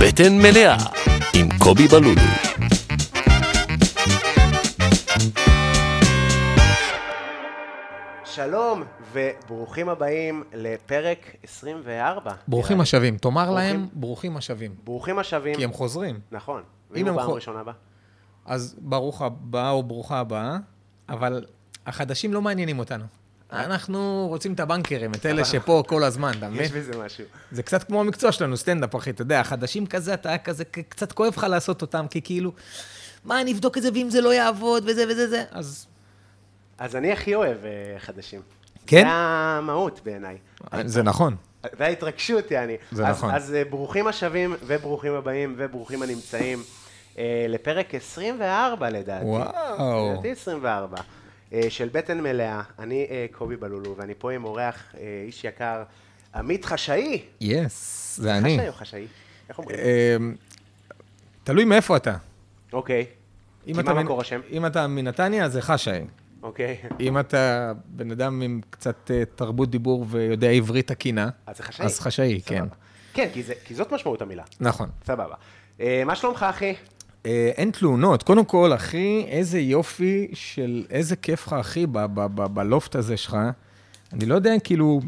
בטן מלאה עם קובי בלולו. שלום וברוכים הבאים לפרק 24. ברוכים נראה לי. השבים. תאמר ברוכים- להם, ברוכים השבים. ברוכים השבים. כי הם חוזרים. נכון. אם ואם הוא הם פעם חו- ראשונה בא? אז ברוך הבא או ברוכה הבאה, אבל החדשים לא מעניינים אותנו. אנחנו רוצים את הבנקרים, את אלה שפה כל הזמן, אתה מבין? יש בזה משהו. זה קצת כמו המקצוע שלנו, סטנדאפ, אחי, אתה יודע, החדשים כזה, אתה כזה, ק- קצת כואב לך לעשות אותם, כי כאילו, מה, אני אבדוק את זה, ואם זה לא יעבוד, וזה וזה זה, אז... אז אני הכי אוהב אה, חדשים. כן? זה המהות בעיניי. זה נכון. וההתרגשות, יעני. זה אז, נכון. אז אה, ברוכים השבים וברוכים הבאים וברוכים הנמצאים אה, לפרק 24 לדעתי. וואו. לדעתי 24. אה, של בטן מלאה. אני אה, קובי בלולו ואני פה עם אורח, אה, איש יקר, עמית חשאי. יס, זה אני. חשאי או חשאי? איך אומרים? אמ, תלוי מאיפה אתה. אוקיי. אם כי אתה מה מנ- מקור השם? אם אתה מנתניה, זה חשאי. אוקיי. אם אתה בן אדם עם קצת אה, תרבות דיבור ויודע עברית תקינה, אז זה חשאי. אז חשאי, סבבה. כן. כן, כי, זה, כי זאת משמעות המילה. נכון. סבבה. אה, מה שלומך, אחי? אה, אין תלונות. קודם כל, אחי, איזה יופי של, איזה כיף לך, אחי, ב- ב- ב- בלופט הזה שלך. אני לא יודע, כאילו,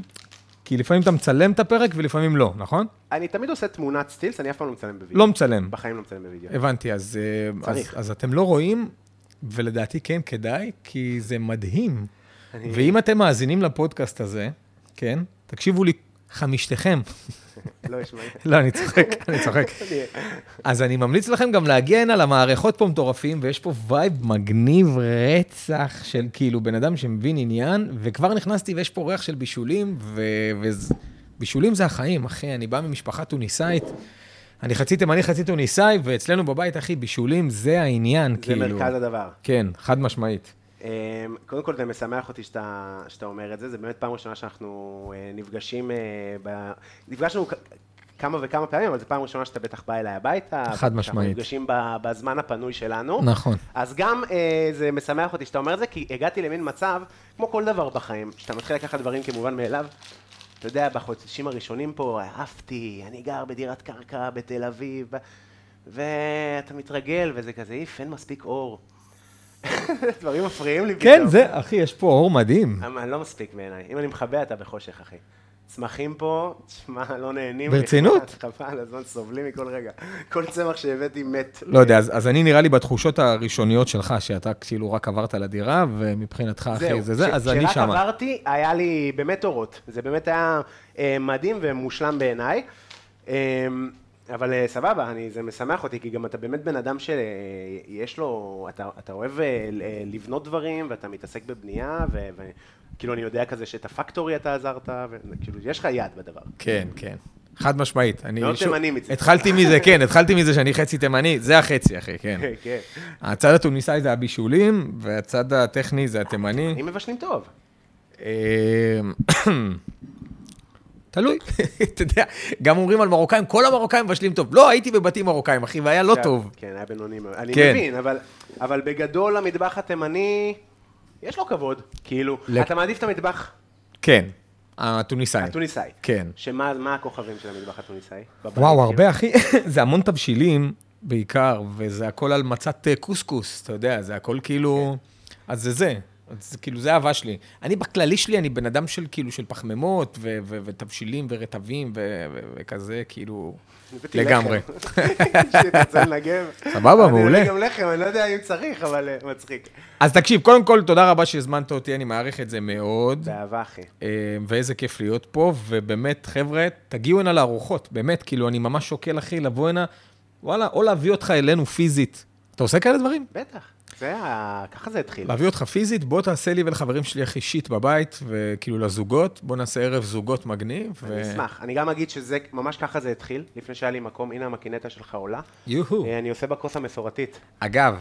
כי לפעמים אתה מצלם את הפרק ולפעמים לא, נכון? אני תמיד עושה תמונת סטילס, אני אף פעם לא מצלם בווידאו. לא מצלם. בחיים לא מצלם בווידאו. הבנתי, אז, אה, אז, צריך. אז אתם לא רואים, ולדעתי כן כדאי, כי זה מדהים. אני- ואם אתם מאזינים לפודקאסט הזה, כן, תקשיבו לי, חמישתכם. לא יש מה... לא, אני צוחק, אני צוחק. אז אני ממליץ לכם גם להגיע הנה למערכות פה מטורפים, ויש פה וייב מגניב רצח של כאילו בן אדם שמבין עניין, וכבר נכנסתי ויש פה ריח של בישולים, ו... וז- בישולים זה החיים, אחי, אני בא ממשפחה טוניסאית, אני חצי תימני, חצי טוניסאי, ואצלנו בבית, אחי, בישולים זה העניין, זה כאילו. מרכז הדבר. כן, חד משמעית. אה, קודם כל, זה משמח אותי שאתה, שאתה אומר את זה, זה באמת פעם ראשונה שאנחנו אה, נפגשים אה, ב... נפגשנו כ- כמה וכמה פעמים, אבל זו פעם ראשונה שאתה בטח בא אליי הביתה. חד שאנחנו משמעית. נפגשים ב- בזמן הפנוי שלנו. נכון. אז גם אה, זה משמח אותי שאתה אומר את זה, כי הגעתי למין מצב, כמו כל דבר בחיים, שאתה מתחיל לקחת דברים כמובן מאליו. אתה יודע, בחודשים הראשונים פה עפתי, אני גר בדירת קרקע בתל אביב, ואתה מתרגל, וזה כזה, איף, אין מספיק אור. דברים מפריעים לי כן, זה, אחי, יש פה אור מדהים. אמ, אני לא מספיק בעיניי. אם אני מכבה, אתה בחושך, אחי. צמחים פה, תשמע, לא נהנים. ברצינות? בכלל, חבל על הזמן, סובלים מכל רגע. כל צמח שהבאתי מת. לא יודע, אז, אז אני נראה לי בתחושות הראשוניות שלך, שאתה כאילו רק עברת לדירה, ומבחינתך, אחי, זה זה, כש- אז אני כשרק שמה. עברתי, היה לי באמת אורות. זה באמת היה אה, מדהים ומושלם בעיניי. אה, אבל אה, סבבה, אני, זה משמח אותי, כי גם אתה באמת בן אדם שיש לו, אתה, אתה אוהב אה, ל- אה, לבנות דברים, ואתה מתעסק בבנייה, ו- וכאילו אני יודע כזה שאת הפקטורי אתה עזרת, וכאילו יש לך יד בדבר. כן, כן. חד משמעית. אני מאוד שוב- תימני מצידך. התחלתי מזה, כן, התחלתי מזה שאני חצי תימני, זה החצי, אחי, כן. כן. הצד התוניסאי זה הבישולים, והצד הטכני זה התימני. אם מבשלים טוב. אה, אמ, תלוי, אתה יודע, גם אומרים על מרוקאים, כל המרוקאים מבשלים טוב. לא, הייתי בבתים מרוקאים, אחי, והיה לא כן, טוב. כן, היה בינוני מאוד. אני כן. מבין, אבל, אבל בגדול המטבח התימני, יש לו כבוד. כאילו, ל- אתה מעדיף את המטבח כן, התוניסאי. התוניסאי. כן. שמה מה הכוכבים של המטבח התוניסאי? בבית, וואו, כאילו? הרבה, אחי, זה המון תבשילים בעיקר, וזה הכל על מצת אה, קוסקוס, אתה יודע, זה הכל כאילו... אז זה זה. אז זה כאילו, זה אהבה שלי. אני בכללי שלי, אני בן אדם של כאילו, של פחמימות, ו- ו- ותבשילים, ורטבים, ו- ו- וכזה, כאילו, הבאתי לגמרי. לחם. שאתה רוצה לנגב. סבבה, אני מעולה. אביא גם לחם, אני לא יודע אם צריך, אבל אה, מצחיק. אז תקשיב, קודם כל, תודה רבה שהזמנת אותי, אני מעריך את זה מאוד. באהבה, אחי. אה, ואיזה כיף להיות פה, ובאמת, חבר'ה, תגיעו הנה לארוחות, באמת, כאילו, אני ממש שוקל, אחי, לבוא הנה, וואלה, או להביא אותך אלינו פיזית. אתה עושה כאלה דברים? בטח. זה ה... ככה זה התחיל. להביא אותך פיזית, בוא תעשה לי ולחברים שלי איך אישית בבית, וכאילו לזוגות, בוא נעשה ערב זוגות מגניב. אני אשמח. אני גם אגיד שזה, ממש ככה זה התחיל, לפני שהיה לי מקום, הנה המקינטה שלך עולה. יוהו. אה, אני עושה בכוס המסורתית. אגב,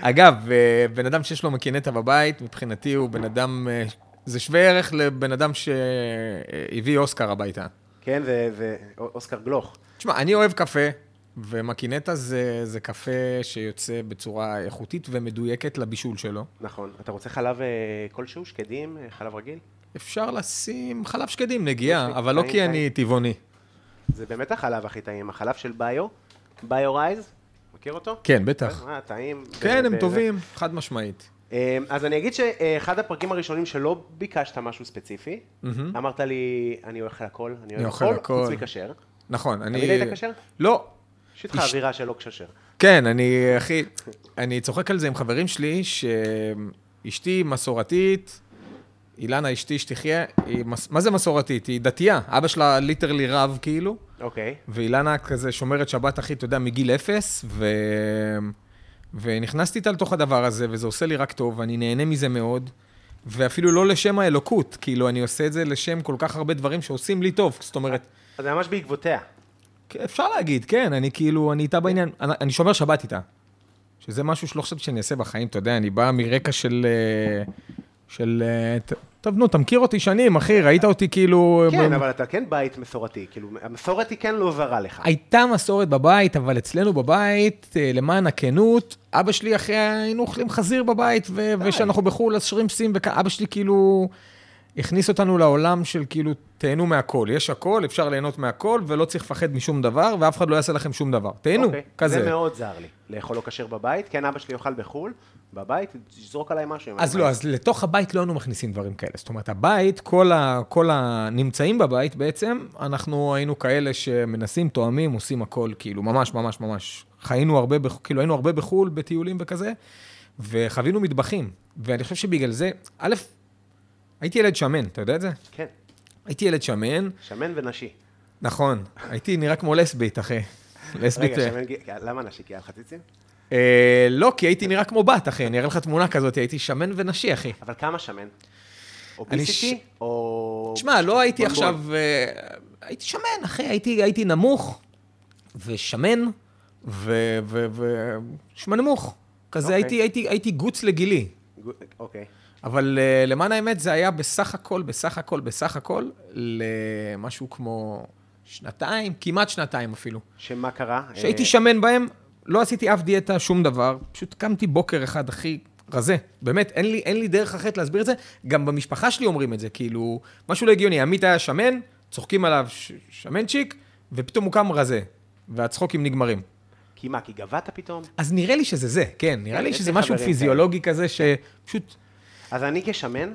אגב, אה, בן אדם שיש לו מקינטה בבית, מבחינתי הוא בן אדם, אה, זה שווה ערך לבן אדם שהביא אוסקר הביתה. כן, זה זה אוסקר גלוך. תשמע, אני אוהב קפה, ומקינטה זה, זה קפה שיוצא בצורה איכותית ומדויקת לבישול שלו. נכון. אתה רוצה חלב אה, כלשהו, שקדים, אה, חלב רגיל? אפשר לשים חלב שקדים, נגיעה, אוקיי, אבל לא כי טעים, אני טעים. טבעוני. זה באמת החלב הכי טעים, החלב של ביו, ביו רייז, מכיר אותו? כן, בטח. אה, טעים. כן, ו- הם ו- טובים, חד משמעית. אה, אז אני אגיד שאחד הפרקים הראשונים שלא ביקשת משהו ספציפי, מהמם. אמרת לי, אני אוכל הכל, אני אוהב אני אוכל הכל, הכל." חוץ מכשר. נכון, אני... תמיד היית כשר? לא. יש איתך איש- אווירה של לא כשר. כן, אני, אחי, אני צוחק על זה עם חברים שלי, שאשתי מסורתית, אילנה אשתי שתחיה, היא מס... מה זה מסורתית? היא דתייה, אבא שלה ליטרלי רב כאילו, אוקיי. ואילנה כזה שומרת שבת, אחי, אתה יודע, מגיל אפס, ו... ונכנסתי איתה לתוך הדבר הזה, וזה עושה לי רק טוב, אני נהנה מזה מאוד, ואפילו לא לשם האלוקות, כאילו, אני עושה את זה לשם כל כך הרבה דברים שעושים לי טוב, זאת אומרת, אז זה ממש בעקבותיה. כן, אפשר להגיד, כן, אני כאילו, אני איתה בעניין, כן. אני, אני שומר שבת איתה. שזה משהו שלא חשבתי שאני אעשה בחיים, אתה יודע, אני בא מרקע של... אה, של... אה, ת- טוב, נו, אתה מכיר אותי שנים, אחי, ראית אותי כאילו... כן, אבל אתה כן בית מסורתי, כאילו, המסורת היא כן לא זרה לך. הייתה מסורת בבית, אבל אצלנו בבית, אה, למען הכנות, אבא שלי אחרי היינו אוכלים חזיר בבית, ו- וכשאנחנו בחו"ל אז שרימפסים, ואבא שלי כאילו הכניס אותנו לעולם של כאילו, תהנו מהכל, יש הכל, אפשר ליהנות מהכל, ולא צריך לפחד משום דבר, ואף אחד לא יעשה לכם שום דבר. תהנו, אוקיי. כזה. זה מאוד זר לי, לאכול לא כשר בבית, כן, אבא שלי אוכל בחו"ל, בבית, תזרוק עליי משהו. אם אז אני לא, מעז. אז לתוך הבית לא היינו מכניסים דברים כאלה. זאת אומרת, הבית, כל, ה, כל הנמצאים בבית בעצם, אנחנו היינו כאלה שמנסים, תואמים, עושים הכל, כאילו, ממש, ממש, ממש. חיינו הרבה, בח- כאילו, היינו הרבה בחו"ל, בטיולים וכזה, וחווינו מטבחים. ואני חושב שבגלל זה, א', הייתי ילד שמן, אתה יודע את זה? כן, הייתי ילד שמן, שמן ונשי. נכון, הייתי נראה כמו לסבית, אחי. לסבית... רגע, שמן, גי- למה נשי? כי היה לך ציצים? אה, לא, כי הייתי נראה כמו בת, אחי. אני אראה לך תמונה כזאת, הייתי שמן ונשי, אחי. אבל כמה שמן? אני אוביסיטי? או... תשמע, לא הייתי בונבון? עכשיו... אה, הייתי שמן, אחי, הייתי, הייתי נמוך ושמן ושמנמוך. כזה אוקיי. הייתי, הייתי, הייתי גוץ לגילי. גו- אוקיי. אבל אה, למען האמת, זה היה בסך הכל, בסך הכל, בסך הכל, למשהו כמו שנתיים, כמעט שנתיים אפילו. שמה קרה? שהייתי אה, שמן בהם, לא עשיתי אף דיאטה, שום דבר, פשוט קמתי בוקר אחד הכי רזה. באמת, אין לי, אין לי דרך אחרת להסביר את זה. גם במשפחה שלי אומרים את זה, כאילו, משהו לא הגיוני. עמית היה שמן, צוחקים עליו ש- שמנצ'יק, ופתאום הוא קם רזה, והצחוקים נגמרים. כי מה, כי גבעת פתאום? אז נראה לי שזה זה, כן, נראה כן, לי יש שזה לי משהו חברים פיזיולוגי כזה, שפשוט... אז אני כשמן,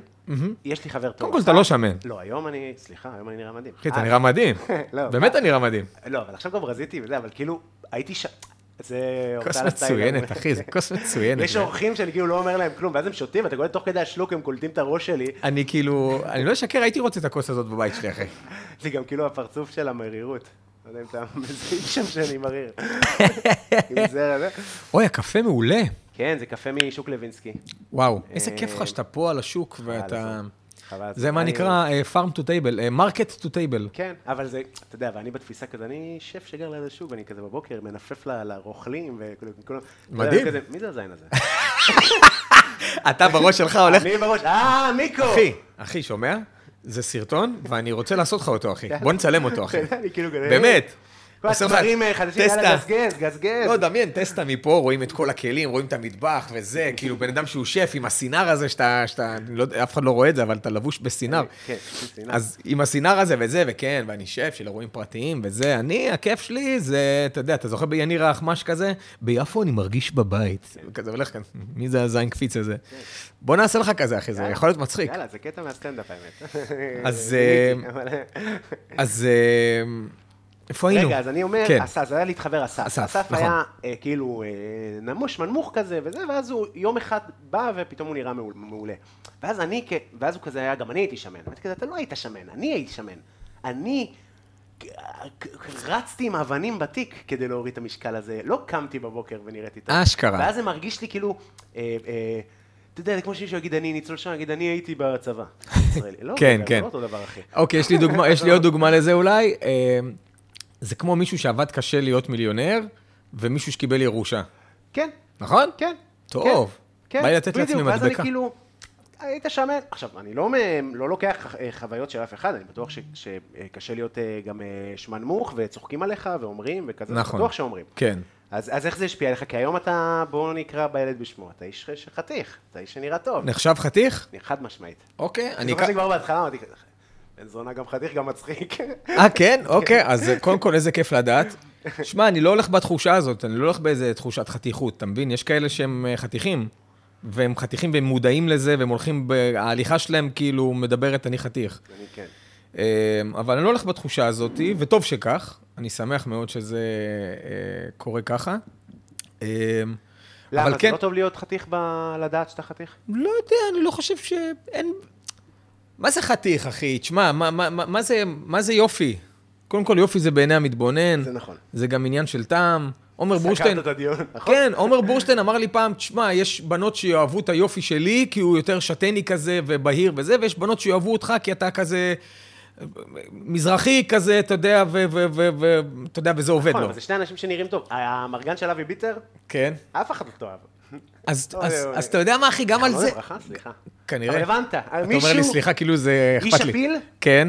יש לי חבר טוב. קודם כל, אחד. אתה לא שמן. לא, היום אני, סליחה, היום אני נראה מדהים. אחי, אתה אה, נראה מדהים. לא, באמת מה? אתה נראה מדהים. לא, אבל עכשיו גם רזיתי וזה, אבל כאילו, הייתי ש... זה... כוס הורדה לסטייל. מצוינת, אחי, זה כוס מצוינת. יש אורחים שאני כאילו לא אומר להם כלום, ואז הם שותים, ואתה קולט תוך כדי השלוק, הם קולטים את הראש שלי. אני כאילו, אני לא אשקר, הייתי רוצה את הכוס הזאת בבית שלי, אחי. זה גם כאילו הפרצוף של המרירות. לא יודע אם אתה מזיק שם שאני מריר. עם זרע זה. אוי, הקפה מעולה. כן, זה קפה משוק לוינסקי. וואו, איזה כיף לך אה, שאתה פה על השוק ואתה... הזמן. חבל על זה הזמן. מה אני- נקרא אה, farm to table, אה, market to table. כן, אבל זה, אתה יודע, ואני בתפיסה כזה, אני שף שגר ליד השוק, אני כזה בבוקר מנפף ל- לרוכלים וכאילו, כולם- אתה יודע, מדהים. כזה, מי זה הזין הזה? אתה בראש שלך הולך... אני בראש, אה, מיקו! אחי, אחי, שומע? זה סרטון, ואני רוצה לעשות לך אותו, אחי. בוא נצלם אותו, אחי. אתה יודע, אני כאילו כזה... באמת. כל עושה לך הדברים חדשים, יאללה, טסטה. גזגז, גזגז. לא, דמיין, טסטה מפה, רואים את כל הכלים, רואים את המטבח וזה, כאילו בן אדם שהוא שף עם הסינר הזה, שאתה, שאתה, אני לא יודע, אף אחד לא רואה את זה, אבל אתה לבוש בסינר. כן, בסינר. אז עם הסינר הזה וזה, וכן, ואני שף של אירועים פרטיים וזה, אני, הכיף שלי זה, אתה יודע, אתה זוכר ביניר האחמש כזה? ביפו אני מרגיש בבית. כזה הולך כאן, מי זה הזין קפיץ הזה? בוא נעשה לך כזה, אחי, זה יכול להיות מצחיק. יאללה, זה קטע מהסטנדאפ האמת. אה, אז, מיקי, אה, אבל- אז אה, איפה היינו? רגע, אז אני אומר, כן. אסף, זה היה להתחבר אסף. אסף, אסף נכון. היה אה, כאילו אה, נמוש, מנמוך כזה וזה, ואז הוא יום אחד בא ופתאום הוא נראה מעול- מעולה. ואז אני, כ- ואז הוא כזה היה, גם אני הייתי שמן. אמרתי כזה, אתה לא היית שמן, אני הייתי שמן. אני כ- כ- רצתי עם אבנים בתיק כדי להוריד את המשקל הזה, לא קמתי בבוקר ונראיתי טוב. אשכרה. ואז זה מרגיש לי כאילו, אה, אה, אתה יודע, זה כמו שמישהו יגיד, אני ניצול שם, יגיד, אני הייתי בצבא. ישראלי. לא, כן, זה כן. לא אותו דבר, אחי. אוקיי, יש לי דוגמה, יש לי עוד דוגמה לזה אולי. אה, זה כמו מישהו שעבד קשה להיות מיליונר, ומישהו שקיבל ירושה. כן, נכון? כן. טוב. כן, בא לי לתת לעצמי בדיוק, ואז אני מדבקה. כאילו, היית שמן. עכשיו, אני לא, מ- לא לוקח אה, חוויות של אף אחד, אני בטוח ש- שקשה להיות אה, גם אה, שמנמוך, אה, וצוחקים עליך, ואומרים, וכזה, נכון. בטוח שאומרים. כן. אז, אז איך זה השפיע עליך? כי היום אתה, בואו נקרא בילד בשמו, אתה איש ש- חתיך, אתה איש שנראה טוב. נחשב חתיך? חד משמעית. אוקיי. אני נכון. אני... זוכר שכבר בהתחלה אמרתי כזה, בן זונה גם חתיך, גם מצחיק. אה, כן? אוקיי, אז אה, קודם כל, איזה כיף לדעת. שמע, אני לא הולך בתחושה הזאת, אני לא הולך באיזה תחושת חתיכות, אתה מבין? יש כאלה שהם אה, חתיכים, והם חתיכים והם מודעים לזה, והם הולכים, ב... ההליכה שלהם כאילו מדברת, אני חתיך. אני כן. אמ, אבל אני לא הולך בתחושה הזאת, וטוב שכך. אני שמח מאוד שזה אה, קורה ככה. אמ, למה, אבל זה כן, לא טוב להיות חתיך ב- לדעת שאתה חתיך? לא יודע, אני לא חושב שאין... מה זה חתיך, אחי? תשמע, מה, מה, מה, מה, זה, מה זה יופי? קודם כל, יופי זה בעיני המתבונן, זה נכון. זה גם עניין של טעם. עומר בורשטיין... סקרת את הדיון, נכון? כן, עומר בורשטיין אמר לי פעם, תשמע, יש בנות שיאהבו את היופי שלי, כי הוא יותר שתני כזה ובהיר וזה, ויש בנות שיאהבו אותך כי אתה כזה מזרחי כזה, אתה יודע, ו- ו- ו- ו- אתה יודע, וזה עובד נכון, לו. אבל זה שני אנשים שנראים טוב. המרגן של אבי ביטר, כן. אף אחד לא תאהב. אז אוי, אז- אוי. אז אתה יודע מה, אחי, גם על לא זה... לברכה, סליחה. כנראה. אבל הבנת, אתה מישהו... אומר לי, סליחה, כאילו זה איש אכפת לי. אפיל? כן,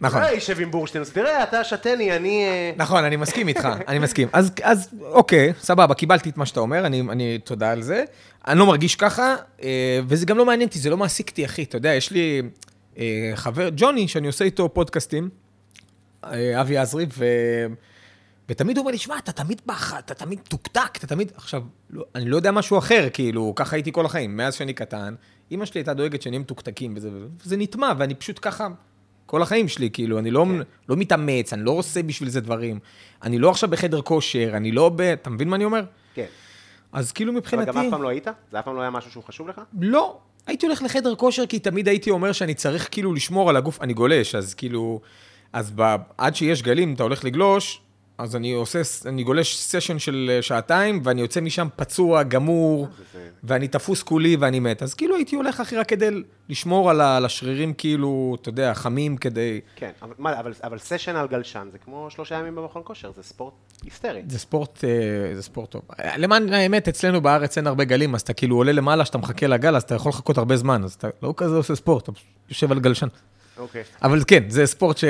נכון. לא יישב עם בורשטיין, אז תראה, אתה שתני, אני... אה, נכון, אני מסכים איתך, אני מסכים. אז, אז אוקיי, סבבה, קיבלתי את מה שאתה אומר, אני, אני תודה על זה. אני לא מרגיש ככה, אה, וזה גם לא מעניין אותי, זה לא מעסיק אותי, אחי. אתה יודע, יש לי אה, חבר, ג'וני, שאני עושה איתו פודקאסטים, אה, אבי עזרי, ו... ותמיד הוא אומר לי, שמע, אתה תמיד בכה, אתה תמיד תוקתק, אתה תמיד... עכשיו, לא, אני לא יודע משהו אחר, כאילו, ככה הייתי כל החיים, מאז שאני קטן. אימא שלי הייתה דואגת שנהיה מתוקתקים, וזה, וזה נטמע, ואני פשוט ככה, כל החיים שלי, כאילו, אני לא, כן. לא מתאמץ, אני לא עושה בשביל זה דברים. אני לא עכשיו בחדר כושר, אני לא ב... אתה מבין מה אני אומר? כן. אז כאילו אבל מבחינתי... גם אף פעם לא היית? זה אף פעם לא היה משהו שהוא חשוב לך? לא. הייתי הולך לחדר כושר, כי תמיד הייתי אומר שאני צריך כאילו לשמור על הגוף, אני גולש, אז כאילו, אז ב, עד שיש גלים, אתה הולך לגלוש, אז אני עושה, ס- אני גולש סשן של אה, שעתיים, ואני יוצא משם פצוע, גמור, אה, זה- ואני תפוס כולי ואני מת. אז כאילו הייתי הולך אחי רק כדי לשמור על, ה, על השרירים, כאילו, אתה יודע, חמים כדי... כן, אבל, מה, אבל, אבל סשן על גלשן זה כמו שלושה ימים במכון כושר, זה ספורט היסטרי. זה ספורט, אה, זה ספורט טוב. אה, למען האמת, אצלנו בארץ אין הרבה גלים, אז אתה כאילו עולה למעלה, שאתה מחכה לגל, אז אתה יכול לחכות הרבה זמן, אז אתה לא כזה עושה ספורט, אתה יושב על גלשן. אוקיי. אבל כן, זה ספורט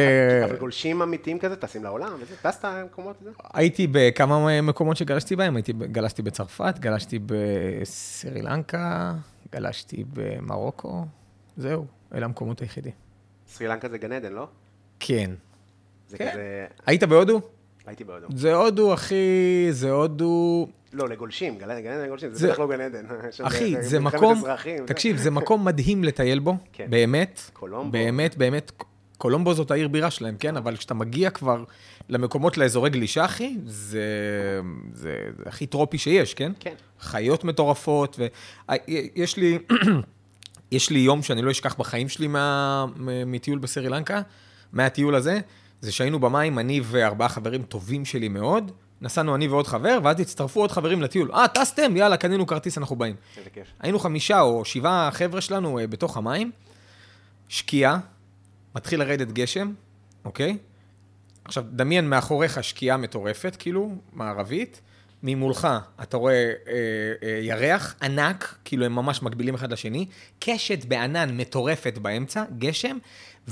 אבל גולשים אמיתיים כזה טסים לעולם, וזה, טסת למקומות וזה? שהייתי בכמה מקומות שגלשתי בהם, הייתי, ב- גלשתי בצרפת, גלשתי בסרי לנקה, גלשתי במרוקו, זהו, אלה המקומות היחידים. סרי לנקה זה גן עדן, לא? כן. זה כן. כזה... היית בהודו? הייתי בהודו. זה הודו, אחי, זה הודו... לא, לגולשים, גן עדן, גן עדן לגולשים, זה זה- בטח לא גן עדן. שם אחי, זה אה, מלחמת מקום, אזרחים, זה- תקשיב, זה מקום מדהים לטייל בו, כן. באמת. קולומבו. באמת, באמת, קולומבו זאת העיר בירה שלהם, כן? אבל כשאתה מגיע כבר למקומות, לאזורי גלישה, אחי, זה, זה, זה הכי טרופי שיש, כן? כן. חיות מטורפות, ויש לי, יש לי יום שאני לא אשכח בחיים שלי מה, מ- מטיול בסרי לנקה, מהטיול הזה, זה שהיינו במים, אני וארבעה חברים טובים שלי מאוד, נסענו אני ועוד חבר, ואז הצטרפו עוד חברים לטיול. אה, טסתם? יאללה, קנינו כרטיס, אנחנו באים. איזה כיף. היינו חמישה או שבעה חבר'ה שלנו אה, בתוך המים, שקיעה, מתחיל לרדת גשם, אוקיי? עכשיו, דמיין מאחוריך שקיעה מטורפת, כאילו, מערבית, ממולך אתה רואה אה, אה, ירח ענק, כאילו הם ממש מקבילים אחד לשני, קשת בענן מטורפת באמצע, גשם,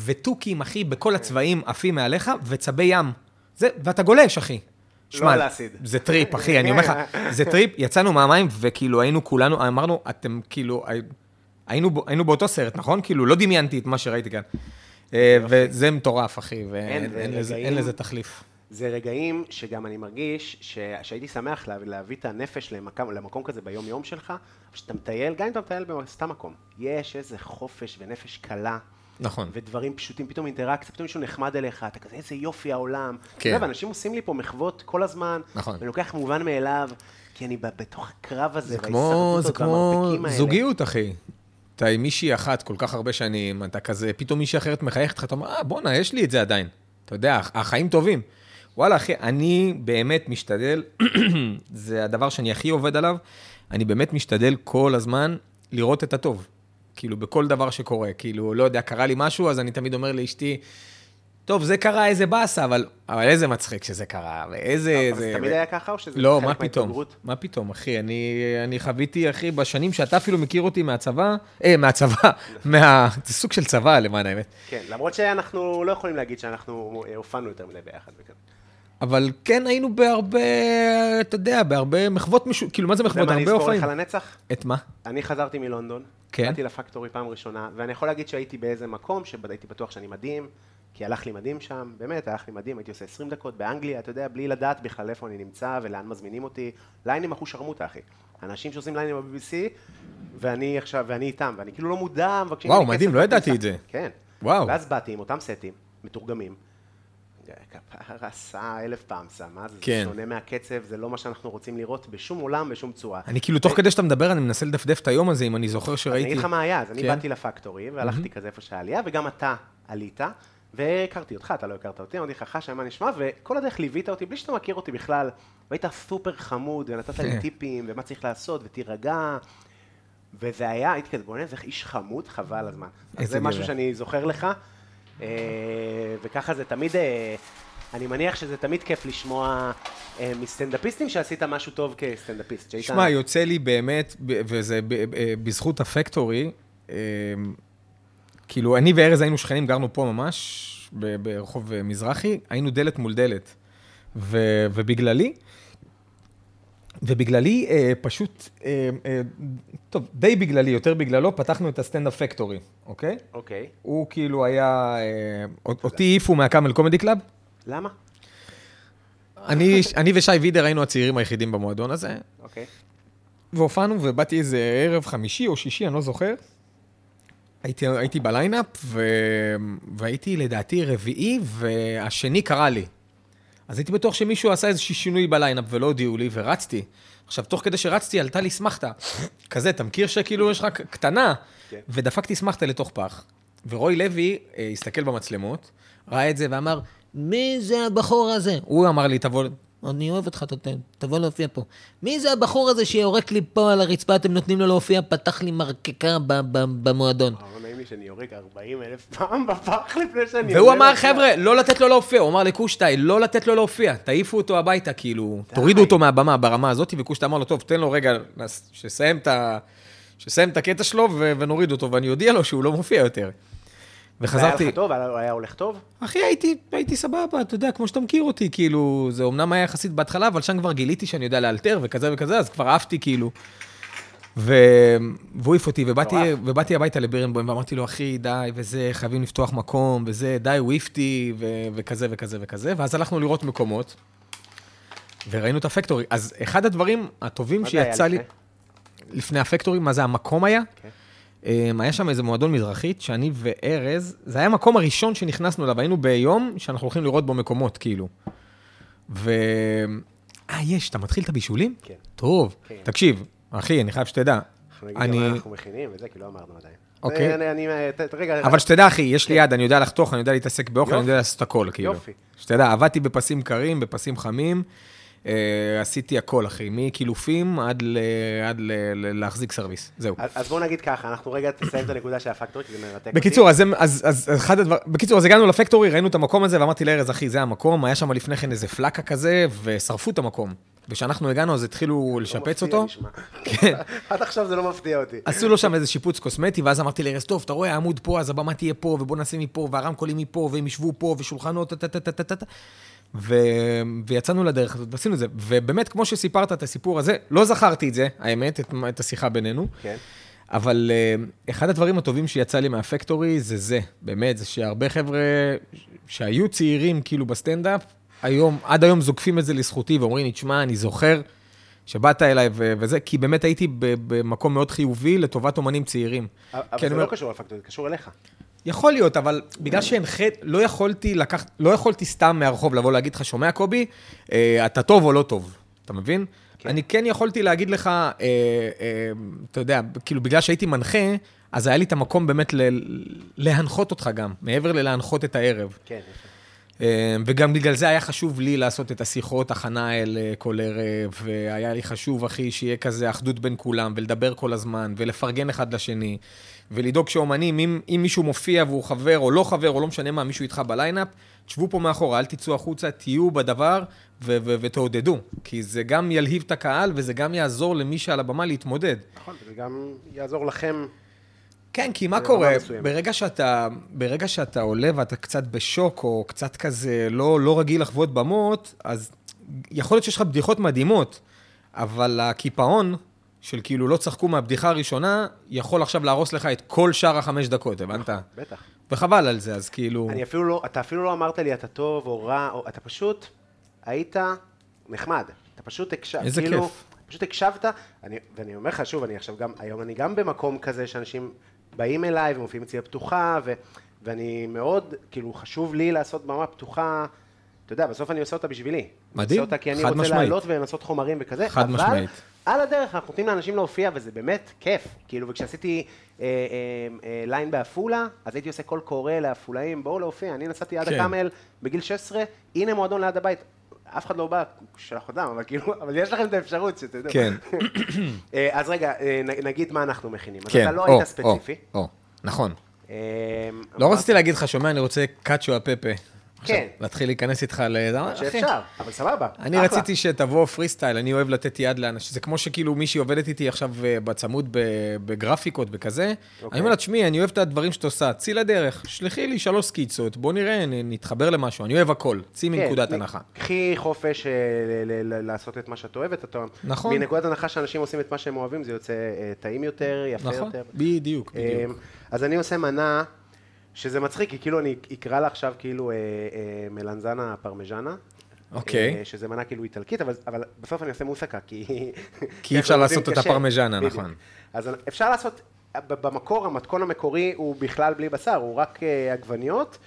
ותוכים, אחי, בכל הצבעים עפים מעליך, וצבי ים. זה, ואתה גולש, אחי. שמע, להסיד. זה טריפ, אחי, אני אומר לך, זה טריפ, יצאנו מהמים, וכאילו היינו כולנו, אמרנו, אתם כאילו, הי- היינו, בו- היינו באותו סרט, נכון? כאילו, לא דמיינתי את מה שראיתי כאן. אה, וזה מטורף, אחי, אין, ואין זה אין לזה- רגעים- אין לזה תחליף. זה רגעים שגם אני מרגיש ש... שהייתי שמח לה... להביא את הנפש למקום, למקום כזה ביום-יום שלך, שאתה מטייל, גם אם אתה מטייל בסתם מקום, יש איזה חופש ונפש קלה. נכון. ודברים פשוטים, פתאום אינטראקציה, פתאום מישהו נחמד אליך, אתה כזה, איזה יופי העולם. כן. כן. אתה יודע, אנשים עושים לי פה מחוות כל הזמן, נכון. ואני לוקח מובן מאליו, כי אני ב- בתוך הקרב הזה, זה כמו, זה כמו זוגיות, אחי. אתה עם מישהי אחת כל כך הרבה שנים, אתה כזה, פתאום מישהי אחרת מחייכת לך, אתה אומר, אה, בואנה, יש לי את זה עדיין. אתה יודע, הח- החיים טובים. וואלה, אחי, אני באמת משתדל, זה הדבר שאני הכי עובד עליו, אני באמת משתדל כל הזמן לראות את הטוב. כאילו, בכל דבר שקורה. כאילו, לא יודע, קרה לי משהו, אז אני תמיד אומר לאשתי, טוב, זה קרה, איזה באסה, אבל, אבל איזה מצחיק שזה קרה, ואיזה... אבל זה איזה- תמיד היה ככה, או שזה לא, חלק מה פתאום? מההתבגרות? מה פתאום, אחי? אני, אני חוויתי, אחי, בשנים שאתה אפילו מכיר אותי מהצבא, אה, מהצבא, מה... זה סוג של צבא, למען האמת. כן, למרות שאנחנו לא יכולים להגיד שאנחנו אה, הופענו יותר מדי ביחד. וכאלה. אבל כן היינו בהרבה, אתה יודע, בהרבה מחוות, משו... כאילו, מה זה אתה יודע מחוות? מה אני הרבה אזכור אופניים. לך לנצח? את מה? אני חזרתי מלונדון, כן. באתי לפקטורי פעם ראשונה, ואני יכול להגיד שהייתי באיזה מקום שהייתי בטוח שאני מדהים, כי הלך לי מדהים שם, באמת, הלך לי מדהים, הייתי עושה 20 דקות באנגליה, אתה יודע, בלי לדעת בכלל איפה אני נמצא ולאן מזמינים אותי. ליינים אחושרמוטה, אחי. אנשים שעושים ליינים ב-BBC, ואני עכשיו, ואני איתם, ואני כאילו לא מודע, מבקשים וואו, ממני מדהים, כסף לא ידעתי בכניסה. את זה. כן. וואו. ואז באתי עם אותם סטים, מתורגמים. כפרה עשה אלף פעם סע, מה זה? כן. זה שונה מהקצב, זה לא מה שאנחנו רוצים לראות בשום עולם, בשום צורה. אה, אני כאילו, תוך כדי שאתה מדבר, אני מנסה לדפדף את היום הזה, אם אני זוכר אז אני שראיתי. אגיד לך מה היה, אז אני כן. באתי לפקטורי, והלכתי כזה איפה שהעלייה, וגם אתה עלית, והכרתי אותך, אתה לא הכרת אותי, אמרתי לך, חשה, מה נשמע, וכל הדרך ליווית אותי, בלי שאתה מכיר אותי בכלל, והיית סופר חמוד, ונתת כן. לי טיפים, ומה צריך לעשות, ותירגע, וזה היה, הייתי כזה, בוא'נה, איזה איש חמוד, חבל על הזמן. אז איזה זה משהו גבר. שאני זוכר לך, אה, וככה זה תמיד... אה, אני מניח שזה תמיד כיף לשמוע אה, מסטנדאפיסטים שעשית משהו טוב כסטנדאפיסט. שהיית- שמע, יוצא לי באמת, ב- וזה ב- ב- בזכות הפקטורי, אמ, כאילו, אני וארז היינו שכנים, גרנו פה ממש, ב- ברחוב אה, מזרחי, היינו דלת מול דלת. ו- ובגללי, ובגללי, אה, פשוט, אה, אה, טוב, די בגללי, יותר בגללו, פתחנו את הסטנדאפ פקטורי, אוקיי? אוקיי. הוא כאילו היה, אה, אותי העיפו מהקאמל קומדי קלאב, למה? אני, אני ושי וידר היינו הצעירים היחידים במועדון הזה, אוקיי. והופענו, ובאתי איזה ערב חמישי או שישי, אני לא זוכר. הייתי, הייתי בליינאפ, ו... והייתי לדעתי רביעי, והשני קרא לי. אז הייתי בטוח שמישהו עשה איזשהו שינוי בליינאפ ולא הודיעו לי, ורצתי. עכשיו, תוך כדי שרצתי, עלתה לי אסמכתה. כזה, אתה מכיר שכאילו יש לך ק- קטנה? כן. ודפקתי אסמכתה לתוך פח. ורוי לוי אה, הסתכל במצלמות, ראה את זה ואמר, מי זה הבחור הזה? הוא אמר לי, תבוא... אני אוהב אותך, ת- ת- תבוא להופיע פה. מי זה הבחור הזה שיורק לי פה על הרצפה, אתם נותנים לו להופיע, פתח לי מרקקה ב- ב- במועדון. לא נעים לי שאני יורק 40 אלף פעם בפח לפני שאני... והוא עולה אמר, לפה. חבר'ה, לא לתת לו להופיע. הוא אמר לקושטאי, לא לתת לו להופיע. תעיפו אותו הביתה, כאילו, די. תורידו אותו מהבמה ברמה הזאת, וקושטאי אמר לו, טוב, תן לו רגע, נס- שיסיים את ה- שיסיים את הקטע שלו ו- ונוריד אותו, ואני אודיע לו שהוא לא מופיע יותר. היה וחזרתי, לך טוב, היה היה הולך טוב? אחי, הייתי, הייתי סבבה, אתה יודע, כמו שאתה מכיר אותי, כאילו, זה אמנם היה יחסית בהתחלה, אבל שם כבר גיליתי שאני יודע לאלתר וכזה וכזה, אז כבר עפתי, כאילו. ו... והוא העיף אותי, ובאתי, מטורף. ובאתי הביתה לבירנבוים, ואמרתי לו, אחי, די, וזה, חייבים לפתוח מקום, וזה, די, הוא העיף אותי, ו... וכזה וכזה וכזה, ואז הלכנו לראות מקומות, וראינו את הפקטורי. אז אחד הדברים הטובים מה זה היה שיצא לי... לפני? לפני הפקטורי, מה זה המקום היה? כן. אמ, היה שם איזה מועדון מזרחית, שאני וארז, זה היה המקום הראשון שנכנסנו אליו, היינו ביום שאנחנו הולכים לראות בו מקומות, כאילו. ו... אה, יש, אתה מתחיל את הבישולים? כן. טוב. כן. תקשיב, אחי, אני חייב שתדע. אנחנו נגיד אני... גם מה אנחנו מכינים וזה, כי לא אמרנו עדיין. אוקיי. אני- אני... אני- ת- ת- רגע, אבל שתדע, אחי, יש לי יד, אני יודע לחתוך, אני יודע להתעסק באוכל, אני כן. יופי. יודע לעשות הכל, כאילו. יופי. שתדע, עבדתי בפסים קרים, בפסים חמים, אה, עשיתי הכל, אחי, מקילופים עד ל- עד ל- ל- להחזיק סרוויס. זהו. אז אז בואו נגיד ככה, אנחנו רגע תסיים את הנקודה של הפקטורי, כי זה מרתק אותי. בקיצור, אז, הם- אז, אז אחד הדבר... בקיצור, אז הגענו לפקטורי, ראינו את המקום הזה, ואמרתי לארז, אחי, זה המקום, היה שם לפני כן איזה פלקה כזה, ושרפו את המקום. וכשאנחנו הגענו, אז התחילו לא לשפץ מפתיע אותו. נשמע. כן. עד עכשיו זה לא מפתיע אותי. עשו לו שם איזה שיפוץ קוסמטי, ואז אמרתי לארז, טוב, אתה רואה, העמוד פה, אז הבמה תהיה פה, ובוא נעשה מפה, והרמקולים מפה, והם ישבו פה, ושולחנות, טה-טה-טה-טה-טה. ו- ויצאנו לדרך הזאת, ועשינו את זה. ובאמת, כמו שסיפרת את הסיפור הזה, לא זכרתי את זה, האמת, את, את השיחה בינינו. כן. אבל אה, אחד הדברים הטובים שיצא לי מהפקטורי זה זה, באמת, זה שהרבה חבר'ה שהיו צעירים כאילו בסטנדאפ, היום, עד היום זוקפים את זה לזכותי ואומרים לי, תשמע, אני זוכר שבאת אליי ו- וזה, כי באמת הייתי ב- במקום מאוד חיובי לטובת אומנים צעירים. אבל כי זה כן, אני לא אומר, קשור לפקטורי, זה קשור אליך. יכול להיות, אבל בגלל שהנחית, לא יכולתי לקחת, לא יכולתי סתם מהרחוב לבוא להגיד לך, שומע קובי, אה, אתה טוב או לא טוב, אתה מבין? כן. אני כן יכולתי להגיד לך, אה, אה, אתה יודע, כאילו בגלל שהייתי מנחה, אז היה לי את המקום באמת ל- להנחות אותך גם, מעבר ללהנחות את הערב. כן. אה, וגם בגלל זה היה חשוב לי לעשות את השיחות הכנה האלה כל ערב, והיה לי חשוב, אחי, שיהיה כזה אחדות בין כולם, ולדבר כל הזמן, ולפרגן אחד לשני, ולדאוג שאומנים, אם, אם מישהו מופיע והוא חבר או לא חבר, או לא משנה מה, מישהו איתך בליינאפ, תשבו פה מאחורה, אל תצאו החוצה, תהיו בדבר ו- ו- ותעודדו. כי זה גם ילהיב את הקהל, וזה גם יעזור למי שעל הבמה להתמודד. נכון, וזה גם יעזור לכם כן, כי מה ברמה קורה? מסוימת. ברגע שאתה, ברגע שאתה עולה ואתה קצת בשוק, או קצת כזה לא, לא רגיל לחוות במות, אז יכול להיות שיש לך בדיחות מדהימות, אבל הקיפאון של כאילו לא צחקו מהבדיחה הראשונה, יכול עכשיו להרוס לך את כל שאר החמש דקות, הבנת? בטח. וחבל על זה, אז כאילו... אני אפילו לא, אתה אפילו לא אמרת לי אתה טוב או רע, או, אתה פשוט היית נחמד. אתה פשוט הקשבת, איזה כאילו, כיף. פשוט הקשבת, אני, ואני אומר לך שוב, אני עכשיו גם, היום אני גם במקום כזה שאנשים באים אליי ומופיעים אצלי פתוחה, ו, ואני מאוד, כאילו, חשוב לי לעשות במה פתוחה. אתה יודע, בסוף אני עושה אותה בשבילי. אני עושה מדהים, אותה כי אני חד רוצה משמעית. לעלות ולנסות חומרים וכזה. חד אבל משמעית. על הדרך אנחנו נותנים לאנשים להופיע, וזה באמת כיף. כאילו, וכשעשיתי אה, אה, אה, ליין בעפולה, אז הייתי עושה קול קורא לעפולאים, בואו להופיע. אני נסעתי עד כן. הקאמל בגיל 16, הנה מועדון ליד הבית. אף אחד לא בא, שלח אותם, אבל כאילו, אבל יש לכם את האפשרות שאתה יודע. כן. אה, אז רגע, אה, נ- נגיד מה אנחנו מכינים. אז כן, אתה לא או, היית ספציפי. או, או, נכון. אה, לא אמרת רציתי להגיד לך, שומע, אני רוצה קאצ'ו הפפה. עכשיו, כן. להתחיל להיכנס איתך ל... אחי, שאפשר, אבל סבבה. אני אחלה. רציתי שתבוא פרי סטייל, אני אוהב לתת יד לאנשים. זה כמו שכאילו מישהי עובדת איתי עכשיו אה, בצמוד ב- בגרפיקות וכזה. אוקיי. אני אומר לה, תשמעי, אני אוהב את הדברים שאת עושה, צאי לדרך, שלחי לי שלוש סקיצות, בוא נראה, נ- נתחבר למשהו, אני אוהב הכל, צאי כן, מנקודת נ- הנחה. קחי חופש אה, ל- ל- ל- לעשות את מה שאת אוהבת, אתה נכון. מנקודת הנחה שאנשים עושים את מה שהם אוהבים, זה יוצא אה, טעים יותר, יפה נכון? יותר. בדיוק, אה, בדיוק. אז אני עושה מנה, שזה מצחיק, כי כאילו אני אקרא לה עכשיו כאילו אה, אה, מלנזנה פרמיז'נה. אוקיי. אה, שזה מנה כאילו איטלקית, אבל, אבל בסוף אני עושה מוסקה, כי... כי אי אפשר לעשות עובדים אותה קשה. פרמיז'נה, בדיוק. נכון. אז אפשר לעשות, ב- במקור, המתכון המקורי הוא בכלל בלי בשר, הוא רק אה, עגבניות,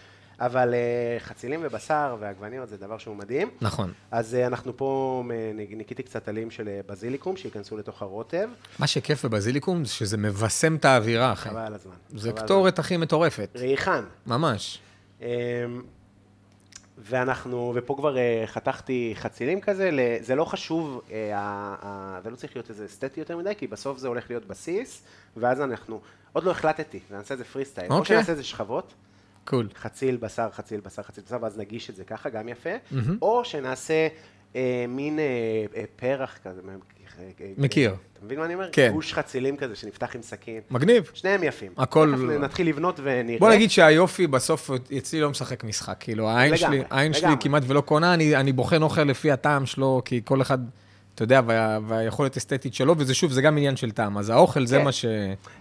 אבל אה, חצילים ובשר ועגבניות זה דבר שהוא מדהים. נכון. אז אה, אנחנו פה, אה, ניקיתי קצת עלים של אה, בזיליקום, שייכנסו לתוך הרוטב, מה שכיף בבזיליקום זה שזה מבשם את האווירה, אחי. חבל על הזמן. זה חבל על קטורת הכי מטורפת, הזמן. ריחן. ממש. אמ, ואנחנו, ופה כבר אה, חתכתי חצילים כזה, ל- זה לא חשוב, אה, ה- ה- זה לא צריך להיות איזה אסתטי יותר מדי, כי בסוף זה הולך להיות בסיס, ואז אנחנו, עוד לא החלטתי, נעשה איזה פרי סטייל, או אוקיי. שנעשה איזה שכבות, קול. חציל בשר, חציל בשר, חציל בשר, ואז נגיש את זה ככה, גם יפה, או שנעשה אה, מין אה, אה, פרח כזה, מה- אה, מכיר. אה, אתה מבין מה אני אומר? כן. גוש חצילים כזה שנפתח עם סכין, מגניב. שניהם יפים. הכל- לא. תכף נתחיל לבנות ונראה. בוא נגיד שהיופי בסוף אצלי לא משחק משחק, כאילו העין לגמרי, שלי, העין שלי לגמרי. כמעט ולא קונה, אני, אני בוחן אוכל לפי הטעם שלו, כי כל אחד, אתה יודע, וה, והיכולת אסתטית שלו, וזה שוב, זה גם עניין של טעם, אז האוכל זה כן. מה ש...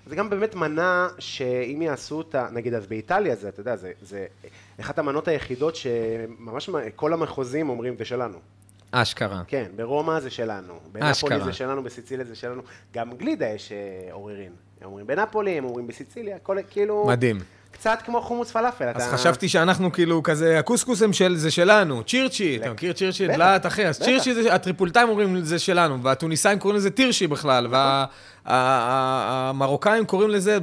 זה גם באמת מנה שאם יעשו אותה, נגיד אז באיטליה זה, אתה יודע, זה, זה אחת המנות היחידות שממש מה- כל המחוזים אומרים זה שלנו. אשכרה. כן, ברומא זה שלנו, בנפולי אשכרה. זה שלנו, בסיציליה זה שלנו, גם גלידה יש אה, עוררין. הם אומרים בנפולי, הם אומרים בסיציליה, כל, כאילו... מדהים. קצת כמו חומוס פלאפל. אז חשבתי שאנחנו כאילו כזה, הקוסקוס הם של, זה שלנו, צ'ירצ'י, אתה מכיר צ'ירצ'י? בטח, דלעת אחי, אז בטח. צ'ירצ'י, זה- הטריפולטאים אומרים זה שלנו, והטוניסאים קוראים לזה טירשי בכלל, והמרוקאים קוראים לזה,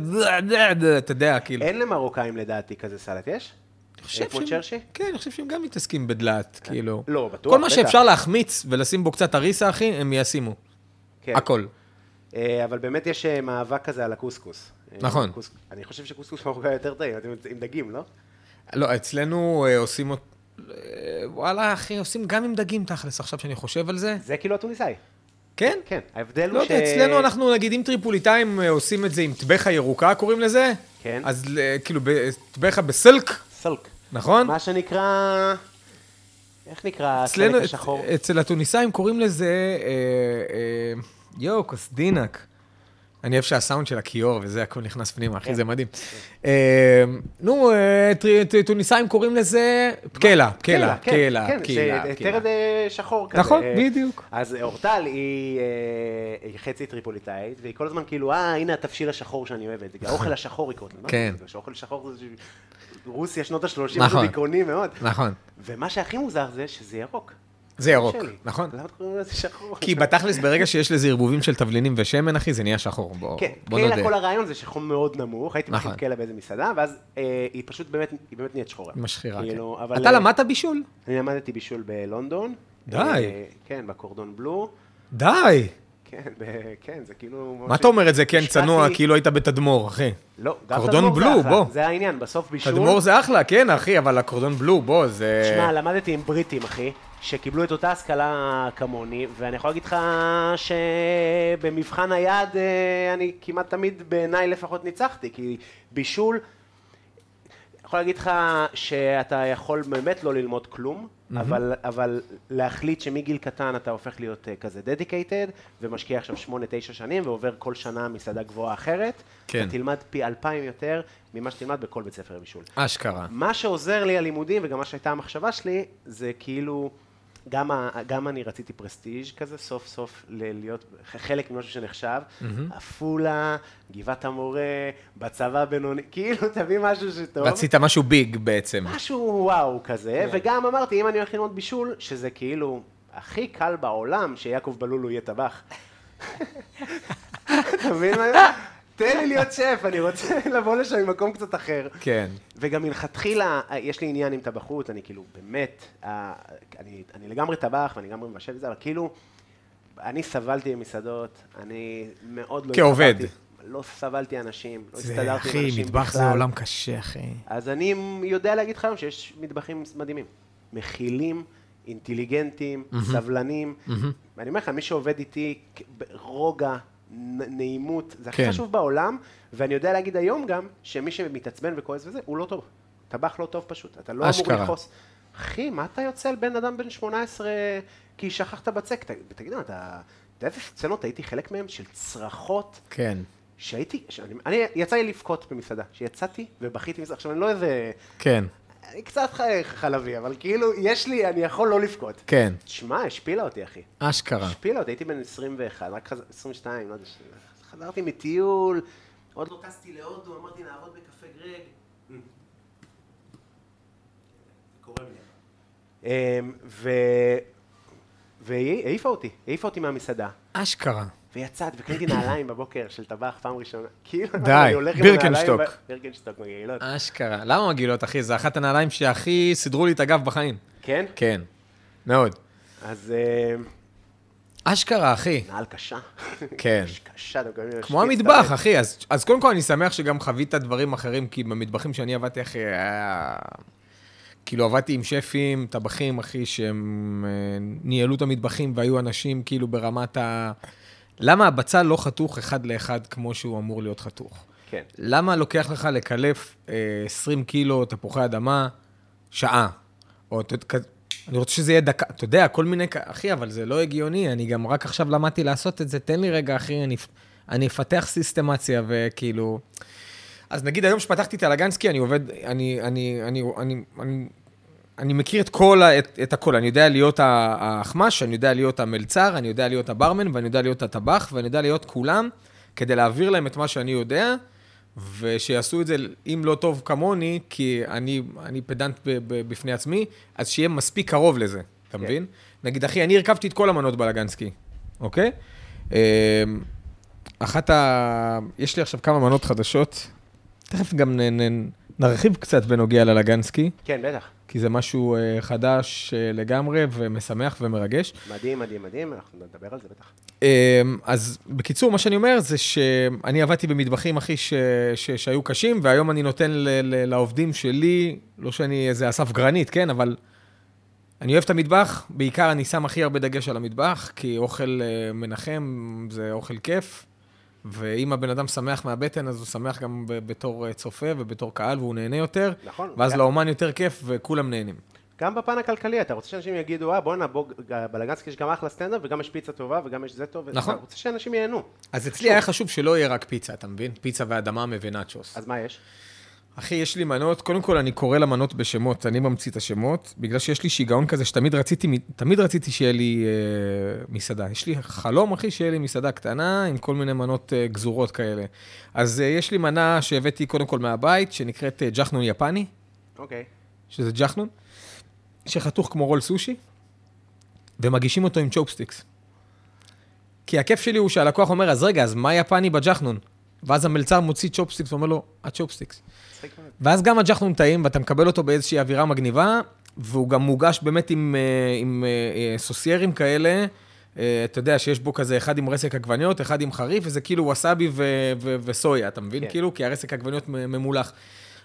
אתה יודע, כאילו. אין למרוקאים לדעתי כזה סלט, יש? חושב איפה שהם- צ'רשי? כן, אני חושב שהם גם מתעסקים בדלעת, כאילו. לא, בטוח, כל מה בטח. שאפשר להחמיץ ולשים בו קצת אריסה, אחי, הם ישימו. כן. הכל. אה, אבל באמת יש אה, מאבק כזה על הקוסקוס. אה, נכון. קוס- אני חושב שקוסקוס מרוקאי יותר טעים, אתם עם דגים, לא? לא, אצלנו אה, עושים... אות- אה, וואלה, אחי, עושים גם עם דגים, תכלס, עכשיו שאני חושב על זה. זה כאילו התוניסאי. כן? כן, ההבדל לא הוא ש... יודע, אצלנו אנחנו, נגיד, אם טריפוליטאים אה, עושים את זה עם טבחה ירוקה, קוראים לזה? כן. אז אה, כאילו, ב- טבחה בסלק, סלק. נכון? מה שנקרא... איך נקרא הסלק אצלנו, השחור? אצ- אצל הטוניסאים קוראים לזה, אה, אה, יואו, קוסדינק. אני אוהב שהסאונד של הכיור וזה, הכל נכנס פנימה, כן. אחי, זה מדהים. אה, נו, אה, טרי- ט- טוניסאים קוראים לזה פקלה, פקלה, כן, פקלה, כן, פקלה. זה פקלה. טרד אה, שחור כזה. נכון, אה, בדיוק. אז אורטל היא אה, היא חצי טריפוליטאית, והיא כל הזמן כאילו, אה, הנה התבשיל השחור שאני אוהבת. זה גם האוכל השחור היא קוראת לו, לא? כן. בגלל שהאוכל השחור זה... ש- רוסיה שנות ה-30, זה נכון. דיכאוני מאוד. נכון, ומה שהכי מוזר זה שזה ירוק. זה ירוק, שלי. נכון. למה קוראים לזה שחור? כי בתכלס, ברגע שיש לזה ערבובים של תבלינים ושמן, אחי, זה נהיה שחור, בוא כן, בוא קיילה, נודה. כל הרעיון זה שחום מאוד נמוך, הייתי נכון. מכין קיילה באיזה מסעדה, ואז אה, היא פשוט באמת, היא באמת נהיית שחורה. משחירה, כן. כאילו, אבל... אתה אה, למדת בישול? אני למדתי בישול בלונדון. די. אה, כן, בקורדון בלו. די! כן, ב- כן, זה כאילו... מה ממש- אתה אומר את זה, כן, השקעתי- צנוע, כאילו היית בתדמור, אחי. לא, גם קורדון תדמור זה בלו, אחלה, בוא. זה העניין, בסוף בישול... לא. תדמור זה אחלה, כן, אחי, אבל הקורדון בלו, בוא, זה... שמע, למדתי עם בריטים, אחי. שקיבלו את אותה השכלה כמוני, ואני יכול להגיד לך שבמבחן היד אה, אני כמעט תמיד בעיניי לפחות ניצחתי, כי בישול, אני יכול להגיד לך שאתה יכול באמת לא ללמוד כלום, mm-hmm. אבל, אבל להחליט שמגיל קטן אתה הופך להיות אה, כזה דדיקייטד, ומשקיע עכשיו שמונה, תשע שנים, ועובר כל שנה מסעדה גבוהה אחרת, כן. אתה תלמד פי אלפיים יותר ממה שתלמד בכל בית ספר לבישול. אשכרה. מה שעוזר לי הלימודים, וגם מה שהייתה המחשבה שלי, זה כאילו, גם, ה, גם אני רציתי פרסטיג' כזה, סוף סוף ל- להיות ח- חלק ממשהו שנחשב, עפולה, גבעת המורה, בצבא בינוני, כאילו, תביא משהו שטוב. רצית משהו ביג בעצם. משהו וואו כזה, וגם אמרתי, אם אני הולך ללמוד בישול, שזה כאילו הכי קל בעולם שיעקב בלולו יהיה טבח. אתה מבין מה אני אומר? תן לי להיות שף, אני רוצה לבוא לשם ממקום קצת אחר. כן. וגם מלכתחילה, אה, יש לי עניין עם טבחות, אני כאילו, באמת, אה, אני, אני לגמרי טבח ואני לגמרי מבשל וזה, אבל כאילו, אני סבלתי במסעדות, אני מאוד לא... כעובד. הסתדרתי, לא סבלתי אנשים, לא הסתדרתי זה, עם אחי, אנשים מטבח זה בכלל. עולם קשה, אחי. אז אני יודע להגיד לך היום שיש מטבחים מדהימים. מכילים, אינטליגנטים, סבלנים. ואני אומר לך, מי שעובד איתי, כ- ברוגע, נ- נעימות, זה הכי כן. חשוב בעולם, ואני יודע להגיד היום גם, שמי שמתעצבן וכועס וזה, הוא לא טוב. טבח לא טוב פשוט, אתה לא אמור אשכרה. לכעוס. אחי, מה אתה יוצא על בן אדם בן 18 כי שכחת בצק? ת- תגיד, מה, אתה... אתה יודע איזה סצנות הייתי חלק מהן של צרחות כן. שהייתי, שאני, אני, יצא לי לבכות במסעדה, שיצאתי ובכיתי מסעדה, עכשיו אני לא איזה, כן. אני קצת ח- חלבי, אבל כאילו, יש לי, אני יכול לא לבכות. כן. תשמע, השפילה אותי, אחי. אשכרה. השפילה אותי, הייתי בן 21, רק חז... 22, לא יודע, ש- חזרתי מטיול, עוד לא טסתי להודו, אמרתי נעבוד בקפה גרג. אמ, ו... והיא העיפה אותי, העיפה אותי מהמסעדה, אשכרה. ויצאת וקניתי נעליים בבוקר של טבח פעם ראשונה. כאילו, די, אני הולך עם בירקנשטוק. אה. הנעליים ב- בירקנשטוק לא מגעילות. אשכרה. למה מגעילות, אחי? זה אחת הנעליים שהכי סידרו לי את הגב בחיים. כן? כן. מאוד. אז אה, אשכרה, אחי. נעל קשה. כן. קשה, אתה מקבל כמו המטבח, אחי. אז, אז קודם כל, אני שמח שגם חווית דברים אחרים, כי במטבחים שאני עבדתי, אחי, היה... כאילו, עבדתי עם שפים, טבחים, אחי, שהם אה, ניהלו את המטבחים והיו אנשים, כאילו, ברמת ה... למה הבצל לא חתוך אחד לאחד כמו שהוא אמור להיות חתוך? כן. למה לוקח לך לקלף אה, 20 קילו תפוחי אדמה שעה? או אתה יודע, כ- אני רוצה שזה יהיה דקה, אתה יודע, כל מיני, כ- אחי, אבל זה לא הגיוני, אני גם רק עכשיו למדתי לעשות את זה, תן לי רגע, אחי, אני, אפ- אני אפתח סיסטמציה וכאילו... אז נגיד היום שפתחתי את הלגנסקי, אני עובד, אני, אני, אני, אני, אני, אני מכיר את כל, ה- את, את הכל, אני יודע להיות ה- האחמ"ש, אני יודע להיות המלצר, אני יודע להיות הברמן, ואני יודע להיות הטבח, ואני יודע להיות כולם, כדי להעביר להם את מה שאני יודע, ושיעשו את זה, אם לא טוב כמוני, כי אני, אני פדנט ב, ב, בפני עצמי, אז שיהיה מספיק קרוב לזה, אתה מבין? נגיד, אחי, אני הרכבתי את כל המנות בלגנסקי, אוקיי? אמ, אחת ה... יש לי עכשיו כמה מנות חדשות. תכף גם נ, נ, נרחיב קצת בנוגע ללגנסקי, כן, בטח. כי זה משהו אה, חדש אה, לגמרי ומשמח ומרגש. מדהים, מדהים, מדהים, אנחנו נדבר על זה בטח. אמ, אז בקיצור, מה שאני אומר זה שאני עבדתי במטבחים, אחי, ש... ש... שהיו קשים, והיום אני נותן ל... ל... לעובדים שלי, לא שאני איזה אסף גרנית, כן, אבל אני אוהב את המטבח, בעיקר אני שם הכי הרבה דגש על המטבח, כי אוכל אה, מנחם זה אוכל כיף, ואם הבן אדם שמח מהבטן, אז הוא שמח גם ב... בתור אה, צופה ובתור קהל, והוא נהנה יותר, נכון. ואז לא- גם- לאומן יותר כיף, וכולם נהנים. גם בפן הכלכלי, אתה רוצה שאנשים יגידו, אה, בואנה, בוא, בלגנסקי יש גם אחלה סטנדאפ, וגם יש פיצה טובה, וגם יש זה טוב. נכון. אתה רוצה שאנשים ייהנו. אז אצלי היה חשוב שלא יהיה רק פיצה, אתה מבין? פיצה ואדמה ונאצ'וס. אז מה יש? אחי, יש לי מנות, קודם כל אני קורא למנות בשמות, אני ממציא את השמות, בגלל שיש לי שיגעון כזה שתמיד רציתי, תמיד רציתי שיהיה לי אה, מסעדה. יש לי חלום, אחי, שיהיה לי מסעדה קטנה עם כל מיני מנות אה, גזורות כאלה. אז אה, יש לי מנה שהבאתי קודם כל מהבית, שנקראת אה, ג'חנון יפני, אוקיי. שזה ג'חנון, שחתוך כמו רול סושי, ומגישים אותו עם צ'ופסטיקס. כי הכיף שלי הוא שהלקוח אומר, אז רגע, אז מה יפני בג'חנון? ואז המלצר מוציא צ'ופסטיקס ואומר לו, הצ'ופסטיקס. מצחיק מאוד. ואז גם הג'חנון טעים, ואתה מקבל אותו באיזושהי אווירה מגניבה, והוא גם מוגש באמת עם, אה, עם אה, אה, סוסיירים כאלה. אה, אתה יודע שיש בו כזה אחד עם רסק עגבניות, אחד עם חריף, וזה כאילו ווסאבי ו- ו- וסויה, אתה מבין? כן. כאילו, כי הרסק עגבניות מ- ממולח.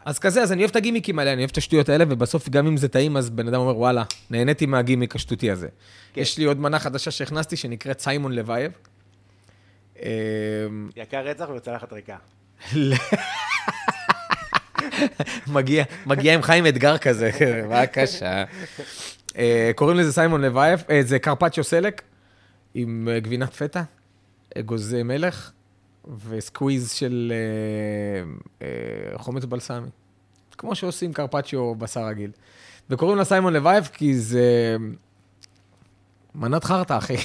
אז כזה, אז אני אוהב את הגימיקים האלה, אני אוהב את השטויות האלה, ובסוף גם אם זה טעים, אז בן אדם אומר, וואלה, נהניתי מהגימיק השטותי הזה. כן. יש לי עוד מנה חדשה שהכנסתי, שנקראת סיימון לוייב. אה, יקר רצח וצלחת ריקה. מגיע, מגיע עם חיים אתגר כזה, בבקשה. אה, קוראים לזה סיימון לוייב, אה, זה קרפצ'יו סלק, עם אה, גבינת פטה, אגוז אה, מלך, וסקוויז של אה, אה, חומץ בלסמי. כמו שעושים קרפצ'יו בשר רגיל. וקוראים לה סיימון לוייב כי זה... אה, מנת חרטא, אחי.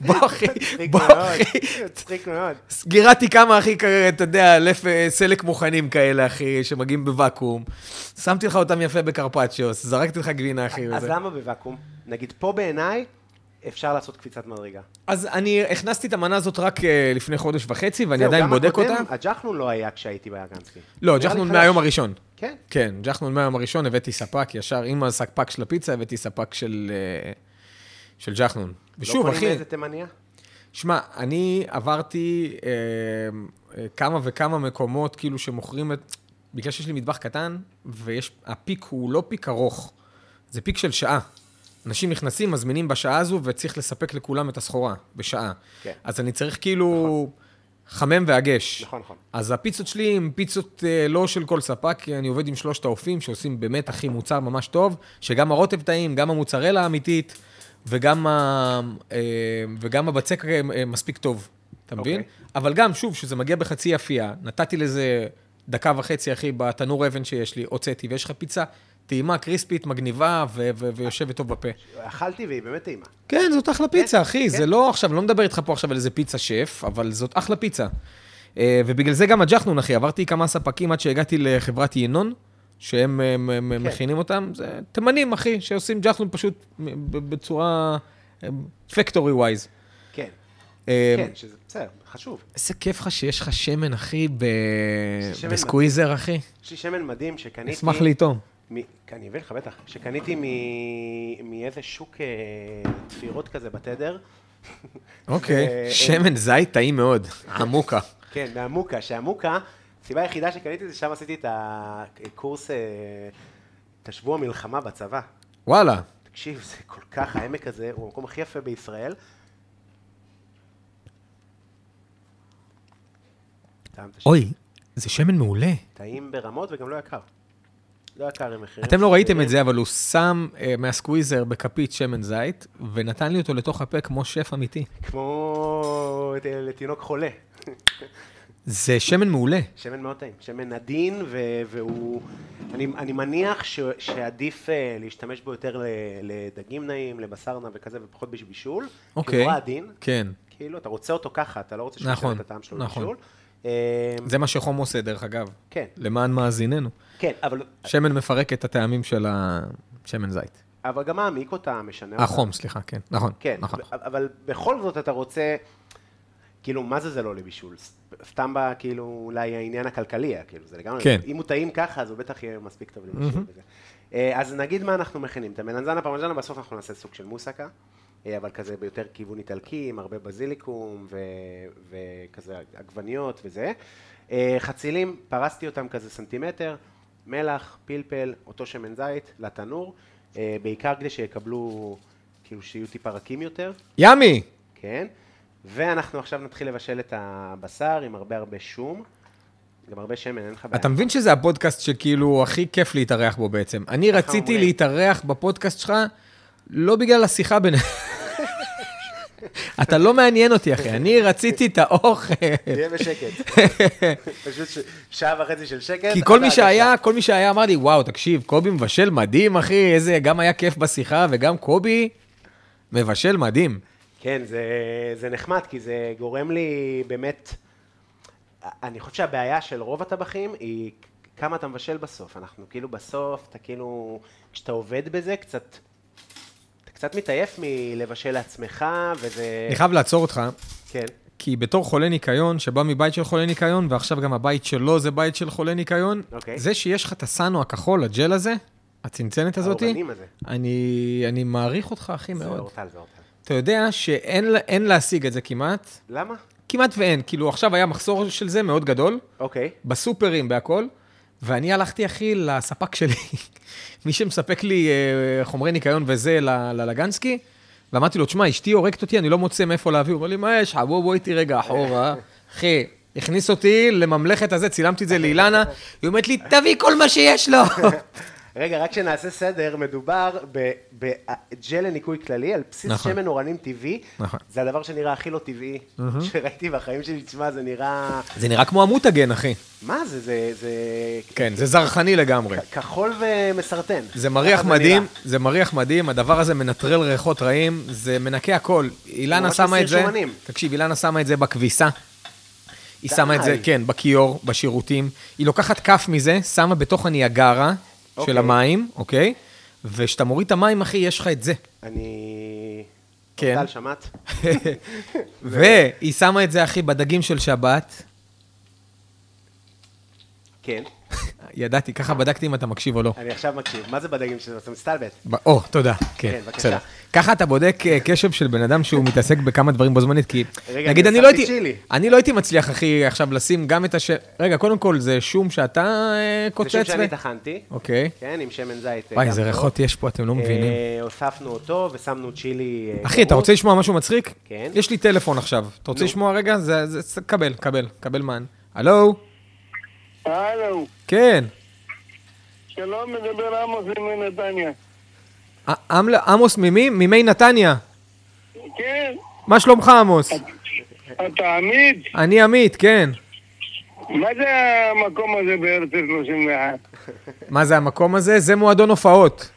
בוא, אחי, מצחיק בוא, מאוד, אחי. מצחיק מאוד. סגירה תיקמה, אחי, כ- אתה יודע, אלף אה, סלק מוכנים כאלה, אחי, שמגיעים בוואקום. שמתי לך אותם יפה בקרפצ'יוס, זרקתי לך גבינה, אחי. אז וזה. למה בוואקום? נגיד, פה בעיניי אפשר לעשות קפיצת מדרגה. אז אני הכנסתי את המנה הזאת רק אה, לפני חודש וחצי, ואני זהו, עדיין גם בודק הקודם, אותה. הג'חנון לא היה כשהייתי באגנסקי. לא, נראה לי ג'חנון חלש. מהיום הראשון. כן. כן, ג'חנון מהיום הראשון, הבאתי ספק ישר, עם הספק של הפיצה, הבאתי ספק של אה, של ג'חנון. ושוב, לא קונים אחי, איזה תימניה? שמע, אני עברתי אה, אה, כמה וכמה מקומות, כאילו, שמוכרים את... בגלל שיש לי מטבח קטן, והפיק הוא לא פיק ארוך, זה פיק של שעה. אנשים נכנסים, מזמינים בשעה הזו, וצריך לספק לכולם את הסחורה בשעה. כן. אז אני צריך כאילו... חמם ואגש. נכון, נכון. אז הפיצות שלי הן פיצות אה, לא של כל ספק, כי אני עובד עם שלושת האופים שעושים באמת הכי מוצר ממש טוב, שגם הרוטב טעים, גם המוצרלה האמיתית, וגם, ה... אה, וגם הבצק אה, אה, מספיק טוב, אתה מבין? אוקיי. אבל גם, שוב, שזה מגיע בחצי אפייה, נתתי לזה דקה וחצי, אחי, בתנור אבן שיש לי, הוצאתי, ויש לך פיצה טעימה, קריספית, מגניבה, ו- ו- ויושבת טוב בפה. אכלתי והיא באמת טעימה. כן, זאת אחלה פיצה, אחי. כן. זה לא עכשיו, לא מדבר איתך פה עכשיו על איזה פיצה שף, אבל זאת אחלה פיצה. אה, ובגלל זה גם הג'חנון, אחי. עברתי כמה ספקים עד שהגעתי לחברת ינון, שהם אה, הם- הם כן. מכינים אותם. זה תימנים, אחי, שעושים ג'חנון פשוט מ- ב- בצורה אה, פקטורי ווייז. כן, אמ, כן, שזה בסדר, חשוב. אה, איזה כיף לך שיש לך שמן, אחי, ב- שמן בסקוויזר, אחי. יש לי שמן מדהים שקניתי... אשמח לטעום. מ- אני אביא לך, בטח. שקניתי מ- מאיזה שוק אה, תפירות כזה בתדר. אוקיי. אה, שמן זית טעים מאוד, עמוקה. כן, מהמוקה, שהמוקה, הסיבה היחידה שקניתי זה שם עשיתי את הקורס, אה, את השבוע מלחמה בצבא. וואלה. תקשיב, זה כל כך, העמק הזה הוא המקום הכי יפה בישראל. טעם את השם. אוי, זה שמן מעולה. טעים ברמות וגם לא יקר. לא יקר עם מחירים. אתם לא ראיתם את סבירים. זה, אבל הוא שם אה, מהסקוויזר בכפית שמן זית, ונתן לי אותו לתוך הפה כמו שף אמיתי. כמו ת- לתינוק חולה. זה שמן מעולה. שמן מאוד טעים. שמן עדין, ו- והוא... אני, אני מניח ש- שעדיף אה, להשתמש בו יותר ל- לדגים נעים, לבשר נע וכזה, ופחות בשבישול. כי אוקיי. הוא נורא עדין. כן. כאילו, אתה רוצה אותו ככה, אתה לא רוצה שהוא נכון, ישנה את הטעם שלו נכון. לבישול. אה, זה מה שחום עושה, דרך אגב. כן. למען מאזיננו. כן, אבל, שמן מפרק את הטעמים של השמן זית. אבל גם מעמיק אותה, משנה אותה. החום, סליחה, כן. נכון. כן, נכון. ב- אבל בכל זאת אתה רוצה, כאילו, מה זה זה לא לבישול? ס- סתם בה, כאילו, אולי העניין הכלכלי, היה, כאילו, זה לגמרי, כן. אם הוא טעים ככה, אז הוא בטח יהיה מספיק טוב לבישול. וזה. אה, אז נגיד מה אנחנו מכינים, את המלנזנה פרמז'נה, בסוף אנחנו נעשה סוג של מוסקה, אה, אבל כזה ביותר כיוון איטלקי, עם הרבה בזיליקום, ו- וכזה עגבניות וזה. אה, חצילים, פרסתי אותם כזה סנטימטר, מלח, פלפל, אותו שמן זית, לתנור, אה, בעיקר כדי שיקבלו... כאילו שיהיו טיפה רכים יותר, ימי! כן? ואנחנו עכשיו נתחיל לבשל את הבשר עם הרבה הרבה שום, גם הרבה שמן, אין לך בעיה. אתה מבין שזה הפודקאסט שכאילו הכי כיף להתארח בו בעצם. אני ככה רציתי אומרים. להתארח בפודקאסט שלך לא בגלל השיחה בינינו. אתה לא מעניין אותי, אחי. אני רציתי את האוכל. תהיה בשקט. פשוט ש- שעה וחצי של שקט. כי כל עד מי ההגשה. שהיה, כל מי שהיה אמר לי, וואו, תקשיב, קובי מבשל מדהים, אחי, איזה, גם היה כיף בשיחה, וגם קובי מבשל מדהים. כן, זה, זה נחמד, כי זה גורם לי באמת... אני חושב שהבעיה של רוב הטבחים היא כמה אתה מבשל בסוף. אנחנו כאילו בסוף, אתה כאילו... כשאתה עובד בזה, קצת... אתה קצת מתעייף מלבשל לעצמך, וזה... אני חייב לעצור אותך, כן. כי בתור חולה ניקיון, שבא מבית של חולה ניקיון, ועכשיו גם הבית שלו זה בית של חולה ניקיון, אוקיי. זה שיש לך את הסאנו הכחול, הג'ל הזה, הצנצנת הזאתי, האורנים הזה. אני, אני מעריך אותך, אחי, זה מאוד. אורטל, זה אורטל. אתה יודע שאין לה- אין להשיג את זה כמעט, למה? כמעט ואין, כאילו עכשיו היה מחסור של זה מאוד גדול, אוקיי. בסופרים, בהכל, ואני הלכתי, אחי, לספק שלי, מי שמספק לי אה, חומרי ניקיון וזה, ל- ללגנסקי, ואמרתי לו, תשמע, אשתי הורגת אותי, אני לא מוצא מאיפה להביא. הוא אומר לי, מה יש לך? בוא, בוא איתי רגע אחורה. אחי, הכניס אותי לממלכת הזה, צילמתי את זה לאילנה, היא אומרת לי, תביא כל מה שיש לו. רגע, רק שנעשה סדר, מדובר בג'ל לניקוי כללי על בסיס נכון. שמן אורנים טבעי. נכון. זה הדבר שנראה הכי לא טבעי שראיתי בחיים שלי. תשמע, זה נראה... זה נראה כמו המותגן, אחי. מה זה? זה... זה... כן, זה זרחני לגמרי. כ- כחול ומסרטן. זה מריח ככה נראה. מדהים, זה מריח מדהים, הדבר הזה מנטרל ריחות רעים, זה מנקה הכל. אילנה ממש שמה את מסיר זה, שומנים. תקשיב, אילנה שמה את זה בכביסה. היא שמה את זה, די. כן, בכיור, בשירותים. היא לוקחת כף מזה, שמה בתוך הניאגרה אוקיי. של המים, אוקיי? וכשאתה מוריד את המים, אחי, יש לך את זה. אני... כן. טל, שמעת? והיא שמה את זה, אחי, בדגים של שבת. כן. ידעתי, ככה בדקתי אם אתה מקשיב או לא. אני עכשיו מקשיב. מה זה בדגים שלו? אתה מסתלבט. ב- או, תודה. כן, כן, בבקשה. בסדר. ככה אתה בודק אה, קשב של בן אדם שהוא מתעסק בכמה דברים בו זמנית, כי רגע, נגיד אני אני לא הוספתי הייתי, צ'ילי. אני לא הייתי מצליח, אחי, עכשיו לשים גם את הש... רגע, קודם כל, זה שום שאתה אה, זה קוצץ שם ו- שאני טחנתי. אוקיי. כן, עם שמן זית. אה, וואי, גם איזה טוב. ריחות יש פה, אתם לא אה, מבינים. הוספנו אותו ושמנו צ'ילי. אה, אחי, אתה גמור. רוצה לשמוע משהו מצחיק? כן. יש לי טלפון עכשיו. אתה רוצה לשמוע רגע? זה, זה, זה- קבל, קבל, קבל מען. הלו? הלו, כן. שלום, מדבר עמוס מנתניה. ע- עמל- עמוס ממי? ממי נתניה. כן, מה שלומך, עמוס? אתה עמית? אני עמית, כן. מה זה המקום הזה בארץ 31? מה זה המקום הזה? זה מועדון הופעות.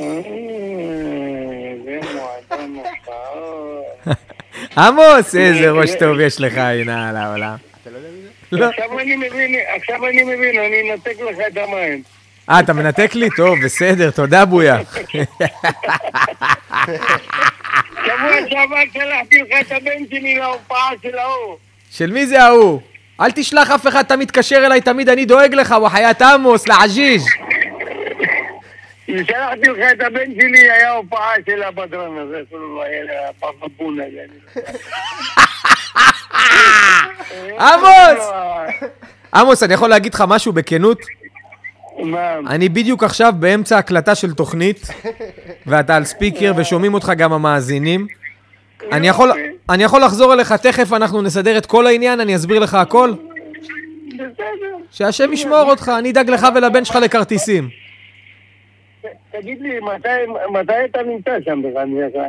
אה, זה מועדון הופעות. עמוס, איזה ראש טוב יש לך, הנה על העולם. לא. עכשיו אני מבין, עכשיו אני מבין, אני אנתק לך את המים. אה, אתה מנתק לי? טוב, בסדר, תודה בויה. שבוע שעבר שלחתי לך את הבן שלי להופעה של ההוא. של מי זה ההוא? אל תשלח אף אחד, אתה מתקשר אליי, תמיד אני דואג לך, וחיית עמוס, לעג'יג'. שלחתי לך את הבן שלי, היה הופעה של הפטרון הזה, כאילו, היה הפפון הזה. עמוס! עמוס, אני יכול להגיד לך משהו בכנות? לא, מה? אני בדיוק עכשיו באמצע הקלטה של תוכנית, ואתה על ספיקר ושומעים אותך גם המאזינים. אני יכול, אני יכול לחזור אליך תכף, אנחנו נסדר את כל העניין, אני אסביר לך הכל. בסדר. שהשם ישמור אותך, אני אדאג לך ולבן שלך לכרטיסים. תגיד לי, מתי, מתי אתה נמצא שם בחנוכה?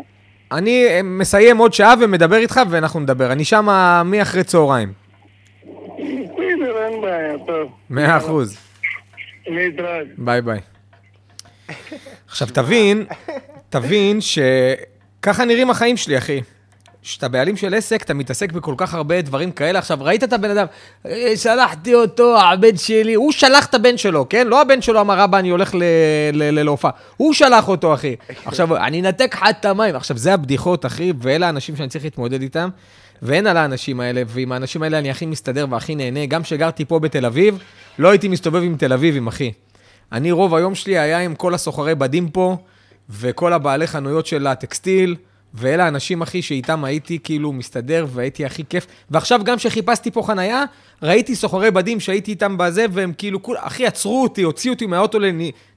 אני אה, מסיים עוד שעה ומדבר איתך ואנחנו נדבר. אני שם מאחרי צהריים. בסדר, אין בעיה, טוב. מאה אחוז. להתראות. ביי ביי. עכשיו תבין, תבין שככה נראים החיים שלי, אחי. כשאתה בעלים של עסק, אתה מתעסק בכל כך הרבה דברים כאלה. עכשיו, ראית את הבן אדם, "אה, שלחתי אותו, הבן שלי, הוא שלח את הבן שלו, כן? לא הבן שלו אמר, אבא, אני הולך ל- ל- ל- להופעה. הוא שלח אותו, אחי. עכשיו, אני אנתק לך את המים. עכשיו, זה הבדיחות, אחי, ואלה האנשים שאני צריך להתמודד איתם. ואין על האנשים האלה, ועם האנשים האלה אני הכי מסתדר והכי נהנה. גם כשגרתי פה בתל אביב, לא הייתי מסתובב עם תל אביבים, אחי. אני, רוב היום שלי היה עם כל הסוחרי בדים פה, וכל הבעלי חנויות של הטקסטיל, ואלה האנשים, אחי, שאיתם הייתי כאילו מסתדר, והייתי הכי כיף. ועכשיו, גם כשחיפשתי פה חנייה, ראיתי סוחרי בדים שהייתי איתם בזה, והם כאילו, כול, אחי, עצרו אותי, הוציאו אותי מהאוטו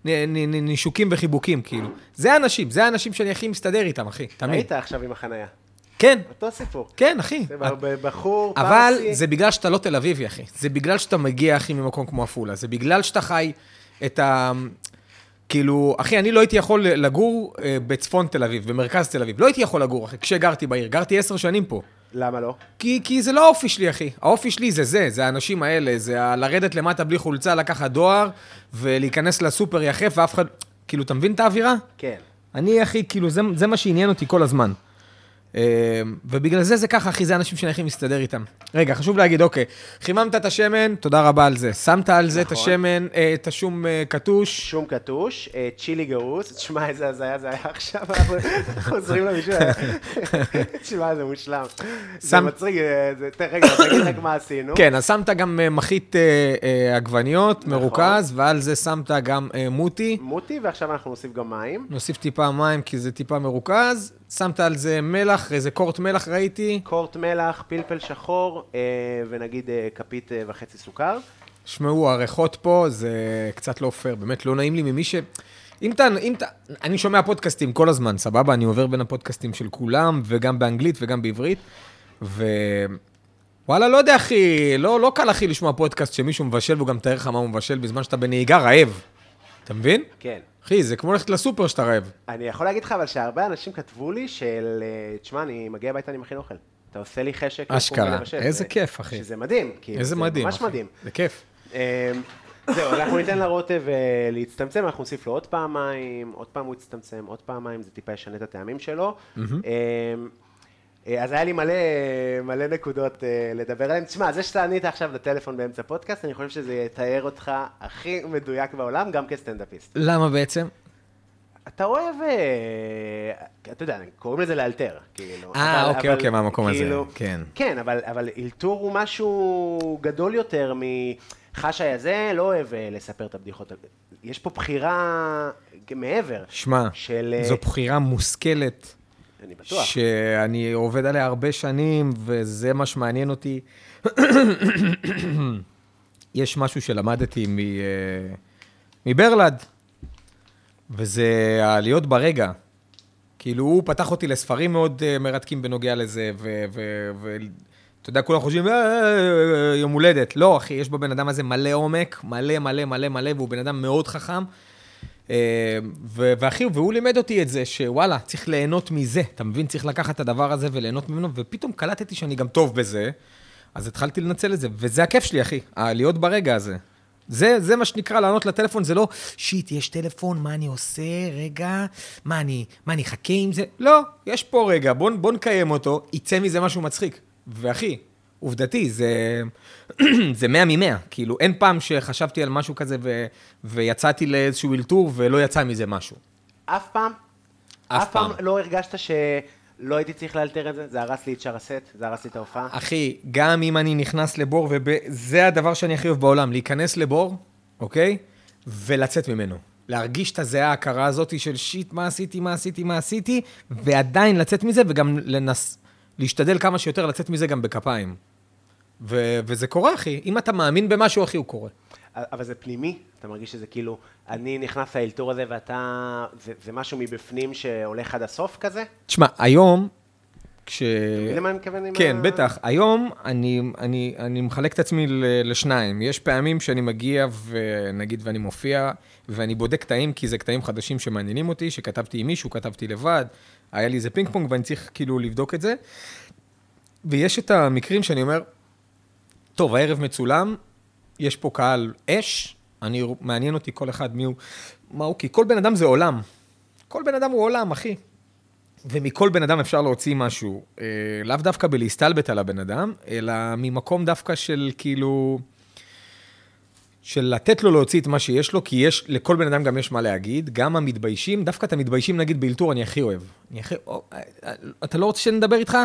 לנישוקים וחיבוקים, כאילו. זה האנשים, זה האנשים שאני הכי מסתדר איתם, אחי, תמיד. היית עכשיו עם החנייה. כן, אותו סיפור. כן, אחי. זה את- בחור פרסי. אבל זה בגלל שאתה לא תל אביבי, אחי. זה בגלל שאתה מגיע, אחי, ממקום כמו עפולה. זה בגלל שאתה חי את ה... כאילו, אחי, אני לא הייתי יכול לגור אה, בצפון תל אביב, במרכז תל אביב. לא הייתי יכול לגור, אחי, כשגרתי בעיר. גרתי עשר שנים פה. למה לא? כי, כי זה לא האופי שלי, אחי. האופי שלי זה זה, זה האנשים האלה, זה ה- לרדת למטה בלי חולצה, לקחת דואר, ולהיכנס לסופר יחף, ואף אחד... כאילו, אתה מבין את האווירה? כן. אני, אחי, כאילו, זה, זה מה שעניין אותי כל הזמן. אה, ובגלל זה זה ככה, אחי, זה אנשים שאני הכי מסתדר איתם. רגע, חשוב להגיד, אוקיי, חיממת את השמן, תודה רבה על זה. שמת על זה את השמן, אה, את השום אה, קטוש. שום קטוש, אה, צ'ילי גרוס, תשמע איזה הזיה זה היה עכשיו, אנחנו חוזרים למישהו, תשמע זה מושלם. זה שם- מצחיק, אה, זה- תן רגע, תגיד רק מה עשינו. כן, אז שמת גם אה, מחית אה, אה, עגבניות, מרוכז, ועל זה שמת גם אה, מוטי. מוטי, ועכשיו אנחנו נוסיף גם מים. נוסיף טיפה מים, כי זה טיפה מרוכז. שמת על זה מלח, איזה קורט מלח ראיתי. קורט מלח, פלפל שחור, אה, ונגיד אה, כפית אה, וחצי סוכר. שמעו, הריחות פה זה קצת לא פייר, באמת לא נעים לי ממי ש... אם אתה, אם אתה, אני שומע פודקאסטים כל הזמן, סבבה? אני עובר בין הפודקאסטים של כולם, וגם באנגלית וגם בעברית, ו... וואלה, לא יודע, אחי, לא, לא קל, אחי, לשמוע פודקאסט שמישהו מבשל והוא גם מתאר לך מה הוא מבשל בזמן שאתה בנהיגה רעב. אתה מבין? כן. אחי, זה כמו ללכת לסופר שאתה רעב. אני יכול להגיד לך אבל שהרבה אנשים כתבו לי של, אה, תשמע, אני מגיע הביתה, אני מכין אוכל. אתה עושה לי חשק. לקום אשכרה. ולבשל." איזה זה- כיף, אחי. שזה מדהים. כאילו, איזה מדהים, זה ממש אחי. מדהים. זה כיף. אה, זהו, אנחנו ניתן לרוטב אה, להצטמצם, אנחנו נוסיף לו עוד פעמיים, עוד פעם הוא יצטמצם, עוד פעמיים, זה טיפה ישנה את הטעמים שלו. אה, אה, אז היה לי מלא, מלא נקודות אה, לדבר עליהן. תשמע, זה שאתה ענית עכשיו לטלפון באמצע פודקאסט, אני חושב שזה יתאר אותך הכי מדויק בעולם, גם כסטנדאפיסט. למה בעצם? אתה אוהב, אה, אתה יודע, קוראים לזה לאלתר, כאילו. אה, אבל- אוקיי, אבל אוקיי, מהמקום הזה, כאילו- כן. כן, אבל, אבל אלתור הוא משהו גדול יותר מחש היה זה, לא אוהב אה, לספר את הבדיחות. יש פה בחירה מעבר. שמע, של... אה, זו בחירה מושכלת. אני בטוח. שאני עובד עליה הרבה שנים, וזה מה שמעניין אותי. יש משהו שלמדתי מ... אה, מברלד, וזה הלהיות ברגע. כאילו, הוא פתח אותי לספרים מאוד אה, מרתקים בנוגע לזה, ו... ו, ו אתה יודע, כולם חושבים, "אה, אה, אה, יום הולדת. לא, אחי, יש בבן אדם הזה מלא עומק, מלא מלא מלא מלא, והוא בן אדם מאוד חכם. אה, ו- ואחי, והוא לימד אותי את זה, שוואלה, צריך ליהנות מזה, אתה מבין? צריך לקחת את הדבר הזה וליהנות ממנו, ופתאום קלטתי שאני גם טוב בזה, אז התחלתי לנצל את זה, וזה הכיף שלי, אחי, ה- להיות ברגע הזה. זה, זה מה שנקרא לענות לטלפון, זה לא, שיט, יש טלפון, מה אני עושה, רגע, מה אני, מה אני אחכה עם זה? לא, יש פה רגע, בוא, בוא נקיים אותו, יצא מזה משהו מצחיק. ואחי, עובדתי, זה, זה 100 מ-100. כאילו, אין פעם שחשבתי על משהו כזה ו, ויצאתי לאיזשהו אלתור ולא יצא מזה משהו. אף פעם? אף אף פעם פעם. לא הרגשת ש... לא הייתי צריך לאלתר את זה, זה הרס לי את שאר הסט, זה הרס לי את ההופעה. אחי, גם אם אני נכנס לבור, וזה הדבר שאני הכי אוהב בעולם, להיכנס לבור, אוקיי? ולצאת ממנו. להרגיש את הזיעה ההכרה הזאת של שיט, מה עשיתי, מה עשיתי, מה עשיתי, ועדיין לצאת מזה, וגם לנס... להשתדל כמה שיותר לצאת מזה גם בכפיים. ו- וזה קורה, אחי. אם אתה מאמין במשהו, אחי, הוא קורה. אבל זה פנימי, אתה מרגיש שזה כאילו, אני נכנס לאלתור הזה ואתה, זה, זה משהו מבפנים שהולך עד הסוף כזה? תשמע, היום, כש... מבין למה אני מתכוון עם כן, ה- בטח. היום אני, אני, אני מחלק את עצמי ל- לשניים. יש פעמים שאני מגיע, ונגיד, ואני מופיע, ואני בודק קטעים, כי זה קטעים חדשים שמעניינים אותי, שכתבתי עם מישהו, כתבתי לבד, היה לי איזה פינג פונג, ואני צריך כאילו לבדוק את זה. ויש את המקרים שאני אומר, טוב, הערב מצולם, יש פה קהל אש, אני, מעניין אותי כל אחד מי הוא, מה הוא, כי כל בן אדם זה עולם. כל בן אדם הוא עולם, אחי. ומכל בן אדם אפשר להוציא משהו, אה, לאו דווקא בלהסתלבט על הבן אדם, אלא ממקום דווקא של כאילו... של לתת לו להוציא את מה שיש לו, כי יש, לכל בן אדם גם יש מה להגיד, גם המתביישים, דווקא את המתביישים, נגיד, באלתור אני הכי אוהב. אני הכי... או, אה, אה, אתה לא רוצה שנדבר איתך?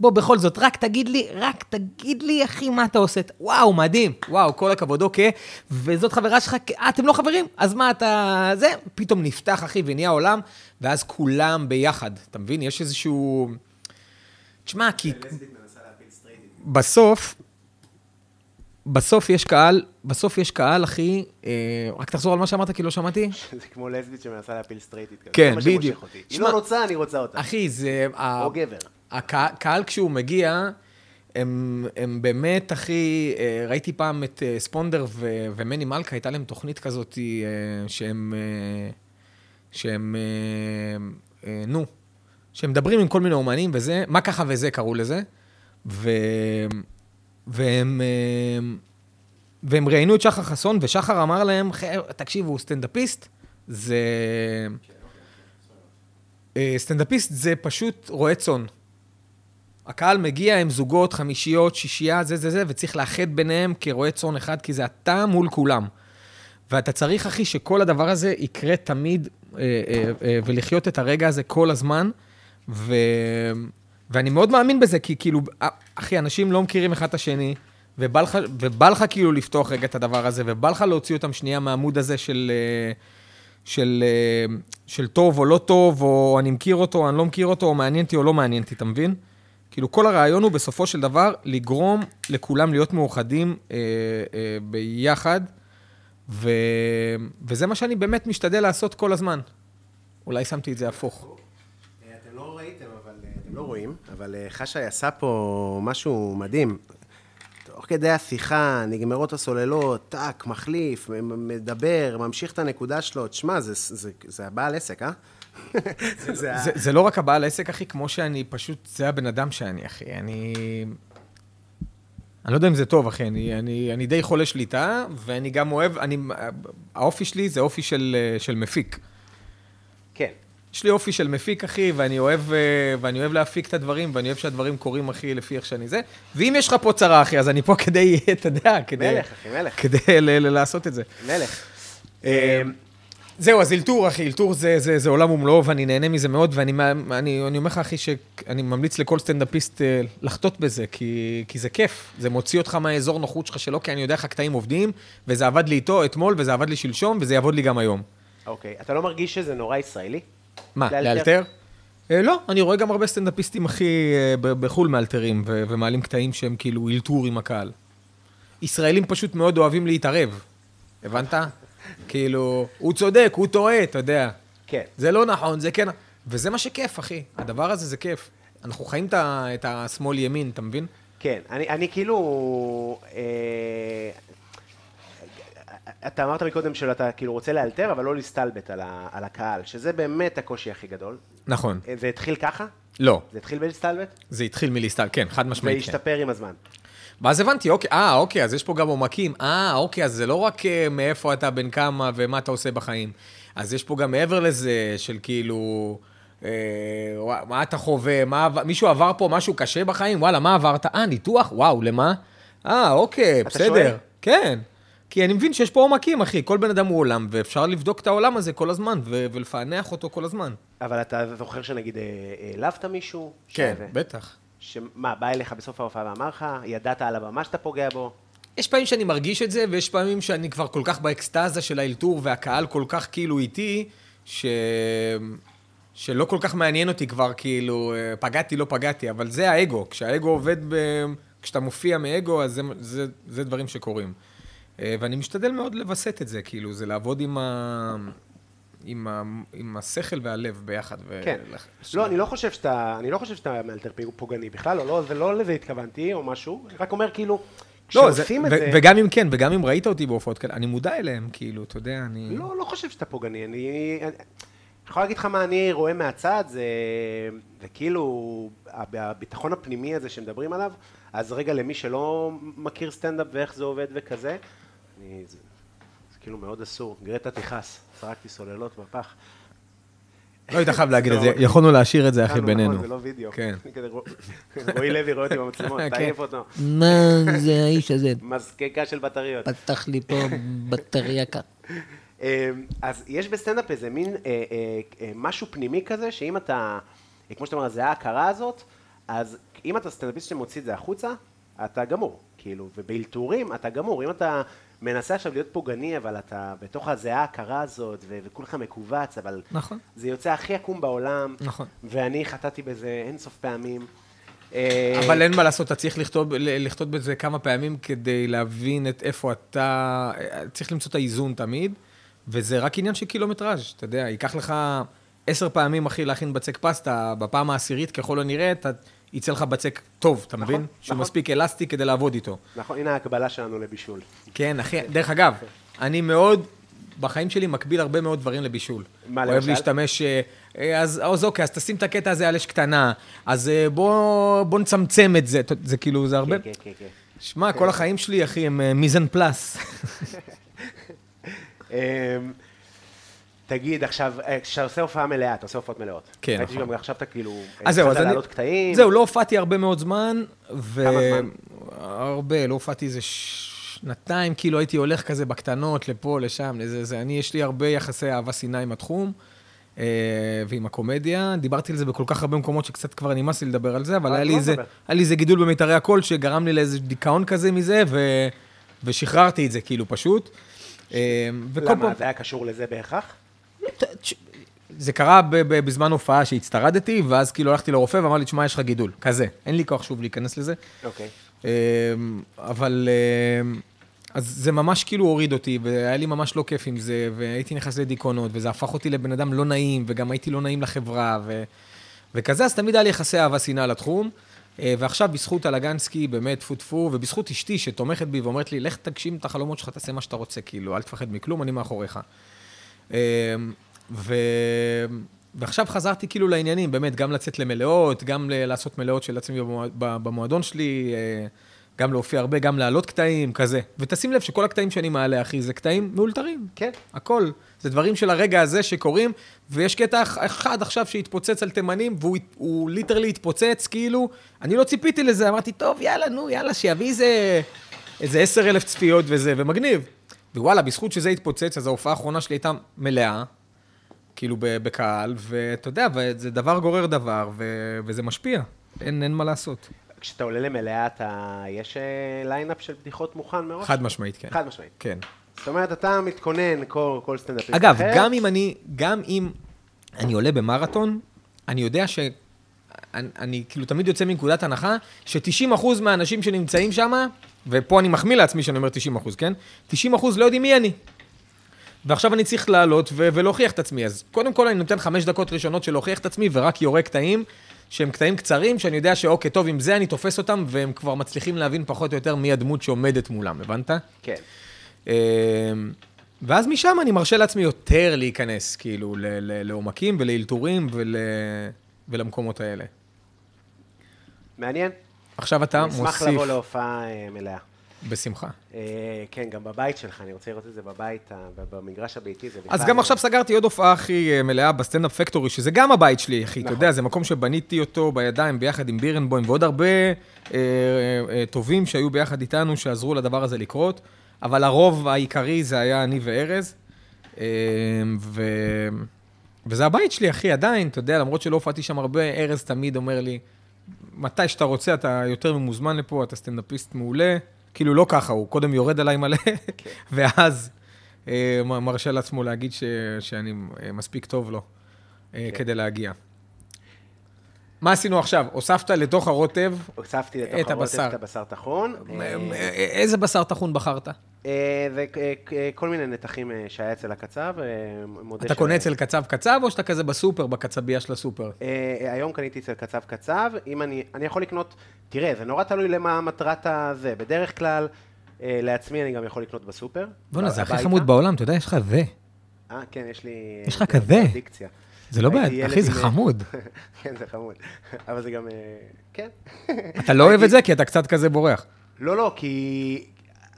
בוא, בכל זאת, רק תגיד לי, רק תגיד לי, אחי, מה אתה עושה? וואו, מדהים, וואו, כל הכבוד, אוקיי. וזאת חברה שלך, כ- אה, אתם לא חברים? אז מה אתה... זה, פתאום נפתח, אחי, ונהיה עולם, ואז כולם ביחד, אתה מבין? יש איזשהו... תשמע, כי... בסוף, בסוף יש קהל, בסוף יש קהל, אחי, אה, רק תחזור על מה שאמרת, כי לא שמעתי. זה כמו לסבית שמנסה להפיל סטרייטית כזה. כן, זה מה שמושך בדיוק. אותי. היא שמע- לא רוצה, אני רוצה אותה. אחי, זה... ה- או גבר. הקה- הקהל כשהוא מגיע, הם, הם באמת, אחי, אה, ראיתי פעם את אה, ספונדר ו- ומני מלכה, הייתה להם תוכנית כזאת אה, שהם, אה, שהם, אה, אה, נו, שהם מדברים עם כל מיני אומנים וזה, מה ככה וזה קראו לזה, ו, והם, אה, והם ראיינו את שחר חסון, ושחר אמר להם, "חבר'ה, תקשיבו, הוא סטנדאפיסט, זה... אה, סטנדאפיסט זה פשוט רועה צאן. הקהל מגיע עם זוגות, חמישיות, שישייה, זה זה זה, וצריך לאחד ביניהם כרועה צאן אחד, כי זה אתה מול כולם. ואתה צריך, אחי, שכל הדבר הזה יקרה תמיד, אה, אה, אה, ולחיות את הרגע הזה כל הזמן. ו... ואני מאוד מאמין בזה, כי כאילו, אה, אחי, אנשים לא מכירים אחד את השני, ובא לך, ובא לך כאילו לפתוח רגע את הדבר הזה, ובא לך להוציא אותם שנייה מהעמוד הזה של, אה, של, אה, של טוב או לא טוב, או אני מכיר אותו, אני לא מכיר אותו, או מעניין אותי או לא מעניין אותי, אתה מבין? כאילו, כל הרעיון הוא בסופו של דבר לגרום לכולם להיות מאוחדים אה, אה, ביחד, ו... וזה מה שאני באמת משתדל לעשות כל הזמן. אולי שמתי את זה הפוך. אתם לא ראיתם, אבל אתם לא רואים, אבל אה, חשאי עשה פה משהו מדהים. תוך כדי השיחה, נגמרות הסוללות, טאק, מחליף, מ- מ- מדבר, ממשיך את הנקודה שלו. תשמע, זה, זה, זה הבעל עסק, אה? זה ה- זה, זה לא רק הבעל עסק, אחי, כמו שאני פשוט, זה הבן אדם שאני, אחי. אני... אני לא יודע אם זה טוב, אחי, אני, אני, אני די חולה שליטה, ואני גם אוהב, אני, האופי שלי זה אופי של, אה, של מפיק. כן. יש לי אופי של מפיק, אחי, ואני אוהב, אה, ואני אוהב להפיק את הדברים, ואני אוהב שהדברים קורים, אחי, לפי איך שאני זה. ואם יש לך פה צרה, אחי, אז אני פה כדי, אתה יודע, כדי... מלך, אחי, מלך. כדי ל- ל- לעשות את זה. אמ, מלך. אה, אה, זהו, אז אלתור, אחי, אלתור זה, זה, זה עולם ומלואו, ואני נהנה מזה מאוד, ואני מה- אני, אני אומר לך, אחי, שאני ממליץ לכל סטנדאפיסט אה, לחטות בזה, כי, כי זה כיף. זה מוציא אותך מהאזור נוחות שלך שלא, כי אני יודע איך הקטעים עובדים, וזה עבד לי איתו אתמול, וזה עבד לי שלשום, וזה יעבוד לי גם היום. אוקיי, אתה לא מרגיש שזה נורא ישראלי? מה, לאלתר? לאלתר? אה, לא, אני רואה גם הרבה סטנדאפיסטים, אחי, אה, ב- בחו"ל מאלתרים, ו- ומעלים קטעים שהם כאילו אלתור עם הקהל. ישראלים פשוט מאוד אוהבים להתערב, הבנת? כאילו, הוא צודק, הוא טועה, אתה יודע. כן. זה לא נכון, זה כן... וזה מה שכיף, אחי. הדבר הזה זה כיף. אנחנו חיים את ה- את השמאל-ימין, אתה מבין? כן, אני, אני כאילו... אה, אתה אמרת מקודם שאתה כאילו רוצה לאלתר, אבל לא להסתלבט על, ה, על הקהל, שזה באמת הקושי הכי גדול. נכון. אה, זה התחיל ככה? לא. זה התחיל בלהסתלבט? זה התחיל מלהסתכל, כן, חד משמעית. כן. והשתפר עם הזמן. ואז הבנתי, אוקיי, אה, אוקיי, אז יש פה גם עומקים. אה, אוקיי, אז זה לא רק אה, מאיפה אתה, בן כמה ומה אתה עושה בחיים. אז יש פה גם מעבר לזה, של כאילו, אה, ווא- מה אתה חווה, מה, עבר- מישהו עבר פה משהו קשה בחיים? וואלה, מה עברת? אה, ניתוח? וואו, למה? אה, אוקיי, בסדר. שואל? כן. כי אני מבין שיש פה עומקים, אחי. כל בן אדם הוא עולם, ואפשר לבדוק את העולם הזה כל הזמן, ו- ולפענח אותו כל הזמן. אבל אתה זוכר שנגיד אה, העלבת מישהו? שזה- כן, בטח. שמה, בא אליך בסוף ההופעה ואמר לך, ידעת על הבמה שאתה פוגע בו? יש פעמים שאני מרגיש את זה, ויש פעמים שאני כבר כל כך באקסטזה של האלתור, והקהל כל כך כאילו איתי, ש... שלא כל כך מעניין אותי כבר, כאילו, אה, פגעתי, לא פגעתי, אבל זה האגו. כשהאגו עובד, ב... כשאתה מופיע מאגו, אז זה, זה, זה דברים שקורים. אה, ואני משתדל מאוד לווסת את זה, כאילו, זה לעבוד עם, ה... עם, ה... עם השכל והלב ביחד. ו... כן. לא, אני לא חושב שאתה, אני לא חושב שאתה מאלתר פוגעני בכלל, או לא, זה לא לזה התכוונתי או משהו, אני רק אומר כאילו, לא, זה, כשעושים ו- את זה... וגם אם כן, וגם אם ראית אותי בהופעות כאלה, אני מודע אליהם, כאילו, אתה יודע, אני... לא, לא חושב שאתה פוגעני. אני... אני אני יכול להגיד לך מה אני רואה מהצד, זה, זה כאילו הב- הביטחון הפנימי הזה שמדברים עליו, אז רגע למי שלא מכיר סטנדאפ ואיך זה עובד וכזה, אני, זה, זה כאילו מאוד אסור. גרטה תכעס, זרקתי סוללות בפח. לא היית חייב להגיד את זה, לא. יכולנו להשאיר את זה, אחי, נכון, בינינו. זה לא וידאו. כן. אני כזה רוא- רועי לוי רואה אותי במצלמות, כן. תעיף אותו. מה זה האיש הזה? מזקקה של בטריות. פתח לי פה בטריה ככה. אה, אז יש בסטנדאפ איזה מין אה, אה, אה, משהו פנימי כזה, שאם אתה, אה, כמו שאתה אומר, זה ההכרה הזאת, אז אם אתה סטנדאפיסט שמוציא את זה החוצה, אתה גמור, כאילו, ובאלתורים אתה גמור. אם אתה מנסה עכשיו להיות פוגעני, אבל אתה בתוך הזיעה ההכרה הזאת, ו- וכולך מכווץ, אבל נכון. זה יוצא הכי עקום בעולם, נכון. ואני חטאתי בזה אינסוף פעמים. אה, אבל אין מה לעשות, אתה צריך לכתוב, ל- לכתוב בזה כמה פעמים כדי להבין את איפה אתה... צריך למצוא את האיזון תמיד, וזה רק עניין של קילומטראז', אתה יודע, ייקח לך עשר פעמים, אחי, להכין בצק פסטה, בפעם העשירית, ככל הנראה, אתה... יצא לך בצק טוב, אתה נכון, מבין? שהוא נכון. מספיק אלסטי כדי לעבוד איתו. נכון, הנה ההקבלה שלנו לבישול. כן, אחי, דרך אגב, אני מאוד, בחיים שלי מקביל הרבה מאוד דברים לבישול. מה, אוהב למשל? להשתמש, אה, אה, אז, אז אוקיי, אז תשים את הקטע הזה על אש קטנה, אז אה, בוא, בוא נצמצם את זה, אתה- זה כאילו, זה הרבה... כן, כן, כן. שמע, כל החיים שלי, אחי, הם אה, מיזן פלאס. אמ, תגיד עכשיו, אה, כשאתה עושה הופעה מלאה, אתה עושה הופעות מלאות. כן, ראיתי נכון. שגם עכשיו אתה כאילו, אז אה, זהו, אז התחלת אני... לעלות קטעים. זהו, לא הופעתי הרבה מאוד זמן, ו... כמה זמן? הרבה, לא הופעתי איזה שנתיים, כאילו הייתי הולך כזה בקטנות, לפה, לשם, לזה, זה. אני, יש לי הרבה יחסי אהבה שנאה עם התחום. אה, ועם הקומדיה, דיברתי על זה בכל כך הרבה מקומות שקצת כבר נמאס לי לדבר על זה, אבל אה, היה לי, לא איזה, לדבר. היה לי איזה גידול במיתרי הקול שגרם לי לאיזה דיכאון כזה מזה, ו... ושחררתי את זה כאילו פשוט. אה, וכל למה, פעם- זה היה קשור לזה בהכרח? ת- תש- זה קרה ב- ב- בזמן הופעה שהצטרדתי, ואז כאילו הלכתי לרופא ואמר לי, תשמע, יש לך גידול. כזה. אין לי כוח שוב להיכנס לזה. אוקיי. אמ, אבל... אמ, אז זה ממש כאילו הוריד אותי, והיה לי ממש לא כיף עם זה, והייתי נכנס לדיכאונות, וזה הפך אותי לבן אדם לא נעים, וגם הייתי לא נעים לחברה, ו... וכזה, אז תמיד היה לי יחסי אהבה שנאה לתחום. אה, ועכשיו, בזכות אלגנסקי, באמת, טפו טפו, ובזכות אשתי שתומכת בי ואומרת לי, לך תגשים את החלומות שלך, תעשה מה שאתה רוצה, כאילו, אל תפחד מכלום, אני מאחוריך. אמ, ו... ועכשיו חזרתי כאילו לעניינים, באמת, גם לצאת למלאות, גם ל- לעשות מלאות של עצמי במוע- ב- במועדון שלי, אה, גם להופיע הרבה, גם להעלות קטעים, כזה. ותשים לב שכל הקטעים שאני מעלה, אחי, זה קטעים מאולתרים. כן. הכל. זה דברים של הרגע הזה שקורים, ויש קטע אח- אחד עכשיו שהתפוצץ על תימנים, והוא הת- הוא ליטרלי התפוצץ, כאילו, אני לא ציפיתי לזה, אמרתי, טוב, יאללה, נו, יאללה, שיביא איזה איזה עשר אלף צפיות וזה, ומגניב. ווואלה, בזכות שזה התפוצץ, אז ההופעה האחרונה שלי הייתה מלאה, כאילו, ב- בקהל, ואתה יודע, וזה דבר גורר דבר, ו- וזה משפיע. אין, אין מה לעשות. כשאתה עולה למלאה, אתה... יש אה, ליינאפ של בדיחות מוכן מראש? חד משמעית, כן. חד משמעית. כן. זאת אומרת, אתה מתכונן כל, כל סטנדאפיסט אגב, אחר. גם אם אני, גם אם אני עולה במרתון, אני יודע ש... אני, אני כאילו תמיד יוצא מנקודת הנחה ש-90% מהאנשים שנמצאים שם, ופה אני מחמיא לעצמי שאני אומר 90%, כן? 90% לא יודעים מי אני. ועכשיו אני צריך לעלות ו- ולהוכיח את עצמי. אז קודם כל אני נותן חמש דקות ראשונות של להוכיח את עצמי, ורק יורה קטעים, שהם קטעים קצרים, שאני יודע שאוקיי, טוב, עם זה אני תופס אותם, והם כבר מצליחים להבין פחות או יותר מי הדמות שעומדת מולם, הבנת? כן. אמ, ואז משם אני מרשה לעצמי יותר להיכנס, כאילו, ל- ל- לעומקים ולאלתורים ול... ולמקומות האלה. מעניין. עכשיו אתה אני אשמח מוסיף, לבוא להופעה אה, מלאה. בשמחה. אה, כן, גם בבית שלך, אני רוצה לראות את זה בבית, אה, ב- במגרש הביתי זה לא- אז גם עכשיו סגרתי עוד הופעה הכי אה, מלאה בסטנדאפ פקטורי, שזה גם הבית שלי, אחי, אתה יודע, זה מקום שבניתי אותו בידיים ביחד עם בירנבוים ועוד הרבה אה, אה, אה, טובים שהיו ביחד איתנו, שעזרו לדבר הזה לקרות, אבל הרוב העיקרי זה היה אני וארז, אה, ו... וזה הבית שלי, אחי, עדיין, אתה יודע, למרות שלא הופעתי שם הרבה, ארז תמיד אומר לי, מתי שאתה רוצה, אתה יותר ממוזמן לפה, אתה סטנדאפיסט מעולה. כאילו, לא ככה, הוא קודם יורד עליי מלא, ואז אה, מ- מרשה לעצמו להגיד ש, שאני אה, מספיק טוב לו אה, כן. כדי להגיע. מה עשינו עכשיו? הוספת לתוך הרוטב, הוספתי את לתוך הרוטב הבשר. את הבשר טחון. אה, אה, אה, איזה בשר טחון בחרת? אה, וכל מיני נתחים אה, שהיה אצל הקצב. אה, מודה אתה ש- קונה אצל קצב קצב, או שאתה כזה בסופר, בקצבייה של הסופר? אה, היום קניתי אצל קצב קצב, אם אני, אני יכול לקנות, תראה, זה נורא תלוי למה מטרת הזה. בדרך כלל, אה, לעצמי אני גם יכול לקנות בסופר. בואנה, זה הכי הביתה. חמוד בעולם, אתה יודע, יש לך זה. אה, כן, יש לי... יש לך כזה. דיקציה. זה לא הייתי בעיה, ילד אחי, זה עם- חמוד. כן, זה חמוד. אבל זה גם... אה, כן. אתה לא אוהב את זה, כי אתה קצת כזה בורח. לא, לא, כי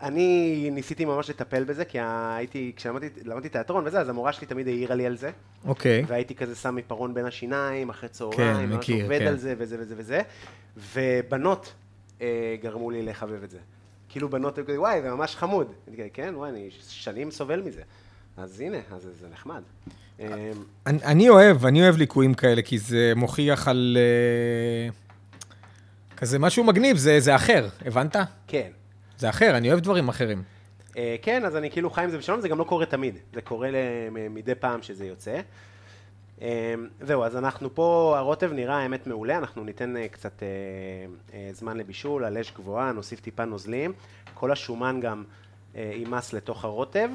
אני ניסיתי ממש לטפל בזה, כי הייתי, כשלמדתי למדתי תיאטרון וזה, אז המורה שלי תמיד העירה לי על זה, אוקיי. והייתי כזה שם עיפרון בין השיניים, אחרי צהריים, כן, ממש מכיר, עובד כן. על זה וזה וזה וזה, ובנות אה, גרמו לי לחבב את זה. כאילו בנות היו כזה, וואי, זה ממש חמוד. אני כזה, כן, וואי, אני שנים סובל מזה. אז הנה, אז זה- זה נחמד. אה, אני, אני אוהב, אני אוהב ליקויים כאלה, כי זה מוכיח על... אה, כזה משהו מגניב, זה, זה אחר, הבנת? כן. זה אחר, אני אוהב דברים אחרים. אה, כן, אז אני כאילו חי עם זה בשלום, זה גם לא קורה תמיד, זה קורה ל- מ- מדי פעם שזה יוצא. אה, זהו, אז אנחנו פה, הרוטב נראה האמת מעולה, אנחנו ניתן אה, קצת אה, אה, זמן לבישול, על אש גבוהה, נוסיף טיפה נוזלים, כל השומן גם אה, יימס לתוך הרוטב,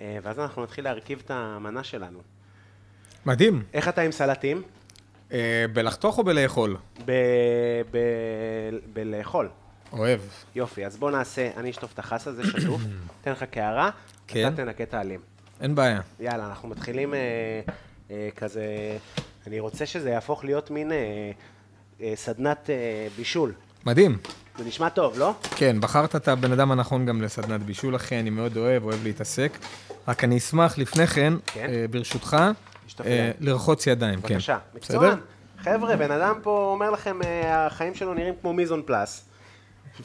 אה, ואז אנחנו נתחיל להרכיב את המנה שלנו. מדהים. איך אתה עם סלטים? אה, בלחתוך או בלאכול? ב- ב- בלאכול. אוהב. יופי, אז בוא נעשה, אני אשטוף את החסה, זה שטוף, אתן לך קערה, כן. אתה תנקה את העלים. אין בעיה. יאללה, אנחנו מתחילים אה, אה, כזה, אני רוצה שזה יהפוך להיות מין אה, אה, סדנת אה, בישול. מדהים. זה נשמע טוב, לא? כן, בחרת את הבן אדם הנכון גם לסדנת בישול, אחי, אני מאוד אוהב, אוהב להתעסק. רק אני אשמח לפני כן, כן. אה, ברשותך, לשטוף אה, ידיים. לרחוץ ידיים. כן. בבקשה. בסדר? מקצוען. חבר'ה, בן אדם פה אומר לכם, אה, החיים שלו נראים כמו מיזון פלאס.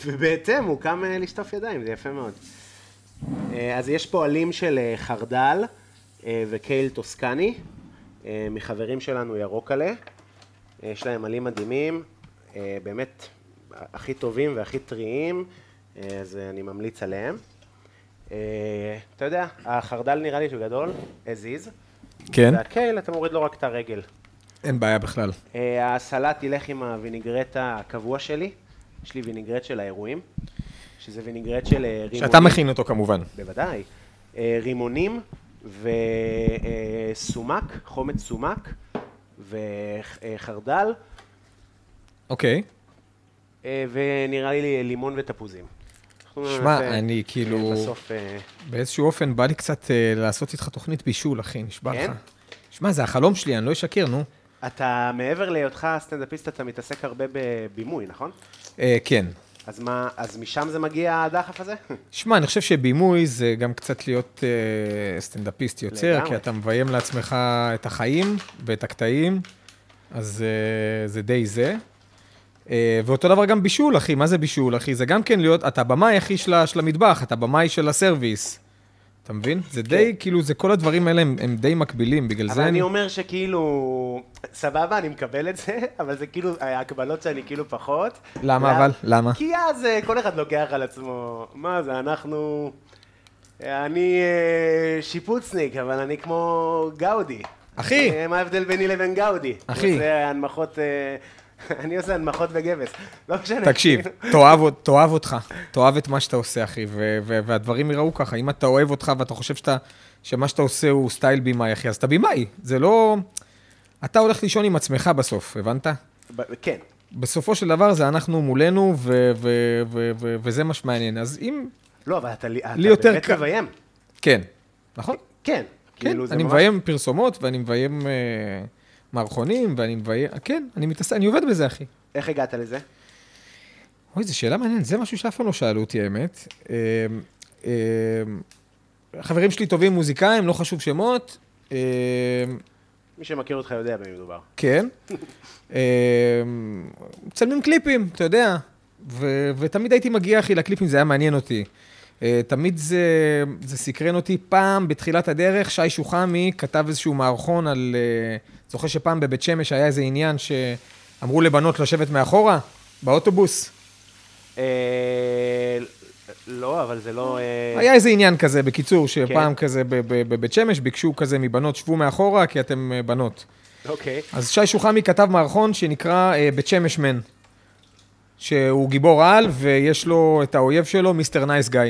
ובהתאם הוא קם אה, לשטוף ידיים, זה יפה מאוד. אה, אז יש פה עלים של אה, חרדל אה, וקייל טוסקני, אה, מחברים שלנו ירוק עלה. אה, יש להם עלים מדהימים, אה, באמת הכי טובים והכי טריים, אה, אז אה, אני ממליץ עליהם. אה, אתה יודע, החרדל נראה לי שהוא גדול, as is. כן, והקייל, אתה מוריד לו רק את הרגל. אין בעיה בכלל. אה, הסלט ילך עם הוויניגרט הקבוע שלי. יש לי ויניגרט של האירועים, שזה ויניגרט של אה, רימונים. שאתה מכין אותו כמובן. בוודאי. אה, רימונים וסומק, חומץ סומק וחרדל, אוקיי. אה, ונראה לי לימון ותפוזים. אנחנו שמע, נעשה, אני אה, כאילו- בסוף... אה, באיזשהו אופן בא לי קצת אה, לעשות איתך תוכנית בישול, אחי, נשבע כן? לך. שמע, זה החלום שלי, אני לא אשקר, נו. אתה, מעבר להיותך סטנדאפיסט, אתה מתעסק הרבה בבימוי, נכון? אה, כן. אז מה, אז משם זה מגיע הדחף הזה? שמע, אני חושב שבימוי זה גם קצת להיות אה, סטנדאפיסט יוצר, לגמרי. כי אתה מביים לעצמך את החיים ואת הקטעים, אז אה, זה די זה. אה, ואותו דבר גם בישול, אחי, מה זה בישול, אחי? זה גם כן להיות, אתה במאי, אחי, של, ה- של המטבח, אתה במאי של הסרוויס. אתה מבין? זה די, כאילו, זה כל הדברים האלה הם, הם די מקבילים, בגלל זה כן. אבל אני אומר שכאילו, סבבה, אני מקבל את זה, אבל זה כאילו, ההקבלות שאני כאילו פחות. למה, אבל? למה? כי אז אה, כל אחד לוקח על עצמו, מה זה, אנחנו... אני אה, שיפוצניק, אבל אני כמו גאודי. אחי! אה, מה ההבדל ביני לבין גאודי? אחי. הוא עושה הנמכות... אה, אני עושה הנמכות וגבס. לא משנה. תקשיב, כאילו. תאהב, אות- תאהב אותך, תאהב את מה שאתה עושה, אחי, ו- ו- והדברים יראו ככה. אם אתה אוהב אותך ואתה חושב שאתה, שמה שאתה עושה הוא סטייל בימאי, אחי, אז אתה בימאי. זה לא... אתה הולך לישון עם עצמך בסוף, הבנת? ב- כן. בסופו של דבר זה אנחנו מולנו, ו- ו- ו- ו- וזה מה שמעניין. אז אם... לא, אבל אתה לי- אתה לי יותר באמת קל. מביים. כן, נכון? כן. כן, כאילו, זה אני ממש- מביים פרסומות, ואני מביים אה, מערכונים, ואני מביים... כן, אני מתעסק, אני עובד בזה, אחי. איך הגעת לזה? אוי, זו שאלה מעניינת, זה משהו שאף פעם לא שאלו אותי, האמת. אמ, אמ, חברים שלי טובים מוזיקאים, לא חשוב שמות. אמ, מי שמכיר אותך יודע במי מדובר. כן. אמ, מצלמים קליפים, אתה יודע. ו- ותמיד הייתי מגיע, אחי, לקליפים, זה היה מעניין אותי. אה, תמיד זה, זה סקרן אותי. פעם, בתחילת הדרך, שי שוחמי כתב איזשהו מערכון על... אה, זוכר שפעם בבית שמש היה איזה עניין שאמרו לבנות לשבת מאחורה, באוטובוס. אה, לא, אבל זה לא... אה, היה איזה עניין כזה, בקיצור, שפעם כזה ב- ב- בבית שמש ביקשו כזה מבנות, שבו מאחורה, כי אתם אה, בנות. אוקיי. אז שי שוחמי כתב מערכון שנקרא אה, בית שמש מן, שהוא גיבור על, ויש לו את האויב שלו, מיסטר נייס גיא.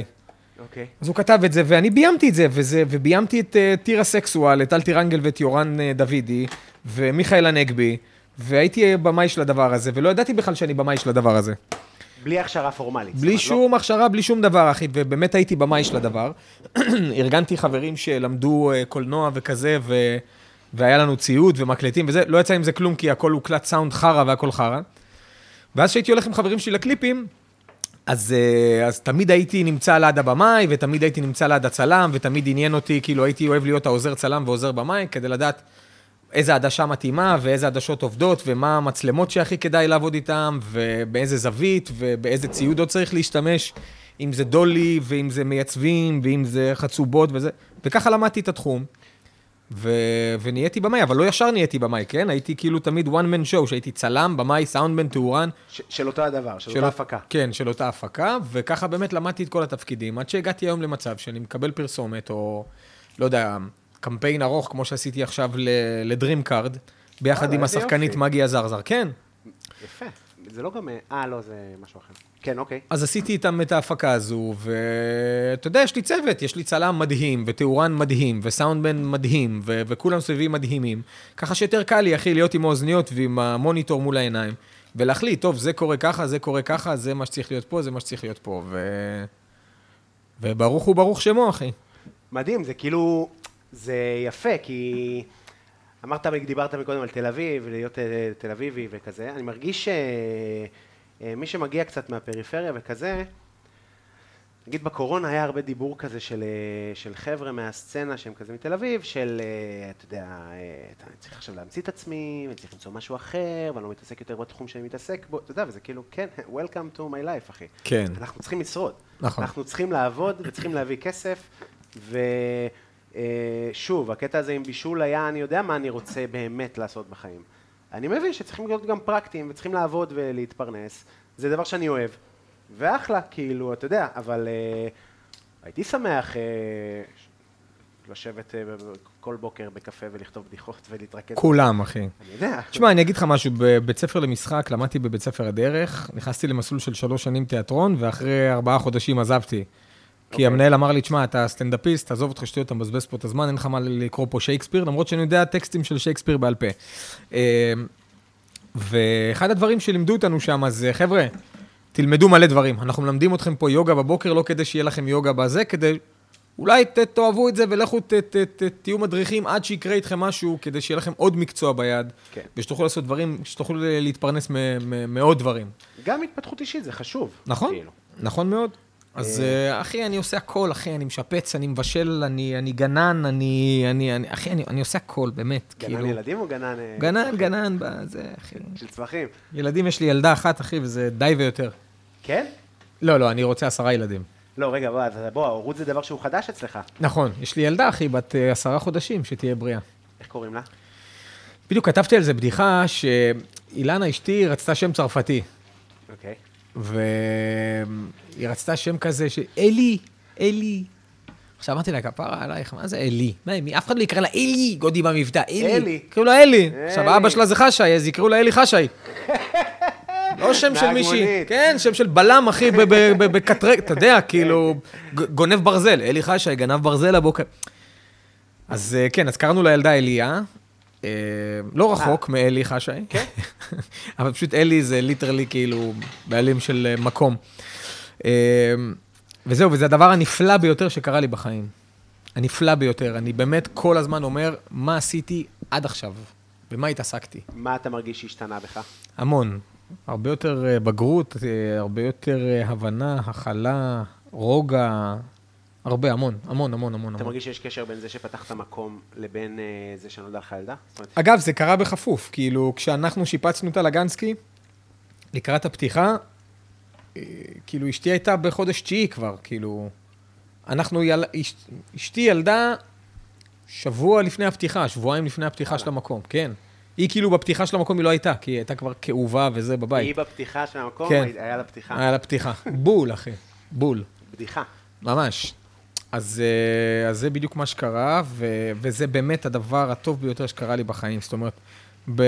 אוקיי. אז הוא כתב את זה, ואני ביימתי את זה, וזה, וביימתי את אה, טירה סקסואל, את אלטי רנגל ואת יורן אה, דוידי, ומיכאל הנגבי, והייתי אה, במאי של הדבר הזה, ולא ידעתי בכלל שאני במאי של הדבר הזה. בלי הכשרה פורמלית. לא, בלי זאת אומרת, שום הכשרה, בלי שום דבר, אחי, ובאמת הייתי במאי של הדבר. ארגנתי חברים שלמדו אה, קולנוע וכזה, ו... והיה לנו ציוד ומקלטים וזה, לא יצא עם זה כלום, כי הכל הוקלט סאונד חרא והכל חרא. ואז כשהייתי הולך עם חברים שלי לקליפים, אז, אה, אז תמיד הייתי נמצא ליד הבמאי, ותמיד הייתי נמצא ליד הצלם, ותמיד עניין אותי, כאילו הייתי אוהב להיות העוזר צלם ועוזר במאי, כדי לדעת איזה עדשה מתאימה, ואיזה עדשות עובדות, ומה המצלמות שהכי כדאי לעבוד איתן, ובאיזה זווית, ובאיזה ציוד עוד צריך להשתמש, אם זה דולי, ואם זה מייצבים, ואם זה חצובות וזה, וככה למדתי את התחום. ו... ונהייתי במאי, אבל לא ישר נהייתי במאי, כן? הייתי כאילו תמיד one man show, שהייתי צלם, במאי, סאונדמן, תאורן, ש- של אותו הדבר, של של- אותה הפקה. כן, של אותה הפקה, וככה באמת למדתי את כל התפקידים, עד שהגעתי היום למצב שאני מקבל פרסומת, או לא יודע, קמפיין ארוך, כמו שעשיתי עכשיו ל- לדרימקארד, ביחד וואלה, עם איזה השחקנית יופי. מגי עזרזר, כן. יפה. זה לא גם... אה, לא, זה משהו אחר. כן, אוקיי. אז עשיתי איתם את ההפקה הזו, ואתה יודע, יש לי צוות, יש לי צלם מדהים, ותאורן מדהים, וסאונדמן מדהים, ו- וכולם סביבי מדהימים. ככה שיותר קל לי, אחי, להיות עם האוזניות ועם המוניטור מול העיניים, ולהחליט, טוב, זה קורה ככה, זה קורה ככה, זה מה שצריך להיות פה, זה מה שצריך להיות פה, ו... וברוך הוא ברוך שמו, אחי. מדהים, זה כאילו... זה יפה, כי... אמרת, דיברת מקודם על תל אביב, להיות אה, תל אביבי וכזה. אני מרגיש שמי שמגיע קצת מהפריפריה וכזה, נגיד בקורונה היה הרבה דיבור כזה של, אה, של חבר'ה מהסצנה שהם כזה מתל אביב, של, אה, אתה יודע, אה, אתה- אני צריך עכשיו להמציא את עצמי, ואני צריך למצוא משהו אחר, ואני לא מתעסק יותר בתחום שאני מתעסק בו, אתה יודע, וזה כאילו, כן, Welcome to my life, אחי. כן. אנחנו צריכים לשרוד. נכון. אנחנו צריכים לעבוד וצריכים להביא כסף, ושוב, הקטע הזה עם בישול היה, אני יודע מה אני רוצה באמת לעשות בחיים. אני מבין שצריכים להיות גם פרקטיים, וצריכים לעבוד ולהתפרנס, זה דבר שאני אוהב. ואחלה, כאילו, אתה יודע, אבל אה, הייתי שמח, אה, ש- לשבת אה, ב- ב- כל בוקר בקפה ולכתוב בדיחות ולהתרכז. כולם, אחי. אני יודע. תשמע, אני אגיד לך משהו, בבית ספר למשחק, למדתי בבית ספר הדרך, נכנסתי למסלול של שלוש שנים תיאטרון, ואחרי ארבעה חודשים עזבתי. כי המנהל אמר לי, תשמע, אתה סטנדאפיסט, תעזוב אותך שטויות, אתה מבזבז פה את הזמן, אין לך מה לקרוא פה שייקספיר, למרות שאני יודע טקסטים של שייקספיר בעל פה. אה, ואחד הדברים שלימדו אותנו שם, זה חבר'ה, תלמדו מלא דברים. אנחנו מלמדים אתכם פה יוגה בבוקר, לא כדי שיהיה לכם יוגה בזה, כדי... אולי ת- תאהבו את זה ולכו ת- ת- ת- תהיו מדריכים עד שיקרה איתכם משהו, כדי שיהיה לכם עוד מקצוע ביד. כן. ושתוכלו לעשות דברים, שתוכלו להתפרנס מ- מ- מעוד דברים. גם התפתחות אישית זה חשוב. נכון? כאילו. נכון מאוד. אז אה, אחי, אני עושה הכל, אחי, אני משפץ, אני מבשל, אני אני גנן, אני... אני- אני- אחי, אני אני עושה הכל, באמת, גנן כאילו. ילדים או גנן... אה, גנן, גנן, ב- זה, אחי. של צמחים. ילדים, יש לי ילדה אחת, אחי, וזה די ויותר. כן? לא, לא, אני רוצה עשרה ילדים. לא, רגע, בוא, אז בוא, ההורות זה דבר שהוא חדש אצלך. נכון, יש לי ילדה, אחי, בת אה, עשרה חודשים, שתהיה בריאה. איך קוראים לה? בדיוק כתבתי על זה בדיחה שאילנה אשתי רצתה שם צרפתי. אוקיי. והיא רצתה שם כזה ש... אלי, אלי. עכשיו אמרתי לה, כפרה עלייך, מה זה אלי? מה, מי- אף אחד לא יקרא לה אלי, גודי במבטא, אלי. אלי. יקראו לה אלי. אלי. עכשיו, אבא שלה זה חשאי, אז יקראו לה אלי חשאי. לא שם של נהג מישהי. מונית. כן, שם של בלם, אחי, ב- ב- ב- בקטרק, אתה יודע, כאילו, ג- גונב ברזל. אלי חשאי גנב ברזל הבוקר. אז אה, כן, אז קראנו לילדה אליה, אה, לא רחוק מאלי חשאי. כן. אבל פשוט אלי זה ליטרלי כאילו בעלים של אה, מקום. אה, וזהו, וזה הדבר הנפלא ביותר שקרה לי בחיים. הנפלא ביותר. אני באמת כל הזמן אומר, מה עשיתי עד עכשיו? במה התעסקתי? מה אתה מרגיש שהשתנה בך? המון. הרבה יותר אה, בגרות, אה, הרבה יותר אה, הבנה, הכלה, רוגע, הרבה, המון, המון, המון, המון. אתה המון. מרגיש שיש קשר בין זה שפתחת מקום לבין אה, זה שנולדה לך ילדה? זאת אומרת, אגב, זה קרה בחפוף, כאילו, כשאנחנו שיפצנו את הלגנסקי, לקראת הפתיחה, אה, כאילו, אשתי הייתה בחודש תשיעי כבר, כאילו, אנחנו, יל... אש... אשתי ילדה שבוע לפני הפתיחה, שבועיים לפני הפתיחה של המקום, כן. היא כאילו בפתיחה של המקום היא לא הייתה, כי היא הייתה כבר כאובה וזה היא בבית. בפתיחה של המקום, כן. היה לה פתיחה. היה לה פתיחה. בול, אחי, בול. בדיחה. ממש. אז, אה, אז זה בדיוק מה שקרה, ו, וזה באמת הדבר הטוב ביותר שקרה לי בחיים. זאת אומרת, ב,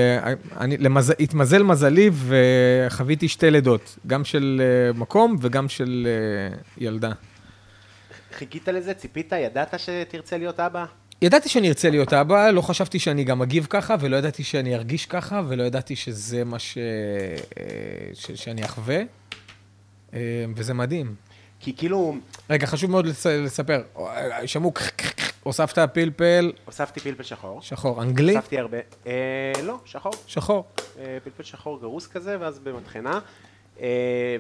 אני, למז, התמזל מזלי וחוויתי שתי לידות, גם של אה, מקום וגם של אה, ילדה. חיכית לזה? ציפית? ידעת שתרצה להיות אבא? ידעתי שאני ארצה להיות אבא, לא חשבתי שאני גם אגיב ככה, ולא ידעתי שאני ארגיש ככה, ולא ידעתי שזה מה ש, אה, ש, שאני אחווה, אה, וזה מדהים. כי כאילו, רגע, חשוב מאוד לס- לספר, אה, שמעו, הוספת פלפל, הוספתי פלפל שחור. שחור, אנגלי? הוספתי הרבה. אה, לא, שחור. שחור. אה, פלפל שחור גרוס כזה, ואז במטחנה. אה,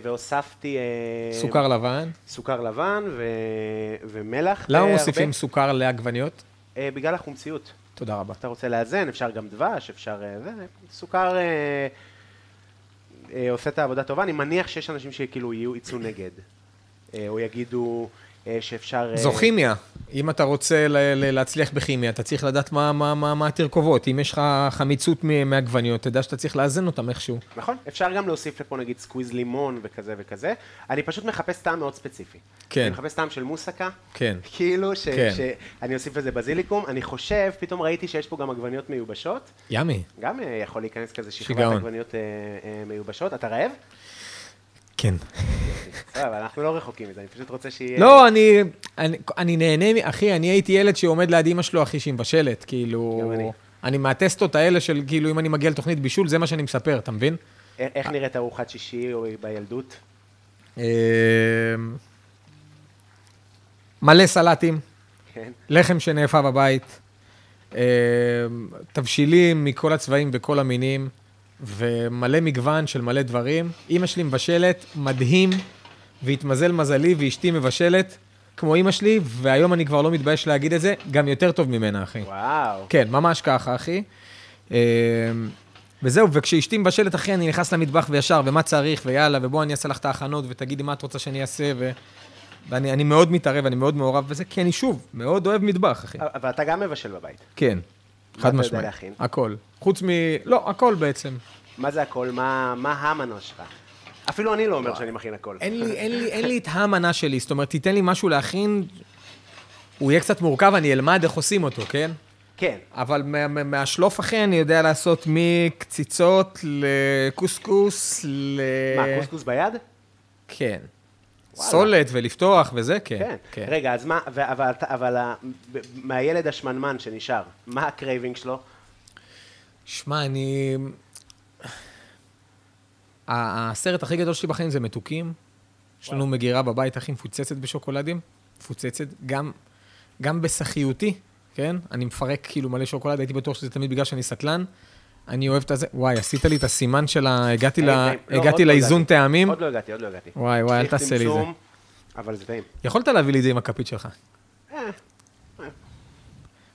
והוספתי... אה, סוכר לבן. סוכר לבן ו- ומלח. אה, למה הרבה. מוסיפים סוכר לעגבניות? אה, בגלל החומציות. תודה רבה. אתה רוצה לאזן, אפשר גם דבש, אפשר... אה, זה, סוכר אה, אה, עושה את העבודה טובה, אני מניח שיש אנשים שכאילו יהיו, יצאו נגד, אה, או יגידו אה, שאפשר... אה, זו כימיה. אם אתה רוצה ל- ל- להצליח בכימיה, אתה צריך לדעת מה- מה- מה מה התרכובות. אם יש לך חמיצות מ- מעגבניות, תדע שאתה צריך לאזן אותם איכשהו. נכון, אפשר גם להוסיף לפה נגיד סקוויז לימון וכזה וכזה. אני פשוט מחפש טעם מאוד ספציפי. כן. אני מחפש טעם של מוסקה. כן. כאילו ש... כן. שאני אוסיף לזה בזיליקום. אני חושב, פתאום ראיתי שיש פה גם עגבניות מיובשות. ימי. גם אה, יכול להיכנס כזה שכבת שיגעון. עגבניות אה, אה, מיובשות. אתה רעב? כן. סבבה, אנחנו לא רחוקים מזה, אני פשוט רוצה שיהיה... לא, אני- אני- אני נהנה, מ- אחי, אני הייתי ילד שעומד ליד אימא שלו, אחי, שהיא מבשלת. כאילו... גם אני. אני מהטסטות האלה של כאילו, אם אני מגיע לתוכנית בישול, זה מה שאני מספר, אתה מבין? א- איך נראית ארוחת שישי או בילדות? אה, מלא סלטים. כן. לחם שנאפה בבית, אה, תבשילים מכל הצבעים וכל המינים, ומלא מגוון של מלא דברים. אימא שלי מבשלת, מדהים, והתמזל מזלי, ואשתי מבשלת כמו אימא שלי, והיום אני כבר לא מתבייש להגיד את זה, גם יותר טוב ממנה, אחי. וואו. כן, ממש ככה, אחי. אה, וזהו, וכשאשתי מבשלת, אחי, אני נכנס למטבח וישר, ומה צריך, ויאללה, ובוא אני אעשה לך את ההכנות, ותגידי מה את רוצה שאני אעשה, ו... ואני אני מאוד מתערב, אני מאוד מעורב בזה, כי אני שוב, מאוד אוהב מטבח, אחי. אבל אתה גם מבשל בבית. כן, חד יודע משמעית. להכין? הכל. חוץ מ... לא, הכל בעצם. מה זה הכל? מה מה המנוע שלך? אפילו אני לא אומר שאני מכין הכל. אין לי, אין לי, אין לי את המנה שלי, זאת אומרת, תיתן לי משהו להכין, הוא יהיה קצת מורכב, אני אלמד איך עושים אותו, כן? כן. אבל מה- מה- מהשלוף, אחי, אני יודע לעשות מקציצות לקוסקוס ל... מה, קוסקוס ביד? כן. וואלה. סולת ולפתוח וזה, כן. כן. רגע, אז מה, ו- אבל אתה- אבל ה- ב- מהילד השמנמן שנשאר, מה הקרייבינג שלו? שמע, אני... ה- הסרט הכי גדול שלי בחיים זה מתוקים. יש לנו מגירה בבית הכי מפוצצת בשוקולדים. מפוצצת. גם, גם בסחיותי, כן? אני מפרק כאילו מלא שוקולד, הייתי בטוח שזה תמיד בגלל שאני סטלן. אני אוהב את הזה. וואי, עשית לי את הסימן של ה... הגעתי, ל... טעים, טעים. לא, עוד הגעתי לא לאיזון הגעתי. טעמים. עוד לא הגעתי, עוד לא הגעתי. וואי, וואי, אל צריך תעשה לי את זה. צמצום, אבל זה טעים. יכולת להביא לי את זה עם הכפית שלך. אה,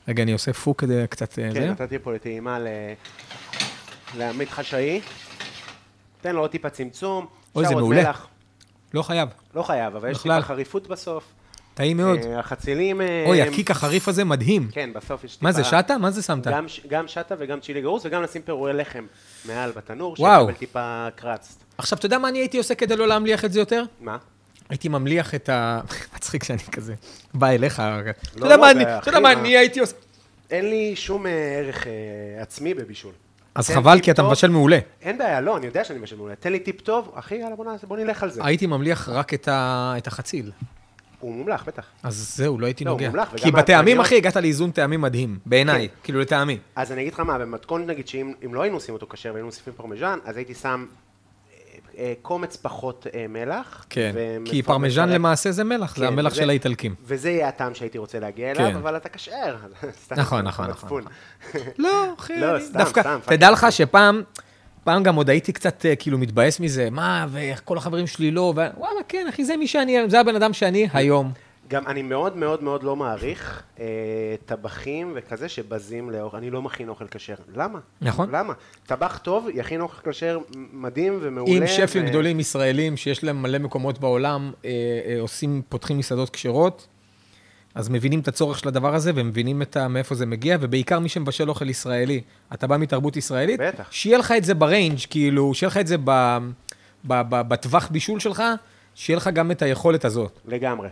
רגע, אני עושה פוק כדי קצת... אה, כן, זה. נתתי פה לטעימה ל... לעמית חשאי. תן לו עוד טיפה צמצום. אוי, אפשר זה עוד מעולה. מלח. לא חייב. לא חייב, אבל יש בכלל. טיפה חריפות בסוף. טעים מאוד. אה, החצילים... אה, אוי, הם- הקיק החריף הזה מדהים. כן, בסוף יש טיפה... מה זה, שטה? מה זה שמת? גם, ש- גם שטה וגם צ'ילי גרוס, וגם לשים פירורי לחם מעל בתנור, וואו. שיקבל טיפה קרץ. עכשיו, אתה יודע מה אני הייתי עושה כדי לא להמליח את זה יותר? מה? הייתי ממליח את ה... מצחיק שאני כזה בא אליך. רגע. אתה לא, יודע מה אני- זה אתה יודע הכי מה מה. אני הייתי עושה? אין לי שום אה, ערך אה, עצמי בבישול. אז תן חבל, טיפ כי אתה טוב. מבשל מעולה. אין בעיה, לא, אני יודע שאני מבשל מעולה. תן לי טיפ טוב, אחי, יאללה, בוא נעשה- בוא נלך על זה. הייתי ממליח רק את ה- את החציל. הוא מומלח, בטח. אז זהו, לא הייתי לא, הוא נוגע. מומלח, וגם לא- כי בטעמים, העגבניות- אחי, הגעת לאיזון טעמים מדהים, כן. בעיניי, כאילו לטעמי. אז אני אגיד לך מה, במתכון נגיד שאם אם לא היינו עושים אותו כשר והיינו מוסיפים פרמיז'ן, אז הייתי שם אה, אה, קומץ פחות אה, מלח. כן, ומפרק- כי פרמיז'ן מפרק. למעשה זה מלח, זה כן, המלח וזה- של האיטלקים. וזה יהיה הטעם שהייתי רוצה להגיע אליו, כן. אבל אתה כשר. אז סתם, נכון, נכון, מצפון. לא, אחי, לא, אני- סתם, דווקא, סתם, תדע פאק. לך שפעם, פעם גם עוד הייתי קצת אה, כאילו מתבאס מזה, מה, ואיך כל החברים שלי לא, ו- וואלה, כן, אחי, זה מי שאני, זה הבן אדם שאני היום. גם אני מאוד מאוד מאוד לא מעריך אה, טבחים וכזה שבזים לאוכל, אני לא מכין אוכל כשר. למה? נכון. למה? טבח טוב יכין אוכל כשר מדהים ומעולה. אם שפים ו- גדולים ישראלים, שיש להם מלא מקומות בעולם, אה, אה, עושים, פותחים מסעדות כשרות, אז מבינים את הצורך של הדבר הזה, ומבינים את ה- מאיפה זה מגיע, ובעיקר מי שמבשל אוכל ישראלי. אתה בא מתרבות ישראלית? בטח. שיהיה לך את זה בריינג', כאילו, שיהיה לך את זה ב- ב- ב- בטווח בישול שלך, שיהיה לך גם את היכולת הזאת. לגמרי.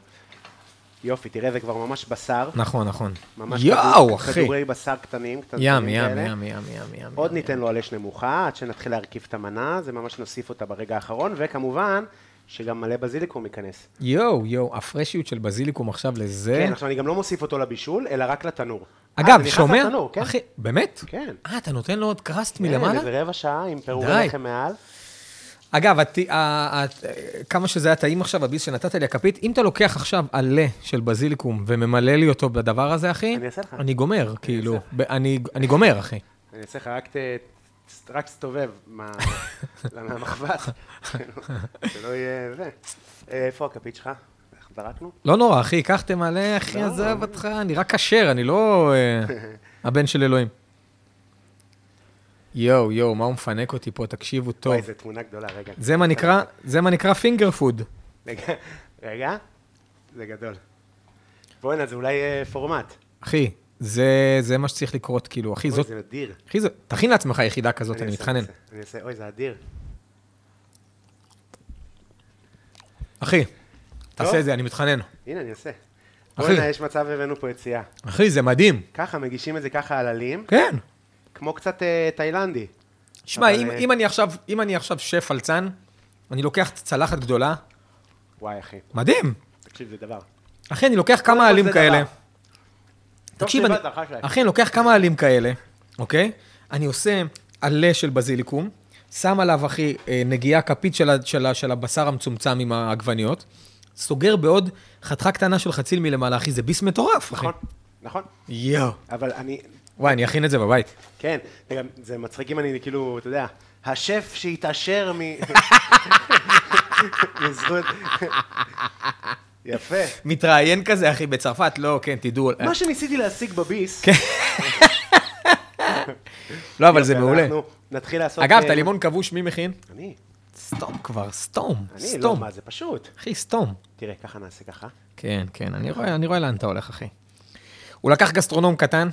יופי, תראה, זה כבר ממש בשר. נכון, נכון. ממש יואו, כדור- אחי. כדורי בשר קטנים, קטנים ים, ים, ים, כאלה. ים, ים, ים, ים. עוד ניתן לו על אש נמוכה, עד שנתחיל להרכיב את המנה, זה ממש נוסיף אותה ברגע האחרון, וכמובן, שגם מלא בזיליקום ייכנס. יואו, יואו, הפרשיות של בזיליקום עכשיו לזה. כן, עכשיו אני גם לא מוסיף אותו לבישול, אלא רק לתנור. אה, זה אה? אגב, נכנס שומע? לתנור, כן. אחי, באמת? כן. אה, אתה נותן לו עוד קראסט כן, מלמעלה? איזה רבע שעה עם די. פירורי לחם מעל. אגב, הת... ה... ה... כמה שזה היה טעים עכשיו, הביס שנתת לי הכפית, אם אתה לוקח עכשיו עלה של בזיליקום וממלא לי אותו בדבר הזה, אחי, אני אעשה לך. אני גומר, כאילו, ב... אני... אני גומר, אחי. אני אעשה לך רק ת... רק תסתובב מה- מהמחבת, שלא יהיה זה. אה, איפה הכפית שלך? איך זרקנו? לא נורא, אחי, קח תמלא, אחי, לא. עזב אותך, אני רק כשר, אני לא אה, הבן של אלוהים. יואו, יואו, מה הוא מפנק אותי פה, תקשיבו טוב. וואי, זו תמונה גדולה, רגע. זה מה נקרא, זה מה נקרא פינגר פוד. רגע, רגע, זה גדול. בואנה, זה אולי אה, פורמט. אחי, זה, זה מה שצריך לקרות, כאילו, אחי, אוי, זאת... זה אדיר. אחי, זה... תכין לעצמך יחידה כזאת, אני אעשה, מתחנן. אעשה, אני אעשה, אוי, זה אדיר. אחי, לא? תעשה את זה, אני מתחנן. הנה, אני אעשה. אחי. בואנה, יש מצב הבאנו פה יציאה. אחי, זה מדהים. ככה, מגישים את זה ככה על עלים, כן. כמו קצת אה, תאילנדי. שמע, אבל, אם, אה, אם, אני עכשיו, אם אני עכשיו שף פלצן, אני לוקח צלחת גדולה, וואי, אחי, מדהים. תקשיב, זה דבר. אחי, אני לוקח כל כמה עלים זה כאלה. דבר. טוב תקשיב, אני, שבאת, אחי. אחי, אני לוקח כמה עלים כאלה, אוקיי? אני עושה עלה של בזיליקום, שם עליו, אחי, אה, נגיעה כפית של, ה- של, ה- של הבשר המצומצם עם העגבניות, סוגר בעוד חתיכה קטנה של חציל מלמעלה, אחי, זה ביס מטורף, אחי. נכון, נכון. יואו. אבל אני, וואי, אני אכין את זה בבית. כן, זה גם- זה מצחיק אם אני כאילו, אתה יודע, השף שהתעשר מ... מזכות... יפה. מתראיין כזה, אחי, בצרפת, לא, כן, תדעו. מה שניסיתי להשיג בביס... לא, כן, אבל זה יופי, מעולה. אנחנו נתחיל לעשות... אגב, אה, את הלימון כבוש, מי מכין? אני, סתום כבר, סתום, אני, לא, סתום. מה זה פשוט. אחי, סתום. תראה, ככה נעשה ככה. כן, כן, אני רואה, אני רואה לאן אתה הולך, אחי. הוא לקח גסטרונום קטן,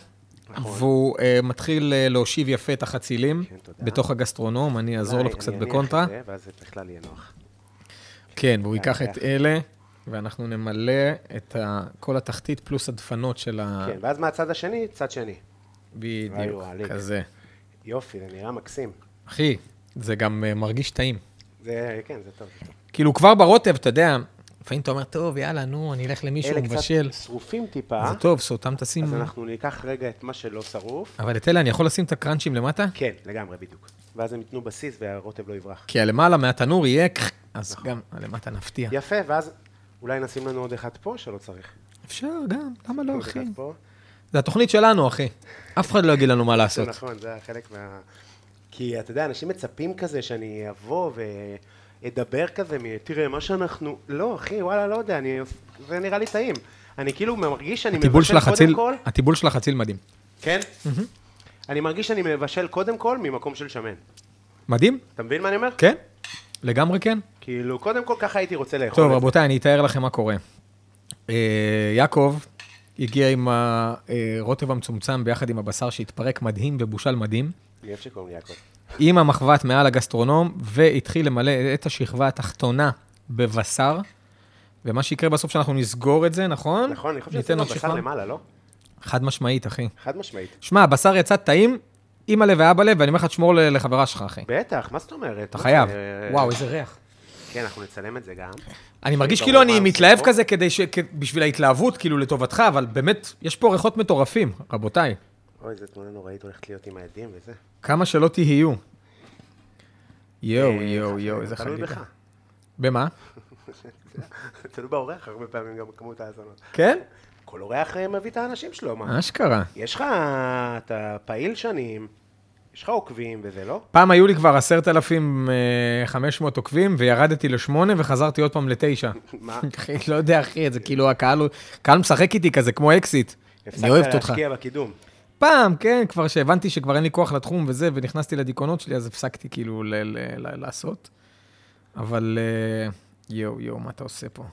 והוא אה, מתחיל אה, להושיב יפה את החצילים נכון. כן, תודה. בתוך הגסטרונום, אני אעזור אולי לו אה, אני קצת אניח את בקונטרה. זה, ואז זה בכלל יהיה נוח. כן, והוא ייקח אניח. את אלה, ואנחנו נמלא את ה- כל התחתית פלוס הדפנות של ה... כן, ואז מהצד השני, צד שני. בדיוק, היו, העליק. כזה. יופי, זה נראה מקסים. אחי, זה גם אה, מרגיש טעים. זה, כן, זה טוב. זה טוב. כאילו, כבר ברוטב, אתה יודע, לפעמים אתה אומר, טוב, יאללה, נו, אני אלך למישהו, אלה הוא מבשל. קצת שרופים טיפה, זה טוב, סותם תשים... אז אנחנו ניקח רגע את מה שלא שרוף. אבל את אלה אני יכול לשים את הקראנצ'ים למטה? כן, לגמרי, בדיוק. ואז הם ייתנו בסיס והרוטב לא יברח. כי הלמעלה מהתנור יהיה... קח, אז נכון. גם הלמטה נפתיע. יפה, ואז אולי נשים לנו עוד אחד פה שלא צריך. אפשר גם, למה לא, עוד אחי? אחד פה. זה התוכנית שלנו, אחי. אף אחד לא יגיד לנו מה זה לעשות. נכון, זה חלק מה... כי אתה יודע, אנשים מצפים כזה שאני אבוא ואדבר כזה, מ- תראה, מה שאנחנו... לא, אחי, וואלה, לא יודע, אני... זה נראה לי טעים. אני כאילו מרגיש שאני הטיבול של אה. מבשל קודם החציל, כל... הטיבול של החציל מדהים. כן? אני מרגיש שאני מבשל קודם כל ממקום של שמן. מדהים? אתה מבין מה אני אומר? כן? לגמרי כן? כאילו, קודם כל ככה הייתי רוצה לאכול. טוב, את זה. רבותיי, אני אתאר לכם מה קורה. אה, יעקב הגיע עם הרוטב המצומצם ביחד עם הבשר שהתפרק מדהים ובושל מדהים, אני אוהב שקוראים לי יעקב. עם המחבת מעל הגסטרונום, והתחיל למלא את השכבה התחתונה בבשר. ומה שיקרה בסוף שאנחנו נסגור את זה, נכון? נכון, אני חושב ניתן שעשינו עוד בשר שכבה. למעלה, לא? חד משמעית, אחי. חד משמעית. שמע, הבשר יצא טעים, אימא'לה ואבא'לה, ואני אומר לך, תשמור ל- לחברה שלך, אחי. בטח, מה זאת אומרת? אתה חייב. אה, וואו, איזה ריח. כן, אנחנו נצלם את זה גם. אני מרגיש ברור כאילו מה אני עושים מתלהב פה. כזה כדי ש... כ- בשביל ההתלהבות, כאילו לטובתך, אבל באמת, יש פה ריחות מטורפים, רבותיי. אוי, איזו תמונה נוראית הולכת להיות עם העדים וזה. כמה שלא תהיו. יואו, אה, יואו, יואו, איזה תלוי חגיגה. בך. במה? תלוי באורח הרבה פעמים גם בכמות האזנות. כן? כל אורח אה, מביא את האנשים שלו, מה? אשכרה. יש לך, אתה פעיל שנים, יש לך עוקבים וזה, לא? פעם היו לי כבר 10,500 עוקבים, וירדתי לשמונה וחזרתי עוד פעם לתשע. מה? אחי, לא יודע, אחי, זה כאילו הקהל הוא- הקהל משחק איתי כזה, כמו אקזיט. אני אוהבת אותך. הפסקת להשקיע בקידום. פעם, כן, כבר שהבנתי שכבר אין לי כוח לתחום וזה, ונכנסתי לדיכאונות שלי, אז הפסקתי כאילו ל- ל- ל- לעשות. אבל אה, יואו, יואו, מה אתה עושה פה?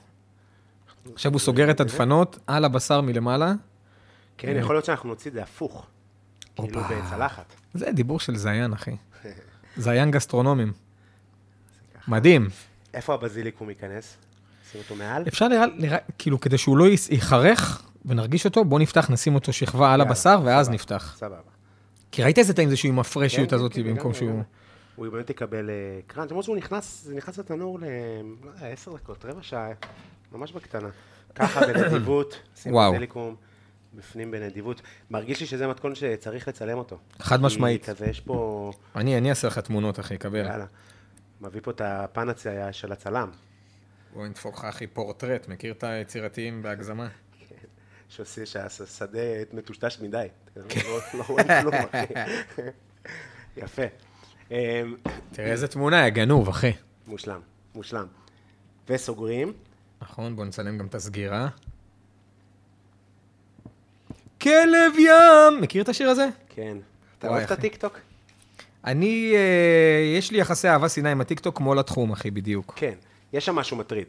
עכשיו הוא סוגר את הדפנות על הבשר מלמעלה. כן, יכול להיות שאנחנו נוציא את זה הפוך. כאילו בצלחת. זה דיבור של זיין, אחי. זיין גסטרונומים. מדהים. איפה הבזיליקום ייכנס? שים אותו מעל? אפשר נראה, נראה, כאילו, כדי שהוא לא ייס- ייחרך ונרגיש אותו, בוא נפתח, נשים אותו שכבה על יאללה, הבשר, ואז סבבה, נפתח. סבבה. כי ראית איזה טעים זה שהוא עם הפרשיות כן, הזאת כן, במקום לגמרי, שהוא... לגמרי. הוא באמת יקבל אה, קראנץ', למרות שהוא נכנס, זה נכנס לתנור ל... לא יודע, עשר דקות, רבע שעה, ממש בקטנה. ככה בנדיבות, שים וואו. בזיליקום, בפנים בנדיבות. מרגיש לי שזה מתכון שצריך לצלם אותו. חד כי משמעית. כן. כזה יש פה, אני אני אעשה לך תמונות, אחי, קבל. יאללה, מביא פה את הפן הצ- של הצלם, בוא נדפוק לך אחי פורטרט, מכיר את היצירתיים בהגזמה? שעושה שהשדה מטושטש מדי. לא- לא רואים כלום, אחי. יפה. אמ, תראה איזה תמונה, יא גנוב, אחי. מושלם, מושלם. וסוגרים. נכון, בוא נצלם גם את הסגירה. כלב ים! מכיר את השיר הזה? כן. אתה וואי, אוהב את אחי. הטיקטוק? אני, אה, יש לי יחסי אהבה סיני עם הטיקטוק כמו לתחום, אחי, בדיוק. כן. יש שם משהו מטריד.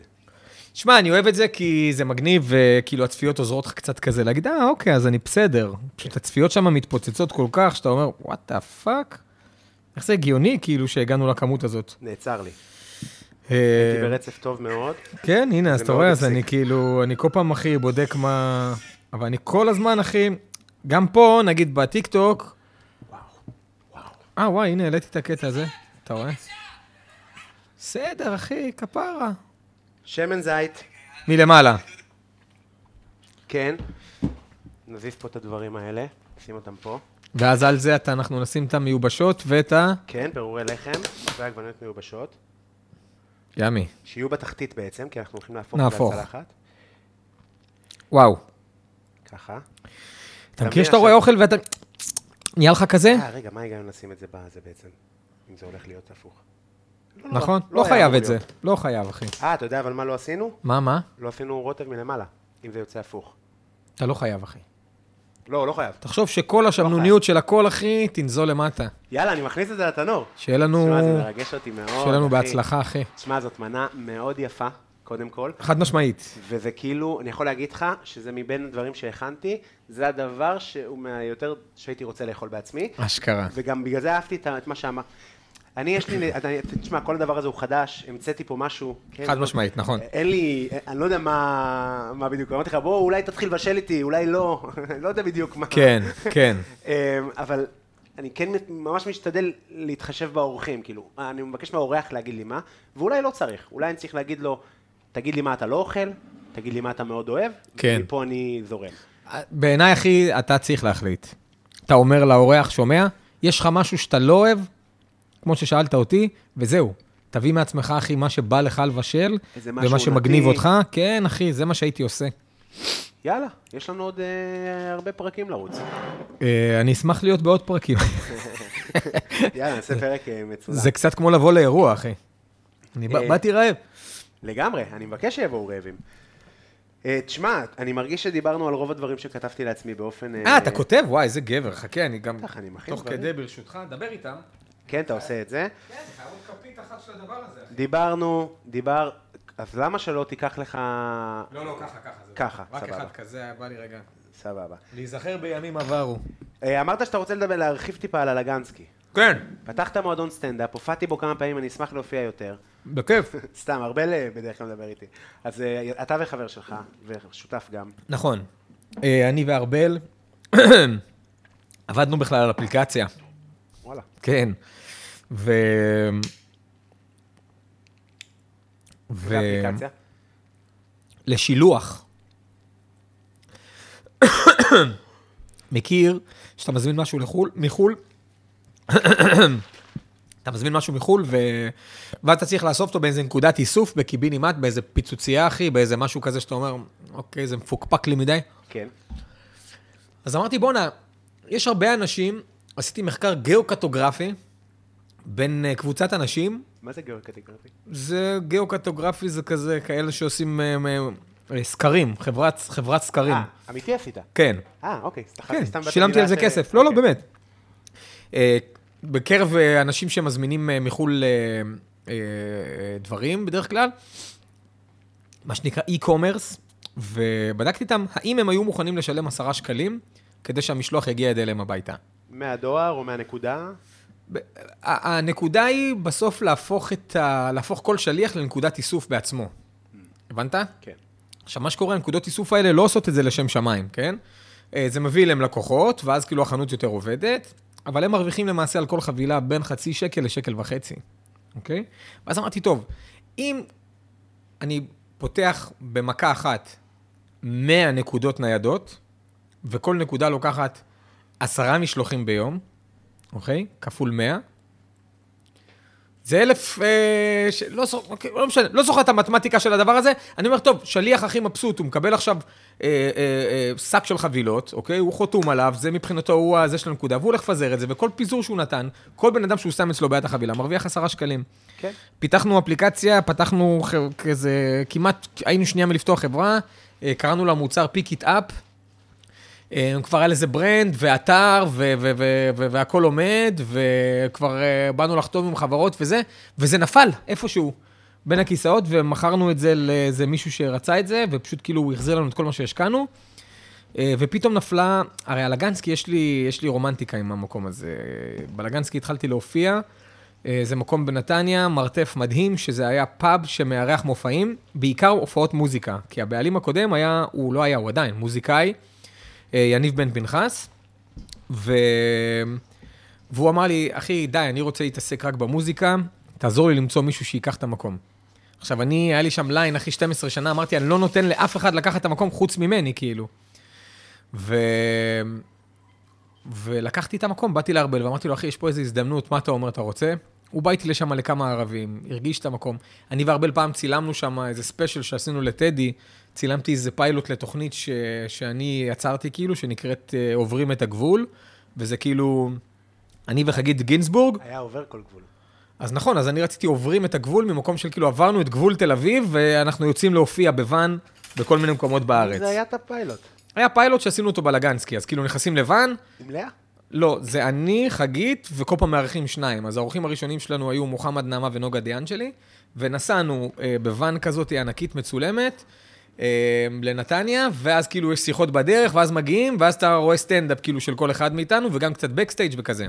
שמע, אני אוהב את זה כי זה מגניב, וכאילו הצפיות עוזרות לך קצת כזה להגיד, אה, אוקיי, אז אני בסדר. פשוט הצפיות שם מתפוצצות כל כך, שאתה אומר, וואט דה פאק? איך זה הגיוני, כאילו, שהגענו לכמות הזאת. נעצר לי. אה, הייתי ברצף טוב מאוד. כן, הנה, אז זה אתה מאוד רואה, אז הפסיק. אני כאילו, אני כל פעם, אחי, בודק מה... אבל אני כל הזמן, אחי, גם פה, נגיד בטיקטוק... וואו, וואו. אה, וואי, הנה, העליתי את הקטע הזה, אתה רואה? בסדר, אחי, כפרה. שמן זית, מלמעלה. כן. נזיז פה את הדברים האלה, נשים אותם פה. ואז על זה אתה, אנחנו נשים את המיובשות ואת ה... כן, פירורי לחם ועגבניות מיובשות, ימי. שיהיו בתחתית בעצם, כי אנחנו הולכים להפוך נהפוך. את הצלחת. וואו. ככה. אתה תבין מכיר שאתה רואה עכשיו- אוכל ואתה... נהיה לך כזה? אה, רגע, מה ההיגיון לשים את זה בזה בעצם? אם זה הולך להיות הפוך. לא נורא, נכון? לא לא היה חייב אמור את זה. להיות. לא חייב, אחי. אה, אתה יודע אבל מה לא עשינו? מה, מה? לא עשינו רוטב מלמעלה, אם זה יוצא הפוך. אתה לא חייב, אחי. לא, לא חייב. תחשוב שכל לא השמנוניות של הכל, אחי, תנזול למטה. יאללה, אני מכניס את זה לתנור. שיהיה לנו, תשמע, זה מרגש אותי מאוד. שיהיה לנו אחי. בהצלחה, אחי. תשמע, זאת מנה מאוד יפה, קודם כל. חד משמעית. וזה כאילו, אני יכול להגיד לך שזה מבין הדברים שהכנתי, זה הדבר שהוא מהיותר שהייתי רוצה לאכול בעצמי, אשכרה. וגם בגלל זה אהבתי את ה- את מה שאמר. אני יש לי, אתה- תשמע, כל הדבר הזה הוא חדש, המצאתי פה משהו. כן, חד משמעית, נכון. אין לי, אני לא יודע מה, מה בדיוק, אמרתי לך, בוא, אולי תתחיל לבשל איתי, אולי לא, לא יודע בדיוק מה. כן, כן. אמ, אבל אני כן ממש משתדל להתחשב באורחים, כאילו, אני מבקש מהאורח להגיד לי מה, ואולי לא צריך, אולי אני צריך להגיד לו, תגיד לי מה אתה לא אוכל, תגיד לי מה אתה מאוד אוהב, כן. מפה אני זורם. בעיניי, אחי, אתה צריך להחליט. אתה אומר לאורח, שומע, יש לך משהו שאתה לא אוהב, כמו ששאלת אותי, וזהו. תביא מעצמך, אחי, מה שבא לך לבשל, איזה משהו ומה שמגניב עונתי. אותך. כן, אחי, זה מה שהייתי עושה. יאללה, יש לנו עוד אה, הרבה פרקים לרוץ. אה, אני אשמח להיות בעוד פרקים. יאללה, נעשה פרק אה, מצולם. זה קצת כמו לבוא לאירוע, אחי. אני אה, בא- באתי רעב. לגמרי, אני מבקש שיבואו רעבים. אה, תשמע, אני מרגיש שדיברנו על רוב הדברים שכתבתי לעצמי באופן... אה, אתה כותב? וואי, איזה גבר. חכה, אני גם... ככה, אני מכין תוך דברים. כדי, ברשותך, דבר איתם. כן, אתה עושה את זה. כן, חייב עוד כפית אחת של הדבר הזה, אחי. דיברנו, דיבר... אז למה שלא תיקח לך... לא, לא, ככה, ככה. זה- ככה, רק סבבה. אחד כזה היה בא לי רגע. סבבה. להיזכר בימים עברו. אה, אמרת שאתה רוצה לדבר, להרחיב טיפה על הלגנסקי. כן, פתחת מועדון סטנדאפ, הופעתי בו כמה פעמים, אני אשמח להופיע יותר. בכיף. סתם, ארבל אה, בדרך כלל מדבר איתי. אז אה, אתה וחבר שלך, ושותף גם. נכון. אה, אני וארבל עבדנו בכלל על אפליקציה. וואלה. כן. ו... ו... ואפליקציה. לשילוח. מכיר שאתה מזמין משהו לחו"ל, מחו"ל, אתה מזמין משהו מחו"ל, ו... ואתה צריך לאסוף אותו באיזה נקודת איסוף, בקיבינימט, באיזה פיצוצייה, אחי, באיזה משהו כזה שאתה אומר, אוקיי, זה מפוקפק לי מדי. כן. אז אמרתי, בואנה, יש הרבה אנשים, עשיתי מחקר גיאוקטוגרפי בין אה, קבוצת אנשים, מה זה גאו קטגרפי? זה גיאוקטוגרפי, זה כזה כאלה שעושים אה, אה, אה, סקרים, חברת, חברת סקרים. אה, אמיתי עשית. כן, אה, אוקיי, סליחה, כן, סתם באתי שילמתי מילה על זה ש- כסף. לא, לא, אוקיי. באמת. אה, בקרב אה, אנשים שמזמינים אה, מחו"ל אה, אה, אה, דברים בדרך כלל, מה שנקרא e-commerce, ובדקתי איתם האם הם היו מוכנים לשלם עשרה שקלים כדי שהמשלוח יגיע עד אליהם הביתה. מהדואר או מהנקודה? ב- ה- הנקודה היא בסוף להפוך, את ה... להפוך כל שליח לנקודת איסוף בעצמו. הבנת? כן. עכשיו, מה שקורה, הנקודות איסוף האלה לא עושות את זה לשם שמיים, כן? אה, זה מביא אליהם לקוחות, ואז כאילו החנות יותר עובדת, אבל הם מרוויחים למעשה על כל חבילה בין חצי שקל לשקל וחצי, אוקיי? ואז אמרתי, טוב, אם אני פותח במכה אחת 100 נקודות ניידות, וכל נקודה לוקחת עשרה משלוחים ביום, אוקיי? כפול 100. זה אלף, אה, ש... לא, זוכ... אוקיי, לא משנה, לא זוכר את המתמטיקה של הדבר הזה. אני אומר, טוב, שליח הכי מבסוט, הוא מקבל עכשיו אה, אה, אה, שק של חבילות, אוקיי? הוא חתום עליו, זה מבחינתו, הוא הזה של הנקודה, והוא הולך לפזר את זה, וכל פיזור שהוא נתן, כל בן אדם שהוא שם אצלו ביד החבילה, מרוויח עשרה שקלים. כן. פיתחנו אפליקציה, פתחנו ח- כזה, כמעט היינו שנייה מלפתוח חברה, אה, קראנו לה מוצר פיק איט אפ. אה, כבר היה לזה ברנד ואתר ו- ו- ו- ו- והכל עומד, וכבר אה, באנו לחתום עם חברות וזה, וזה נפל איפשהו בין הכיסאות, ומכרנו את זה לאיזה מישהו שרצה את זה, ופשוט כאילו הוא החזיר לנו את כל מה שהשקענו. אה, ופתאום נפלה, הרי הלגנסקי, יש לי, יש לי רומנטיקה עם המקום הזה. בלגנסקי התחלתי להופיע, אה, זה מקום בנתניה, מרתף מדהים, שזה היה פאב שמארח מופעים, בעיקר הופעות מוזיקה, כי הבעלים הקודם היה, הוא לא היה, הוא עדיין מוזיקאי, אה, יניב בן פנחס, ו... והוא אמר לי, אחי, די, אני רוצה להתעסק רק במוזיקה, תעזור לי למצוא מישהו שייקח את המקום. עכשיו, אני, היה לי שם ליין, אחי, 12 שנה, אמרתי, אני לא נותן לאף אחד לקחת את המקום חוץ ממני, כאילו. ו... ולקחתי את המקום, באתי לארבל ואמרתי לו, אחי, יש פה איזו הזדמנות, מה אתה אומר, אתה רוצה? הוא בא איתי לשם לכמה ערבים, הרגיש את המקום. אני וארבל פעם צילמנו שם איזה ספיישל שעשינו לטדי, צילמתי איזה פיילוט לתוכנית ש... שאני יצרתי, כאילו, שנקראת אה, עוברים את הגבול, וזה כאילו, אני וחגית גינזבורג, היה עובר כל גבול. אז נכון, אז אני רציתי עוברים את הגבול ממקום של כאילו עברנו את גבול תל אביב, ואנחנו יוצאים להופיע בוואן בכל מיני מקומות בארץ. זה היה את הפיילוט. היה פיילוט שעשינו אותו בלגנסקי, אז כאילו נכנסים לוואן, עם לאה? לא, זה אני, חגית, וכל פעם מארחים שניים. אז האורחים הראשונים שלנו היו מוחמד נעמה ונוגה דיאן שלי, ונסענו אה, בוואן כזאת ענקית מצולמת אה, לנתניה, ואז כאילו יש שיחות בדרך, ואז מגיעים, ואז אתה רואה סטנדאפ כאילו של כל אחד מאיתנו, וגם קצת בקסטייג' וכזה.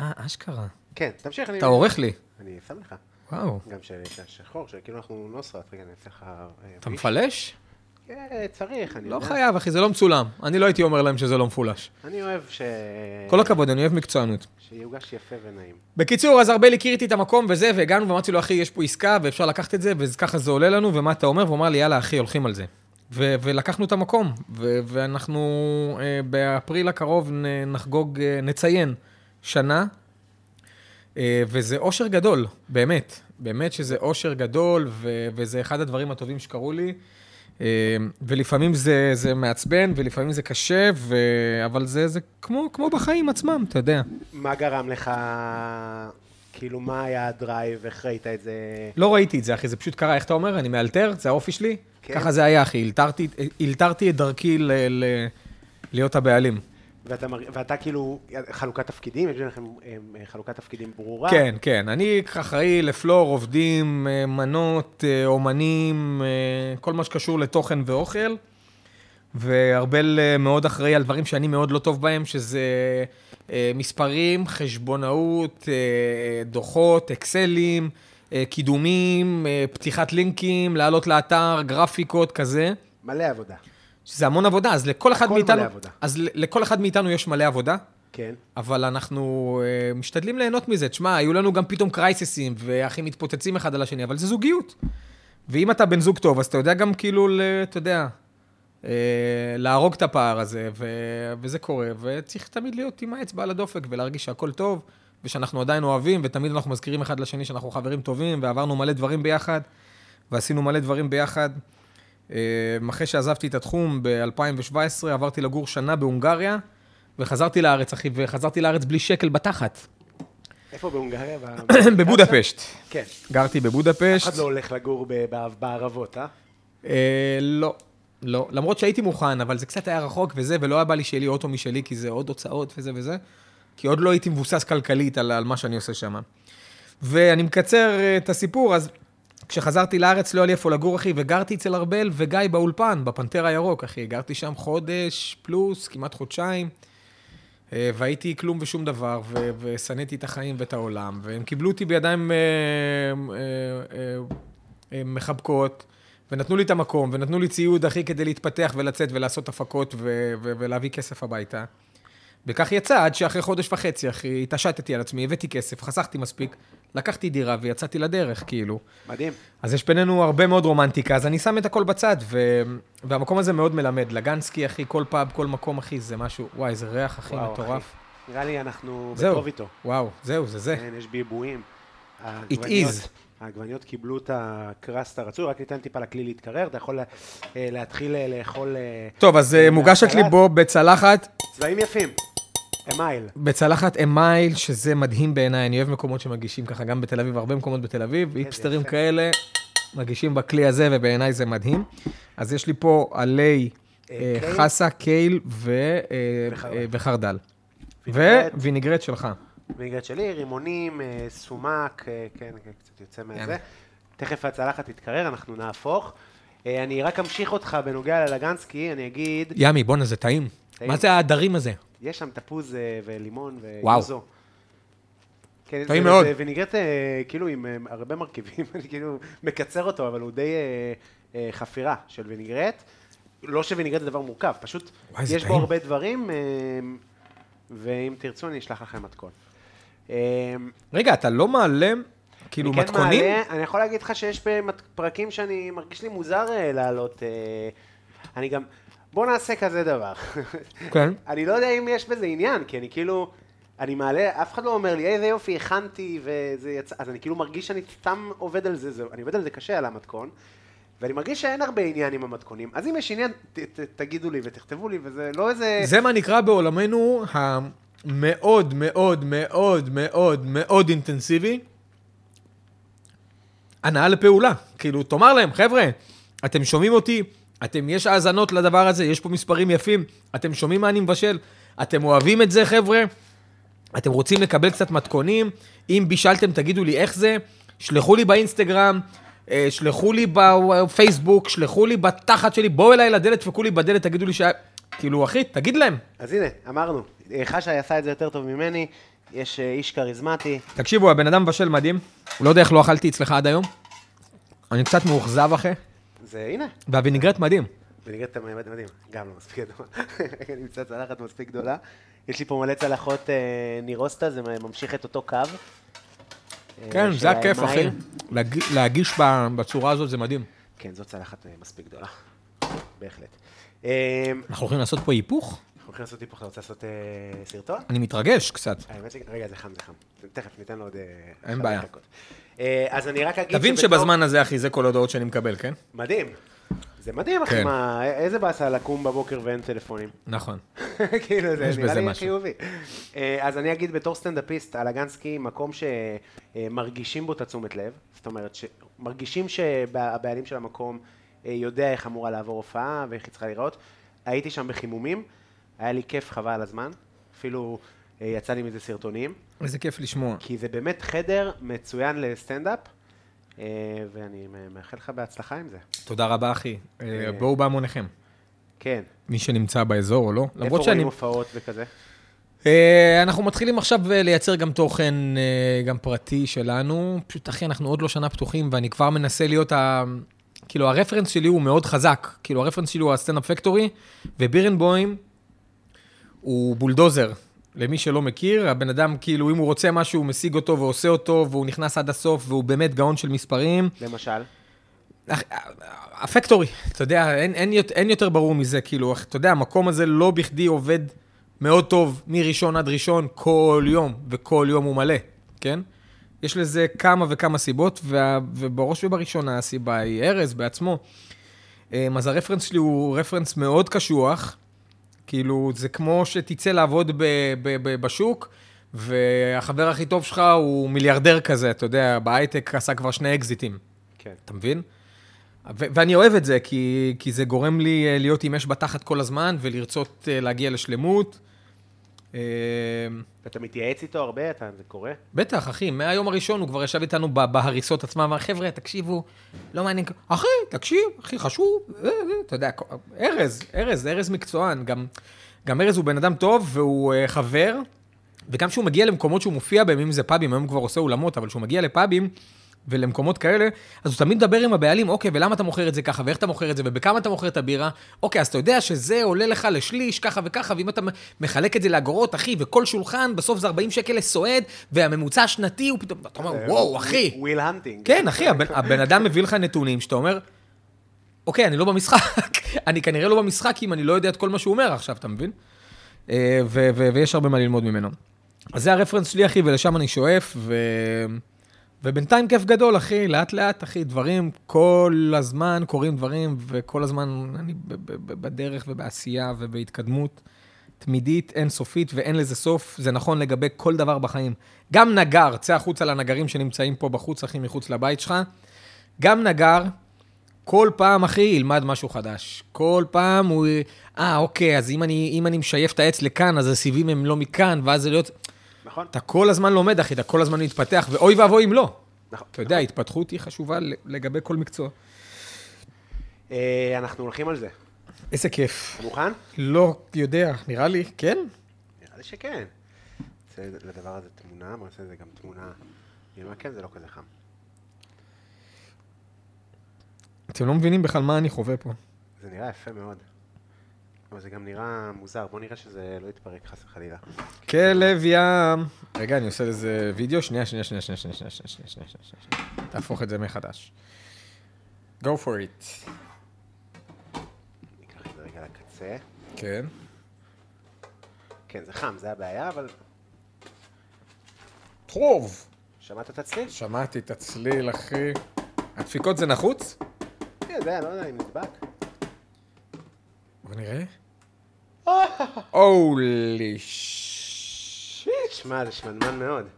אה, אשכרה. כן, תמשיך. אני- אתה עורך לי. אני שם לך. וואו. גם של של השחור, שכאילו אנחנו נוסרת, רגע, אני אעשה לך... אה, אתה ויש. מפלש? כן, צריך, אני לא יודע. חייב, אחי, זה לא מצולם. אני לא הייתי אומר להם שזה לא מפולש. אני אוהב ש... כל הכבוד, אני אוהב מקצוענות. שיוגש יפה ונעים. בקיצור, אז ארבל הכיר איתי את המקום וזה, והגענו ואמרתי לו, אחי, יש פה עסקה ואפשר לקחת את זה, וככה זה עולה לנו, ומה אתה אומר? והוא אמר לי, יאללה, אחי, הולכים על זה. ו- ולקחנו את המקום, ו- ואנחנו אה, באפריל הקרוב נ- נחגוג, אה, נציין שנה, אה, וזה אושר גדול, באמת. באמת שזה אושר גדול, ו- וזה אחד הדברים הטובים שקרו לי. אה, ולפעמים זה, זה מעצבן, ולפעמים זה קשה, ו- אבל זה, זה כמו, כמו בחיים עצמם, אתה יודע. מה גרם לך, כאילו, מה היה הדרייב, איך ראית את זה? לא ראיתי את זה, אחי, זה פשוט קרה, איך אתה אומר? אני מאלתר, זה האופי שלי? כן. ככה זה היה, אחי, הילתרתי- הילתרתי את דרכי ל- ל- להיות הבעלים. ואתה, מר- ואתה כאילו, חלוקת תפקידים, יש לכם אה, חלוקת תפקידים ברורה. כן, כן, אני אחראי לפלור, עובדים, אה, מנות, אה, אומנים, אה, כל מה שקשור לתוכן ואוכל, וארבל אה, מאוד אחראי על דברים שאני מאוד לא טוב בהם, שזה אה, מספרים, חשבונאות, אה, דוחות, אקסלים, אה, קידומים, אה, פתיחת לינקים, לעלות לאתר, גרפיקות, כזה. מלא עבודה. שזה המון עבודה, אז לכל אחד הכל מאיתנו... מלא עבודה. אז ל- לכל אחד מאיתנו יש מלא עבודה, כן. אבל אנחנו אה, משתדלים ליהנות מזה. תשמע, היו לנו גם פתאום קרייססים, ואחים מתפוצצים אחד על השני, אבל זה זוגיות. ואם אתה בן זוג טוב, אז אתה יודע גם כאילו, ל- אתה יודע, אה, להרוג את הפער הזה, ו... וזה קורה, וצריך תמיד להיות עם האצבע על הדופק ולהרגיש שהכל טוב, ושאנחנו עדיין אוהבים, ותמיד אנחנו מזכירים אחד לשני שאנחנו חברים טובים, ועברנו מלא דברים ביחד, ועשינו מלא דברים ביחד. אה, אחרי שעזבתי את התחום ב-2017, עברתי לגור שנה בהונגריה, וחזרתי לארץ, אחי, וחזרתי לארץ בלי שקל בתחת, איפה בהונגריה? ב- בבודפשט. כן. גרתי אף בבודפשט. אחד לא הולך לגור ב- ב- בערבות, אה? אה, לא, לא. למרות שהייתי מוכן, אבל זה קצת היה רחוק וזה, ולא היה בא לי שיהיה לי אוטו משלי, כי זה עוד הוצאות וזה וזה. כי עוד לא הייתי מבוסס כלכלית על, על מה שאני עושה שם. ואני מקצר אה, את הסיפור, אז כשחזרתי לארץ לא היה לי איפה לגור, אחי, וגרתי אצל ארבל וגיא באולפן, בפנתר הירוק, אחי. גרתי שם חודש פלוס, כמעט חודשיים. אה, והייתי כלום ושום דבר, ו- ושנאתי את החיים ואת העולם, והם קיבלו אותי בידיים אה, אה, אה, אה, מחבקות, ונתנו לי את המקום, ונתנו לי ציוד, אחי, כדי להתפתח ולצאת ולעשות הפקות ו- ו- ולהביא כסף הביתה. וכך יצא, עד שאחרי חודש וחצי, אחי, התעשתתי על עצמי, הבאתי כסף, חסכתי מספיק, לקחתי דירה ויצאתי לדרך, כאילו. מדהים. אז יש בינינו הרבה מאוד רומנטיקה, אז אני שם את הכל בצד, ו... והמקום הזה מאוד מלמד. לגנסקי, אחי, כל פאב, כל מקום, אחי, זה משהו, וואי, זה ריח, אחי, וואו, מטורף. אחי. נראה לי אנחנו זהו. בטוב איתו. וואו, זהו, זה זה. כן, יש ביבועים. העגבניות- is. העגבניות קיבלו את הקראסט הרצוי, רק ניתן טיפה לכלי להתקרר, אתה יכול אה, להתחיל אה, לאכול אה, טוב, אז אה, מוגשת לי מהסלט. בו בצלחת, צבעים יפים. אמייל. בצלחת אמייל, שזה מדהים בעיניי, אני אוהב מקומות שמגישים ככה, גם בתל אביב, הרבה מקומות בתל אביב, היפסטרים יפה. כאלה, מגישים בכלי הזה, ובעיניי זה מדהים. אז יש לי פה עלי אה, קייל. חסה, קייל ו- אה, וחרדל. אה, וחרדל. וינגרט. ווינגרט שלך. בגלל שלי, רימונים, אה, סומק, אה, כן, כן, קצת יוצא מהזה. תכף הצלחת תתקרר, אנחנו נהפוך. אה, אני רק אמשיך אותך בנוגע ללגנסקי, אני אגיד, ימי, בואנה, זה טעים. טעים. מה זה ההדרים הזה? יש שם תפוז אה, ולימון וואו. ויוזו. כן, טעים זה- מאוד. זה וניגרט אה, כאילו עם אה, הרבה מרכיבים, אני כאילו מקצר אותו, אבל הוא די אה, אה, חפירה של וניגרט. לא שוויניגרט זה דבר מורכב, פשוט וואי, זה יש בו טעים. הרבה דברים, אה, ואם תרצו אני אשלח לכם מתכון. אה, רגע, אתה לא מעלה, כאילו, אני כן מתכונים? מעלה, אני יכול להגיד לך שיש במת- פרקים שאני מרגיש לי מוזר אה, לעלות. אה, אני גם... בוא נעשה כזה דבר. כן. אני לא יודע אם יש בזה עניין, כי אני כאילו... אני מעלה, אף אחד לא אומר לי, איזה יופי, הכנתי, וזה יצא... אז אני כאילו מרגיש שאני סתם עובד על זה, זה, אני עובד על זה קשה, על המתכון. ואני מרגיש שאין הרבה עניין עם המתכונים. אז אם יש עניין, ת, ת, תגידו לי ותכתבו לי, וזה לא איזה... זה מה נקרא בעולמנו המאוד מאוד מאוד מאוד מאוד אינטנסיבי, הנאה לפעולה. כאילו, תאמר להם, חבר'ה, אתם שומעים אותי, אתם, יש האזנות לדבר הזה, יש פה מספרים יפים, אתם שומעים מה אני מבשל, אתם אוהבים את זה, חבר'ה, אתם רוצים לקבל קצת מתכונים, אם בישלתם, תגידו לי איך זה, שלחו לי באינסטגרם. אה, שלחו לי בפייסבוק, שלחו לי בתחת שלי, בואו אליי לדלת, דפקו לי בדלת, תגידו לי שה... כאילו, אחי, תגיד להם, אז הנה, אמרנו, אה, חשי עשה את זה יותר טוב ממני, יש אה, איש כריזמטי. תקשיבו, הבן אדם מבשל מדהים, הוא לא יודע איך לא אכלתי אצלך עד היום. אני קצת מאוכזב אחי, זה, הנה, והווינגרט מדהים. בניגוד אתה מעמד מדהים, גם לא מספיק גדול. אני נמצא צלחת מספיק גדולה. יש לי פה מלא צלחות אה, נירוסטה, זה ממשיך את אותו קו. אה, כן, של זה הכיף, אחי. האמייל. להג- להגיש ב- בצורה הזאת זה מדהים. כן, זו צלחת אה, מספיק גדולה. בהחלט. אה, אנחנו הולכים לעשות פה היפוך? אנחנו הולכים לעשות היפוך, אתה רוצה לעשות אה, סרטון? אני מתרגש קצת. האמת ש... רגע, זה חם, זה חם. תכף, ניתן לו עוד... אה, חמש בעיה. דקות. אה, אז אני רק אגיד... תבין שבתור- שבזמן הזה, אחי, זה כל ההודעות שאני מקבל, כן? מדהים. זה מדהים, אחי, כן. מה... א- איזה באסה לקום בבוקר ואין טלפונים. נכון. כאילו, זה יש נראה בזה לי משהו. חיובי. אה, אז אני אגיד בתור סטנדאפיסט, אלגנסקי, מקום שמרגישים בו את התשומת לב. זאת אומרת, מרגישים שהבעלים של המקום אה, יודע איך אמורה לעבור הופעה ואיך היא צריכה להיראות. הייתי שם בחימומים, היה לי כיף חבל על הזמן. אפילו אה, יצא לי מזה סרטונים. איזה כיף לשמוע. כי זה באמת חדר מצוין לסטנדאפ, אה, ואני מאחל לך בהצלחה עם זה. תודה רבה, אחי. אה, אה, בואו בהמוניכם. כן. מי שנמצא באזור או לא. איפה למרות רואים שאני... הופעות וכזה? אה, אנחנו מתחילים עכשיו אה, לייצר גם תוכן, אה, גם פרטי שלנו. פשוט, אחי, אנחנו עוד לא שנה פתוחים, ואני כבר מנסה להיות ה... כאילו, הרפרנס שלי הוא מאוד חזק. כאילו, הרפרנס שלי הוא הסטנדאפ פקטורי, ובירנבוים הוא בולדוזר. למי שלא מכיר, הבן אדם, כאילו, אם הוא רוצה משהו, הוא משיג אותו ועושה אותו, והוא נכנס עד הסוף, והוא באמת גאון של מספרים. למשל? אח- הפקטורי, אתה יודע, אין, אין, יות- אין יותר ברור מזה, כאילו, אח- אתה יודע, המקום הזה לא בכדי עובד מאוד טוב מראשון עד ראשון כל יום, וכל יום הוא מלא, כן? יש לזה כמה וכמה סיבות, וה, ובראש ובראשונה הסיבה היא ארז בעצמו. אמ, אז הרפרנס שלי הוא רפרנס מאוד קשוח, כאילו, זה כמו שתצא לעבוד ב, ב, ב, בשוק, והחבר הכי טוב שלך הוא מיליארדר כזה, אתה יודע, בהייטק עשה כבר שני אקזיטים. כן. אתה מבין? ו- ואני אוהב את זה, כי, כי זה גורם לי אה, להיות עם אש בתחת כל הזמן ולרצות אה, להגיע לשלמות. אה, אתה מתייעץ איתו הרבה? אתה, זה קורה? בטח, אחי, מהיום הראשון הוא כבר ישב איתנו ב- בהריסות עצמם, אמר, חבר'ה, תקשיבו, לא מעניין, כ- אחי, תקשיב, אחי, חשוב, אה, אה, אתה יודע, כל- ארז, ארז, ארז מקצוען, גם, גם ארז הוא בן אדם טוב והוא אה, חבר, וגם כשהוא מגיע למקומות שהוא מופיע בהם, אם זה פאבים, היום הוא כבר עושה אולמות, אבל כשהוא מגיע לפאבים ולמקומות כאלה, אז הוא תמיד מדבר עם הבעלים, אוקיי, ולמה אתה מוכר את זה ככה, ואיך אתה מוכר את זה, ובכמה אתה מוכר את הבירה, אוקיי, אז אתה יודע שזה עולה לך לשליש, ככה וככה, ואם אתה מ- מחלק את זה לאגורות, אחי, וכל שולחן, בסוף זה 40 שקל לסועד, והממוצע השנתי הוא פתאום, אתה אומר, וואו, אחי. וויל הנטינג. כן, אחי, הבן, הבן אדם מביא לך נתונים שאתה אומר, אוקיי, אני לא במשחק. אני כנראה לא במשחק אם אני לא יודע את כל מה שהוא אומר עכשיו, אתה מבין? אה, ו- ו- ויש הרבה מה ללמוד ממנו. אז זה הרפרנס שלי, אחי, ולשם אני שואף, ו... ובינתיים כיף גדול, אחי, לאט-לאט, אחי, דברים, כל הזמן קורים דברים, וכל הזמן אני ב- ב- ב- בדרך ובעשייה ובהתקדמות תמידית, אינסופית, ואין לזה סוף. זה נכון לגבי כל דבר בחיים. גם נגר, צא החוצה לנגרים שנמצאים פה בחוץ, אחי, מחוץ לבית שלך. גם נגר, כל פעם, אחי, ילמד משהו חדש. כל פעם הוא... אה, אוקיי, אז אם אני, אם אני משייף את העץ לכאן, אז הסיבים הם לא מכאן, ואז זה להיות... נכון? אתה כל הזמן לומד, אחי, אתה כל הזמן מתפתח, ואוי ואבוי אם לא. נכון. אתה יודע, התפתחות היא חשובה ל- לגבי כל מקצוע. אה, אנחנו הולכים על זה. איזה כיף. אתה מוכן? לא יודע, נראה לי, כן? נראה לי שכן. נעשה לדבר הזה תמונה, בוא נעשה לזה גם תמונה. אני אומר, כן, זה לא כזה חם. אתם לא מבינים בכלל מה אני חווה פה. זה נראה יפה מאוד. אבל זה גם נראה מוזר, בוא נראה שזה לא יתפרק חס וחלילה. כלב ים. רגע, אני עושה לזה וידאו. שנייה, שנייה, שנייה, שנייה, שנייה, שנייה, שנייה, שנייה, שנייה, שנייה, שנייה. תהפוך את זה מחדש. Go for it. ניקח את זה רגע לקצה. כן. כן, זה חם, זה הבעיה, אבל טוב. שמעת את הצליל? שמעתי את הצליל, אחי. הדפיקות זה נחוץ? כן, זה היה, לא יודע אם נדבק. בוא נראה. הולי שיט. שמע, זה שמנמן מאוד.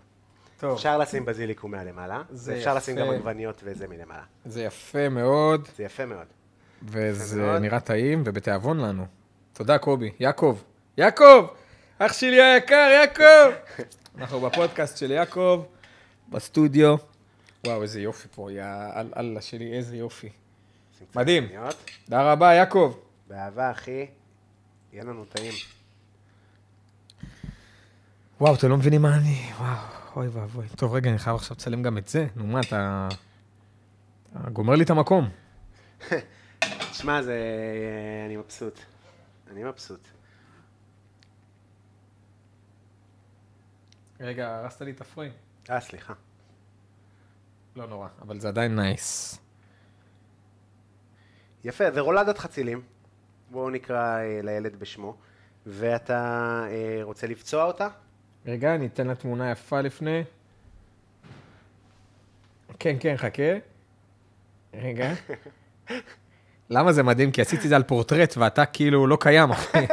טוב. אפשר לשים בזיליקום מהלמעלה, זה ואפשר לשים יפה. גם עגבניות וזה מלמעלה. זה יפה מאוד, זה יפה מאוד. וזה מאוד. נראה טעים, ובתיאבון לנו. תודה, קובי. יעקב. יעקב! אח שלי היקר, יעקב! אנחנו בפודקאסט של יעקב, בסטודיו. וואו, איזה יופי פה, יא אל- אללה שלי, איזה יופי. שים קצת מדהים. עגבניות. תודה רבה, יעקב. באהבה, אחי. יהיה לנו טעים. וואו, אתם לא מבינים מה אני... וואו, אוי ואבוי. טוב, רגע, אני חייב עכשיו לצלם גם את זה. נו, מה, אתה... אתה גומר לי את המקום. תשמע, זה... אני מבסוט. אני מבסוט. רגע, הרסת לי את הפריים. אה, סליחה. לא נורא, אבל זה עדיין נייס. יפה, זה רולדת חצילים. בואו נקרא אה, לילד בשמו. ואתה אה, רוצה לפצוע אותה? רגע, אני אתן לה תמונה יפה לפני. כן, כן, חכה. רגע. למה זה מדהים? כי עשיתי את זה על פורטרט ואתה כאילו לא קיים, אחי.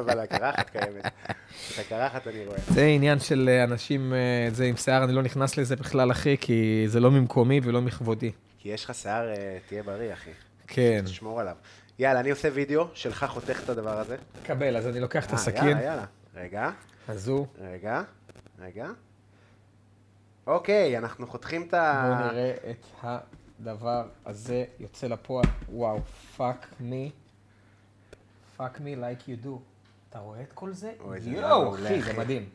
אבל הקרחת קיימת. את הקרחת אני רואה. זה עניין של אה, אנשים, אה, זה עם שיער, אני לא נכנס לזה בכלל, אחי, כי זה לא ממקומי ולא מכבודי. כי יש לך שיער, אה, תהיה בריא, אחי. כן. תשמור עליו. יאללה, אני עושה וידאו, שלך חותך את הדבר הזה. קבל, אז אני לוקח את אה, הסכין. יאללה, יאללה. רגע, אז הוא, רגע, רגע. אוקיי, אנחנו חותכים את בואו ה... נראה את הדבר הזה יוצא לפועל. וואו, פאק מי. פאק מי like you do. אתה רואה את כל זה? אוי, זה נראה יואו, מעולה, אחי, זה אחי. מדהים.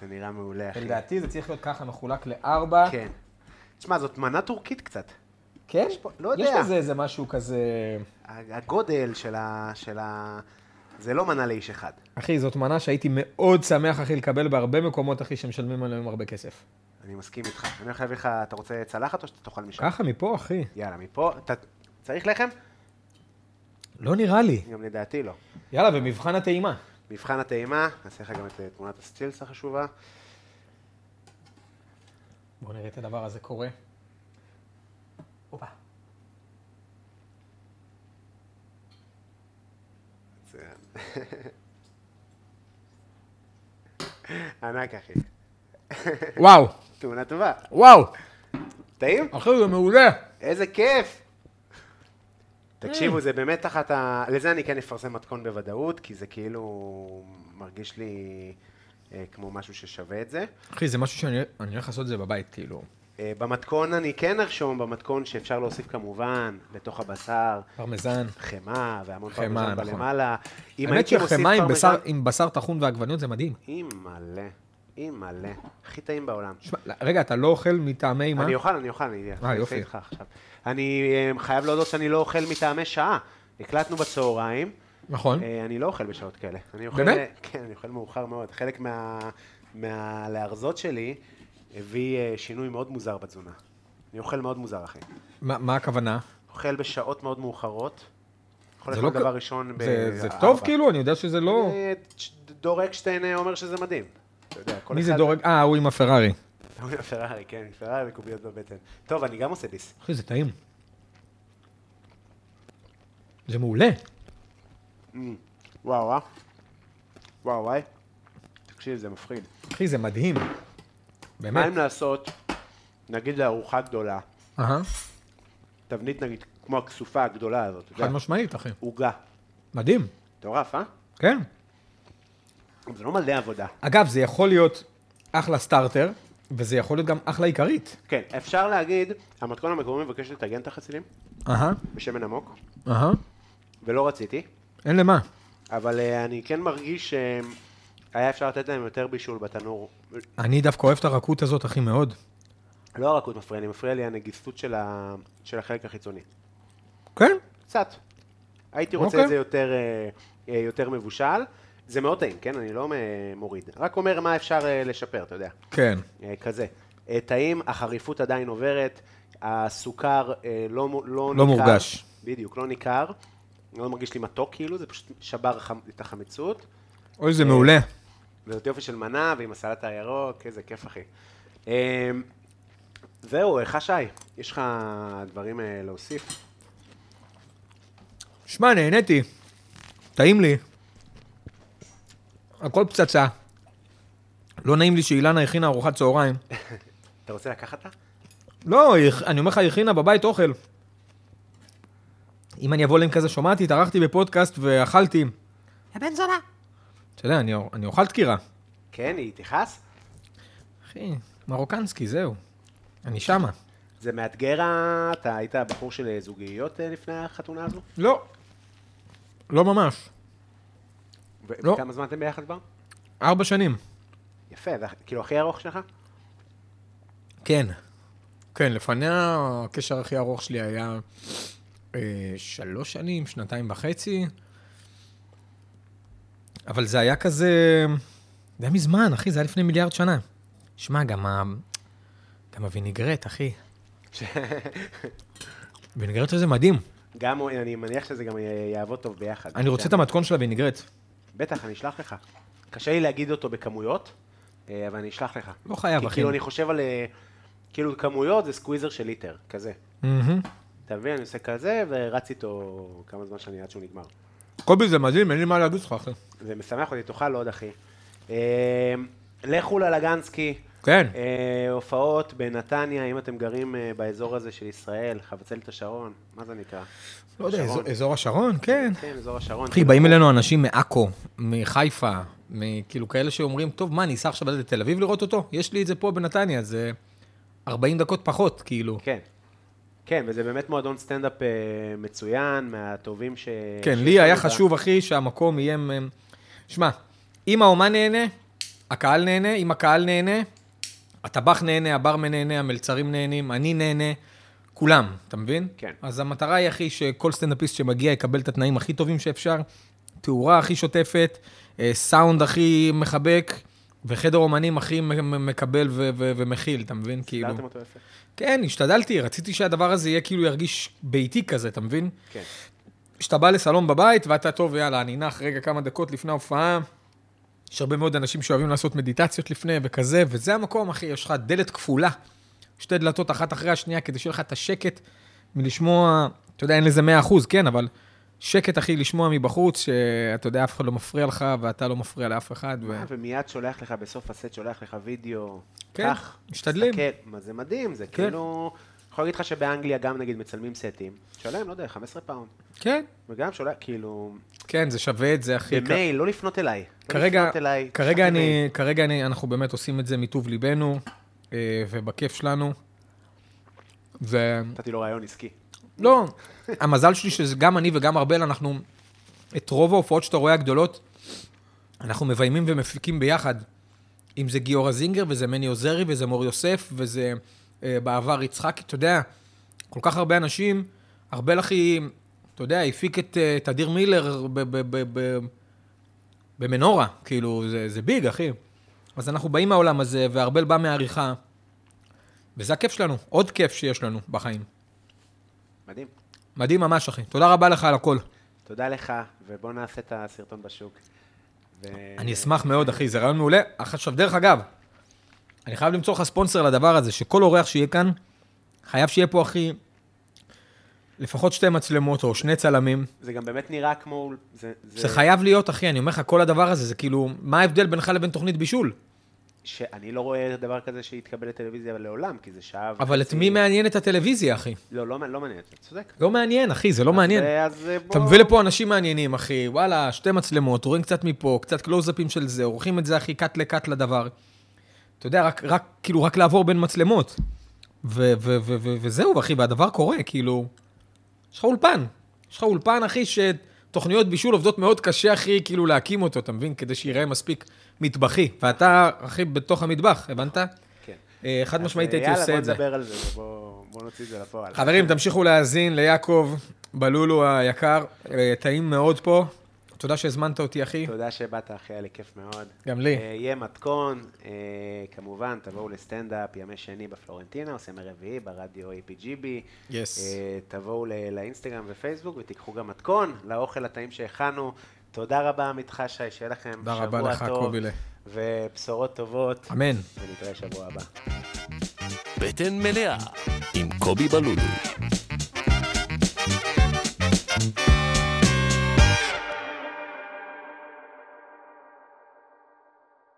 זה נראה מעולה, אחי. לדעתי זה צריך להיות ככה מחולק לארבע. כן. תשמע, זאת מנה טורקית קצת. כן? יש פה- לא יודע. יש בזה איזה משהו כזה... הגודל של ה... של ה... זה לא מנה לאיש אחד. אחי, זאת מנה שהייתי מאוד שמח, אחי, לקבל בהרבה מקומות, אחי, שמשלמים עליהם הרבה כסף. אני מסכים איתך. אני הולך להביא לך, אתה רוצה צלחת או שאתה תאכל משם? ככה, מפה, אחי. יאללה, מפה, אתה צריך לחם? לא נראה לי. גם לדעתי לא. יאללה, ומבחן הטעימה. מבחן הטעימה, נעשה לך גם את אה, תמונת הסטילס החשובה. בואו נראה את הדבר הזה קורה. הופה. זה- ענק אחי, וואו, תמונה טובה. וואו. טעים? אחי, זה מעולה. איזה כיף! אה. תקשיבו, זה באמת אחת ה... לזה אני כן אפרסם מתכון בוודאות, כי זה כאילו מרגיש לי אה, כמו משהו ששווה את זה. אחי, זה משהו שאני אני הולך לעשות את זה בבית, כאילו. אה, במתכון אני כן ארשום, במתכון שאפשר להוסיף כמובן, לתוך הבשר, פרמזן. חמאה והמון חמאה, פרמזן נכון. בלמעלה. אם האמת הייתי מוסיף שהחמאה עם פרמזן- בשר- עם בשר טחון ועגבניות זה מדהים. אי מלא, אי מלא. הכי טעים בעולם. שמע, רגע, אתה לא אוכל מטעמי מה? אני אוכל, אני אוכל, אני אה, אני יופי. אעשה איתך עכשיו. אני אה, חייב להודות שאני לא אוכל מטעמי שעה. הקלטנו בצהריים, נכון. אה, אני לא אוכל בשעות כאלה. אני אוכל, באמת? כן, אני אוכל מאוחר מאוד. חלק מה- מהלארזות שלי הביא אה, שינוי מאוד מוזר בתזונה. אני אוכל מאוד מוזר, אחי. מה מה הכוונה? אוכל בשעות מאוד מאוחרות. אוכל זה לכל לא- דבר ראשון ב... זה- זה ארבע. טוב, כאילו? אני יודע שזה לא... אה, דור אקשטיין אה, אומר שזה מדהים. אתה יודע, כל מי זה אחד- דורג? אה, הוא עם הפרארי. הוא עם פרארי, כן, פרארי וקוביות בבטן. טוב, אני גם עושה ביס. אחי, זה טעים. זה מעולה. וואו, אה? וואו, וואי. תקשיב, זה מפחיד. אחי, זה מדהים. מה באמת. אם לעשות, נגיד לארוחה גדולה, אהה, תבנית נגיד, כמו הכסופה הגדולה הזאת, אתה חד יודע, משמעית, אחי. עוגה. מדהים. מטורף, אה? כן. זה לא מלא עבודה. אגב, זה יכול להיות אחלה סטארטר, וזה יכול להיות גם אחלה עיקרית. כן, אפשר להגיד, המתכון המקומי מבקש לטגן את החצילים אהה, בשמן עמוק, אהה. ולא רציתי, אין למה. אבל אה, אני כן מרגיש שהיה אפשר לתת להם יותר בישול בתנור. אני דווקא אוהב את הרכות הזאת, אחי, מאוד. לא הרכות מפריע לי, מפריע לי הנגיסות של, ה... של החלק החיצוני. כן? קצת. הייתי רוצה אוקיי. את זה יותר, אה, אה, יותר מבושל. זה מאוד טעים, כן? אני לא אה, מוריד. רק אומר מה אפשר אה, לשפר, אתה יודע. כן. אה, כזה. אה, טעים, החריפות עדיין עוברת, הסוכר אה, לא, מו- לא, לא ניכר. מורגש. בדיוק, לא ניכר. לא מרגיש לי מתוק כאילו, זה פשוט שבר חמ... את החמיצות. אוי, זה מעולה. וזאת יופי של מנה, ועם הסלט הירוק, איזה כיף אחי. אה, זהו, אה, חשי, יש לך דברים אה, להוסיף? שמע, נהניתי. טעים לי. הכל פצצה. לא נעים לי שאילנה הכינה ארוחת צהריים. אתה רוצה לקחת? לה? לא, היא- אני אומר לך, היא הכינה בבית אוכל. אם אני אבוא להם כזה, שומעת, התארחתי בפודקאסט ואכלתי. הבן זונה. אתה יודע, אני, אני אוכל דקירה. כן, היא תכעס? אחי, מרוקנסקי, זהו. אני שמה. זה מאתגר, ה- אתה היית הבחור של זוגיות אה, לפני החתונה הזו? לא. לא ממש. ו- לא. וכמה זמן אתם ביחד כבר? ארבע שנים. יפה, זה כאילו הכי ארוך שלך? כן. כן, לפניה הקשר הכי ארוך שלי היה אה, שלוש שנים, שנתיים וחצי, אבל זה היה כזה... זה היה מזמן, אחי, זה היה לפני מיליארד שנה. שמע, גם ה... גם הוויניגרט, אחי. הוויניגרט הזה מדהים. גם, אני מניח שזה גם יעבוד טוב ביחד. אני רוצה את המתכון של הוויניגרט. בטח, אני אשלח לך. קשה לי להגיד אותו בכמויות, אה, אבל אני אשלח לך. לא חייב, כי אחי. כאילו, אני חושב על... אה, כאילו, כמויות זה סקוויזר של ליטר, כזה. מהמם. אתה מבין? אני עושה כזה, ורץ איתו כמה זמן שאני עד שהוא נגמר. קובי, זה מדהים, אין לי מה להגיד לך, אחי. זה משמח אותי, תאכל עוד, אחי. אה, לכו ללגנסקי. כן. אה, הופעות בנתניה, אם אתם גרים אה, באזור הזה של ישראל, חבצלת את השרון, מה זה נקרא? לא יודע, השרון. אזור- אזור השרון, כן. כן, אזור השרון. אחי, באים אלינו אנשים מעכו, מחיפה, כאילו כאלה שאומרים, טוב, מה, אני אסע עכשיו עד לתל אביב לראות אותו? יש לי את זה פה בנתניה, זה 40 דקות פחות, כאילו. כן. כן, וזה באמת מועדון סטנדאפ אה, מצוין, מהטובים ש... כן, אה, שיש לי היה בה. חשוב, אחי, שהמקום יהיה... מ- שמע, אם האומן נהנה, הקהל נהנה, אם הקהל נהנה, הטבח נהנה, הברמן נהנה, המלצרים נהנים, אני נהנה, כולם, אתה מבין? כן. אז המטרה היא, אחי, שכל סטנדאפיסט שמגיע יקבל את התנאים הכי טובים שאפשר, תאורה הכי שוטפת, אה, סאונד הכי מחבק. וחדר אומנים הכי מ- מ- מקבל ו- ו- ומכיל, אתה מבין? כאילו... הסדרתם אותו יפה. כן, השתדלתי, רציתי שהדבר הזה יהיה כאילו ירגיש ביתי כזה, אתה מבין? כן. שאתה בא לסלון בבית ואתה טוב, יאללה, אני נח רגע כמה דקות לפני ההופעה. יש הרבה מאוד אנשים שאוהבים לעשות מדיטציות לפני וכזה, וזה המקום, אחי, יש לך דלת כפולה, שתי דלתות אחת אחרי השנייה, כדי שיהיה לך את השקט מלשמוע, אתה יודע, אין לזה 100 אחוז, כן, אבל שקט, אחי, לשמוע מבחוץ, שאתה יודע, אף אחד לא מפריע לך, ואתה לא מפריע לאף אחד, ו... אה, ומיד שולח לך, בסוף הסט שולח לך וידאו. כן, קח, משתדלים. כן. תסתכל. מה זה מדהים, זה כאילו... אני יכול להגיד לך שבאנגליה גם נגיד מצלמים סטים, שולם, לא יודע, 15 פאונד. כן, וגם שולח, כאילו, כן, זה שווה את זה, אחי. במייל, לא לפנות אליי. לא כרגע, לפנות אליי, כרגע, תשלח לי אני, מייל. כרגע אני, אנחנו באמת עושים את זה מטוב ליבנו אה, ובכיף שלנו. ו... נתתי לו רעיון עסקי. לא, המזל שלי שזה גם אני וגם ארבל, אנחנו, את רוב ההופעות שאתה רואה הגדולות, אנחנו מביימים ומפיקים ביחד. אם זה גיורא זינגר, וזה מני עוזרי, וזה מור יוסף, וזה אה, בעבר יצחקי, אתה יודע, כל כך הרבה אנשים, ארבל אחי, אתה יודע, הפיק את אה, את אדיר מילר ב- ב- ב- ב- במנורה, כאילו, זה, זה ביג, אחי. אז אנחנו באים מהעולם הזה, וארבל בא מהעריכה, וזה הכיף שלנו, עוד כיף שיש לנו בחיים. מדהים. מדהים ממש, אחי. תודה רבה לך על הכל. תודה לך, ובוא נעשה את הסרטון בשוק. ו... אני אשמח מאוד, אחי, זה רעיון מעולה. עכשיו, דרך אגב, אני חייב למצוא לך ספונסר לדבר הזה, שכל אורח שיהיה כאן, חייב שיהיה פה, אחי, לפחות שתי מצלמות או שני צלמים. זה גם באמת נראה כמו... זה, זה, זה חייב להיות, אחי, אני אומר לך, כל הדבר הזה, זה כאילו, מה ההבדל בינך לבין תוכנית בישול? שאני לא רואה דבר כזה שיתקבל לטלוויזיה לעולם, כי זה שעה וחצי. אבל את מי מעניינת הטלוויזיה, אחי? לא, לא, לא מעניין, אתה צודק. לא מעניין, אחי, זה לא מעניין. אז אה, בוא... אתה מביא לפה אנשים מעניינים, אחי, וואלה, שתי מצלמות, רואים קצת מפה, קצת קלוזאפים של זה, עורכים את זה, אחי, קאט לקאט לדבר. אתה יודע, רק, רק, כאילו, רק לעבור בין מצלמות. ו- ו- ו- ו- וזהו, אחי, והדבר קורה, כאילו... יש לך אולפן. יש לך אולפן, אחי, שתוכניות בישול עובדות מאוד קשה, אחי, כאילו, להקים אותו, אתה מבין? כדי שיראה מספיק מטבחי. ואתה, אחי, בתוך המטבח, הבנת? כן. אה, חד אז, משמעית אה, הייתי עושה את זה. יאללה, בוא נדבר על זה, בוא בוא נוציא את זה לפועל. חברים, תמשיכו להאזין ליעקב בלולו היקר, אה, טעים מאוד פה. תודה שהזמנת אותי, אחי. תודה שבאת, אחי, היה לי כיף מאוד. גם לי. אה, יהיה מתכון, אה, כמובן, תבואו לסטנדאפ ימי שני בפלורנטינה, או סמי רביעי, ברדיו APGB. Yes. אה, תבואו ל- לאינסטגרם ופייסבוק ותיקחו גם מתכון לאוכל הטעים שהכנו. תודה רבה, עמית חשי, שיהיה לכם שבוע תודה טוב. רבה לך, קובילה. ובשורות טובות. אמן. ונתראה שבוע הבא. בטן מלאה עם קובי בלולו.